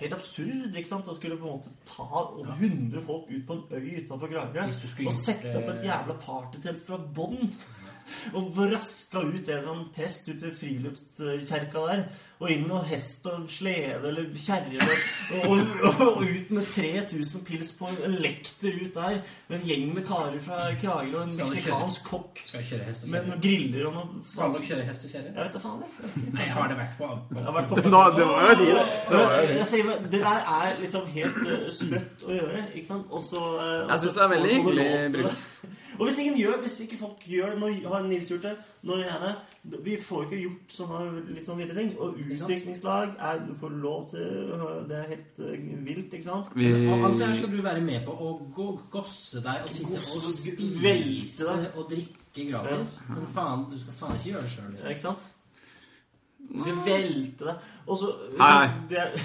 helt absurd ikke sant? å skulle på en måte ta over 100 folk ut på en øy utenfor Kragerø Hvis du skulle og gjort eh, sette opp det- et jævla partytelt fra bånn. Og få raska ut en eller annen prest ut ved friluftskjerka der. Og inn og hest og slede eller kjerre. Og, og, og, og ut med 3000 pils på en lekter ut der. Med en gjeng med karer fra Kragerø og en Skal du kjøre? meksikansk kokk. Skal jeg kjøre hest og Med kjerre? noen griller og noe Skal faen. dere kjøre hest og kjerre? Jeg vet da faen, jeg. Nei, jeg har det vært på av- Jeg har vært på Da, det var jo tid, da. Det var jo tid. jeg sier, bare, det der er liksom helt eh, sprøtt å gjøre, ikke sant? Og så eh, Jeg og så synes det er veldig får man hyggelig lov til det. Og hvis ingen gjør, hvis ikke folk gjør det Nå har Nils gjort det, nå gjør jeg det Vi får jo ikke gjort sånne litt sånn ville ting. Og Ikke sant? utdrikningslag er får lov til Det er helt eh, vilt, ikke sant? Vi, Og alt det her skal du være med på. Å gå, gosse deg og sitte Gosse, og velte spise deg. og drikke gratis. Men faen, du skal faen ikke gjøre det sjøl. Liksom. Ja, Ikke sant? Du skal velte deg, og så Nei. Det er,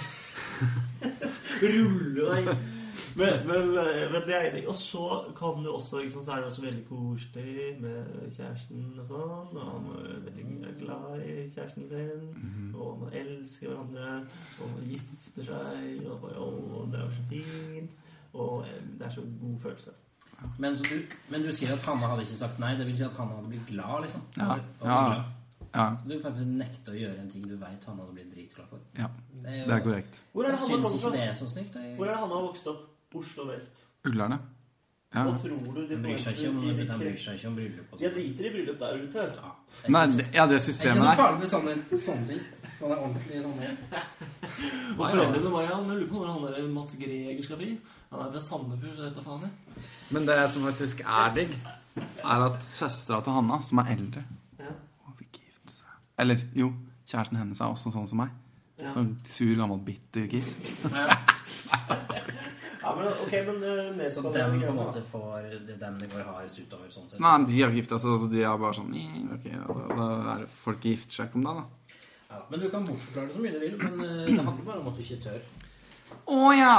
rulle deg. Men, men, men det er en ting. Og så kan du også ikke sant, Så er det også veldig koselig med kjæresten og sånn. Og han er veldig glad i kjæresten Mhm. sin. Og man elsker hverandre. Og man gifter seg. Og bare, å, det er så fint. Og eh, det er så god følelse. Men, så du, men du sier at Hanna hadde ikke sagt nei. Det vil si at Hanna hadde blitt glad, liksom. Ja. Og Ja. glad. ja, Du faktisk nekter å gjøre en ting du veit Hanna hadde blitt dritglad for. ja, Det er det er jo, korrekt. Hvor er det jeg Hanna syns kommer ikke fra? det er så snilt. jeg- Hvor er det Hanna har vokst opp? Oslo vest. Uglerne. Ja. Hva tror du de Han bryr seg ikke om, forventer i de han bryr krets- seg ikke om bryllup og Jeg sånt. driter i bryllup der ute. Ja. Nei, det, ja, det Det er ikke så systemet der. farlig med sånne, sånne ting. Sånne ordentlige sånne Og foreldrene bare ja, men jeg lurer på hvor han der Mats Greger skal fri. Han er fra Sandefjord, så dette faen jeg. Men det som faktisk er digg, er at søstera til Hanna, som er eldre, Ja. hun vil ikke gifte seg. Eller jo, kjæresten hennes er også sånn som meg. Ja. Sånn sur, gammel, bitter kiss. Ja, men ok, men eh, Så nedstand dem er på en greia, måte får det dem det går hardest utover, sånn sett. Nei, de har gifta seg, altså de er bare sånn "Ih, ok, da, da er det Folk gifter seg ikke om deg, da. Ja, men du kan bortforklare det så mye du vil, men eh, det handler bare om at du ikke tør. Å ja!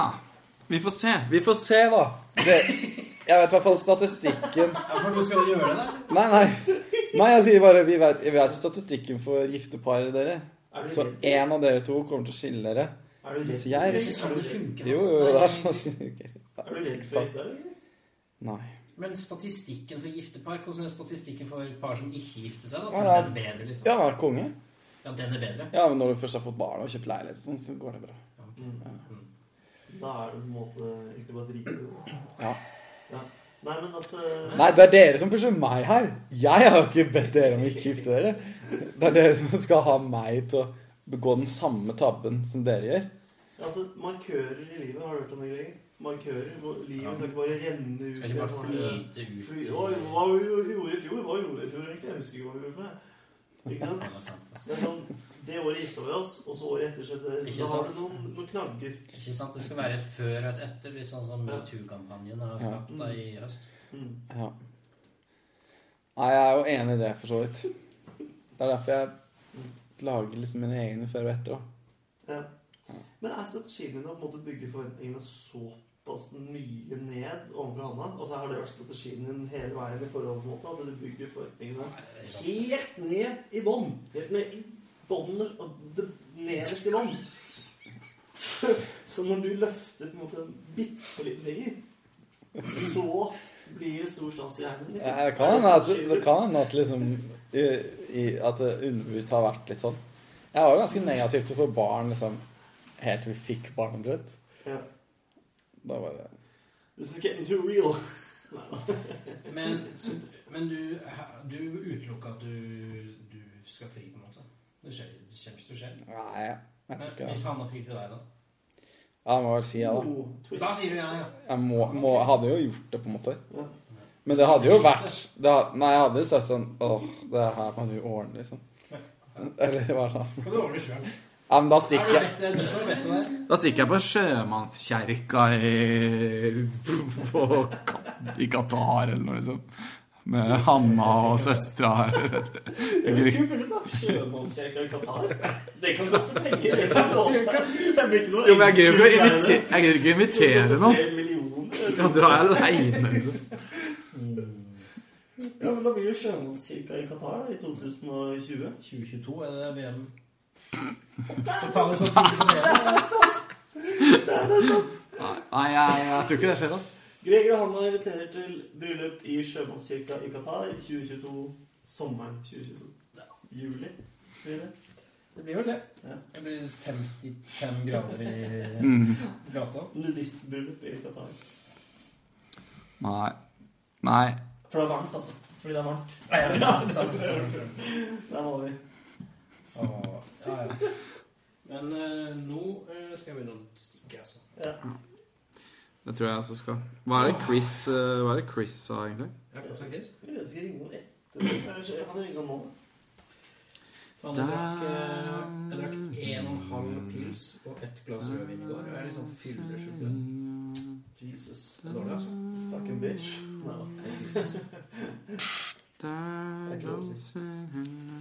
Vi får se. Vi får se, da. Det, jeg vet i hvert fall statistikken Ja, for du skal gjøre det, da? Nei, nei. Nei, jeg sier bare vi vet, vi vet statistikken for gifte par, dere. Er du Så redd? én av dere to kommer til å skille dere. Er du Mens redd? Det jeg er ikke sånn det funker. Jo, altså. jo, det Nei, er sånn sikkert. Er du redd for sant. gifte deg, eller? Nei. Men statistikken for gifte par, hvordan er statistikken for par som ikke gifter seg? da? Ja, Tror du ja. den er bedre, liksom? Ja, han er konge. Ja, den er bedre. Ja, men når du først har fått barn og kjøpt leilighet og sånn, så går det bra. Ja, ok. Mm. Mm. Da er det på en måte egentlig bare drite i det. Ja. Ja. Nei, men altså Nei, det er dere som pusher meg her. Jeg har jo ikke bedt dere om å ikke gifte dere. Det er dere som skal ha meg til å begå den samme tabben som dere gjør. Altså, markører i livet, har du hørt om det, Greger? Markører. hvor Ja. Livet skal ikke bare renne ut. Skal ikke bare i sånne- flyte ut. Fly- Oi, Hva gjorde vi i fjor? Hva gjorde vi i fjor, egentlig? Jeg husker ikke hva vi gjorde for det. Ikke sant? Ja, det er sant, altså. Det er sånn, det året gifta vi oss, og så året etter så etter, Ikke Da har sant? du noen, noen knagger. Ikke sant? Det skal være et før og et etter, litt sånn som Ja. metoo-kampanjen har skapt da i høst. Mm. Ja. Nei, jeg er jo enig i det, for så vidt. Det er derfor jeg lager liksom mine egne før og etter. da. Ja. Men er strategien din å på en måte bygge forventningene såpass mye ned overfor Hanna? Altså, har det vært strategien din hele veien i forhold til måte, at du bygger forventningene helt ned i bånn? Helt ned i bånner og det nederste i bånn. Så når du løfter på en måte en bitte liten finger, så blir det stor stas i hjernen. liksom. Jeg- Det kan hende at, strategien din? det kan hende at liksom i, i, At det underbevisst har vært litt sånn. Jeg var jo ganske negativ til å få barn liksom helt til vi fikk barn, omtrent. Ja. Da var det This is getting too real. Men, så, men du, du utelukker at du, du skal fri, på en måte? Det skjer, det kommer ikke til å skje. Nei, jeg tror Men ikke det. Hvis han har fri til deg, da? Ja, jeg må vel si ja, da. Oh, twist. Da sier du ja, ja. Jeg må, må, jeg hadde jo gjort det, på en måte. Ja. Men det hadde jo vært det, ha- Nei, jeg hadde jo sagt sånn Åh, det her kan du ordne, liksom. Eller hva da? Kan du ordne sjøl? Ja, men da Du stikker jeg. vet det, du som vet det. Da stikker jeg på sjømannskjerka i, på, Ka- i Qatar eller noe, liksom. Med Hanna og søstera. Det blir kult, da. Sjømannskirka i Qatar. Det kan koste penger. Det kan det blir ikke noe Jo, men jeg gidder ikke å invite- jeg gidder ikke å invitere noen. Flere millioner. Da drar jeg aleine, liksom. Ja, men da blir det sjømannskirka i Qatar da, i 2020. 2022 er det VM. Ta det så tidlig som mulig. Nei, jeg, jeg tror ikke det skjer, altså. Greger og Hanna inviterer til bryllup i sjømannskirka i Qatar 2022. Sommeren 2022. Juli. blir det. Det blir vel det. Ja. Det blir 55 grader i Mm. gata. Nudistbryllup i Qatar. Nei. Nei. For det er varmt, altså. Fordi det er varmt. Nei, ja, samme, samme, samme. Der var vi. Åh, Ja, ja. Men eh, nå eh, skal jeg begynne å stikke, altså. Ja. Det tror jeg også skal. Hva er det Chris, eh, hva er det Chris sa, egentlig? Jeg kan også Chris. Jeg vet ikke, ringe noen etter dette. Jeg kan ringe han nå. Faen, jeg drakk, eh, jeg drakk en og en halv pils og ett glass rødvin i går. Og jeg er liksom fyllesjuk. nå. Jesus. Det er Dårlig, altså. Fucking bitch. Nei da. Jesus. Det er ikke lov å si. Dancing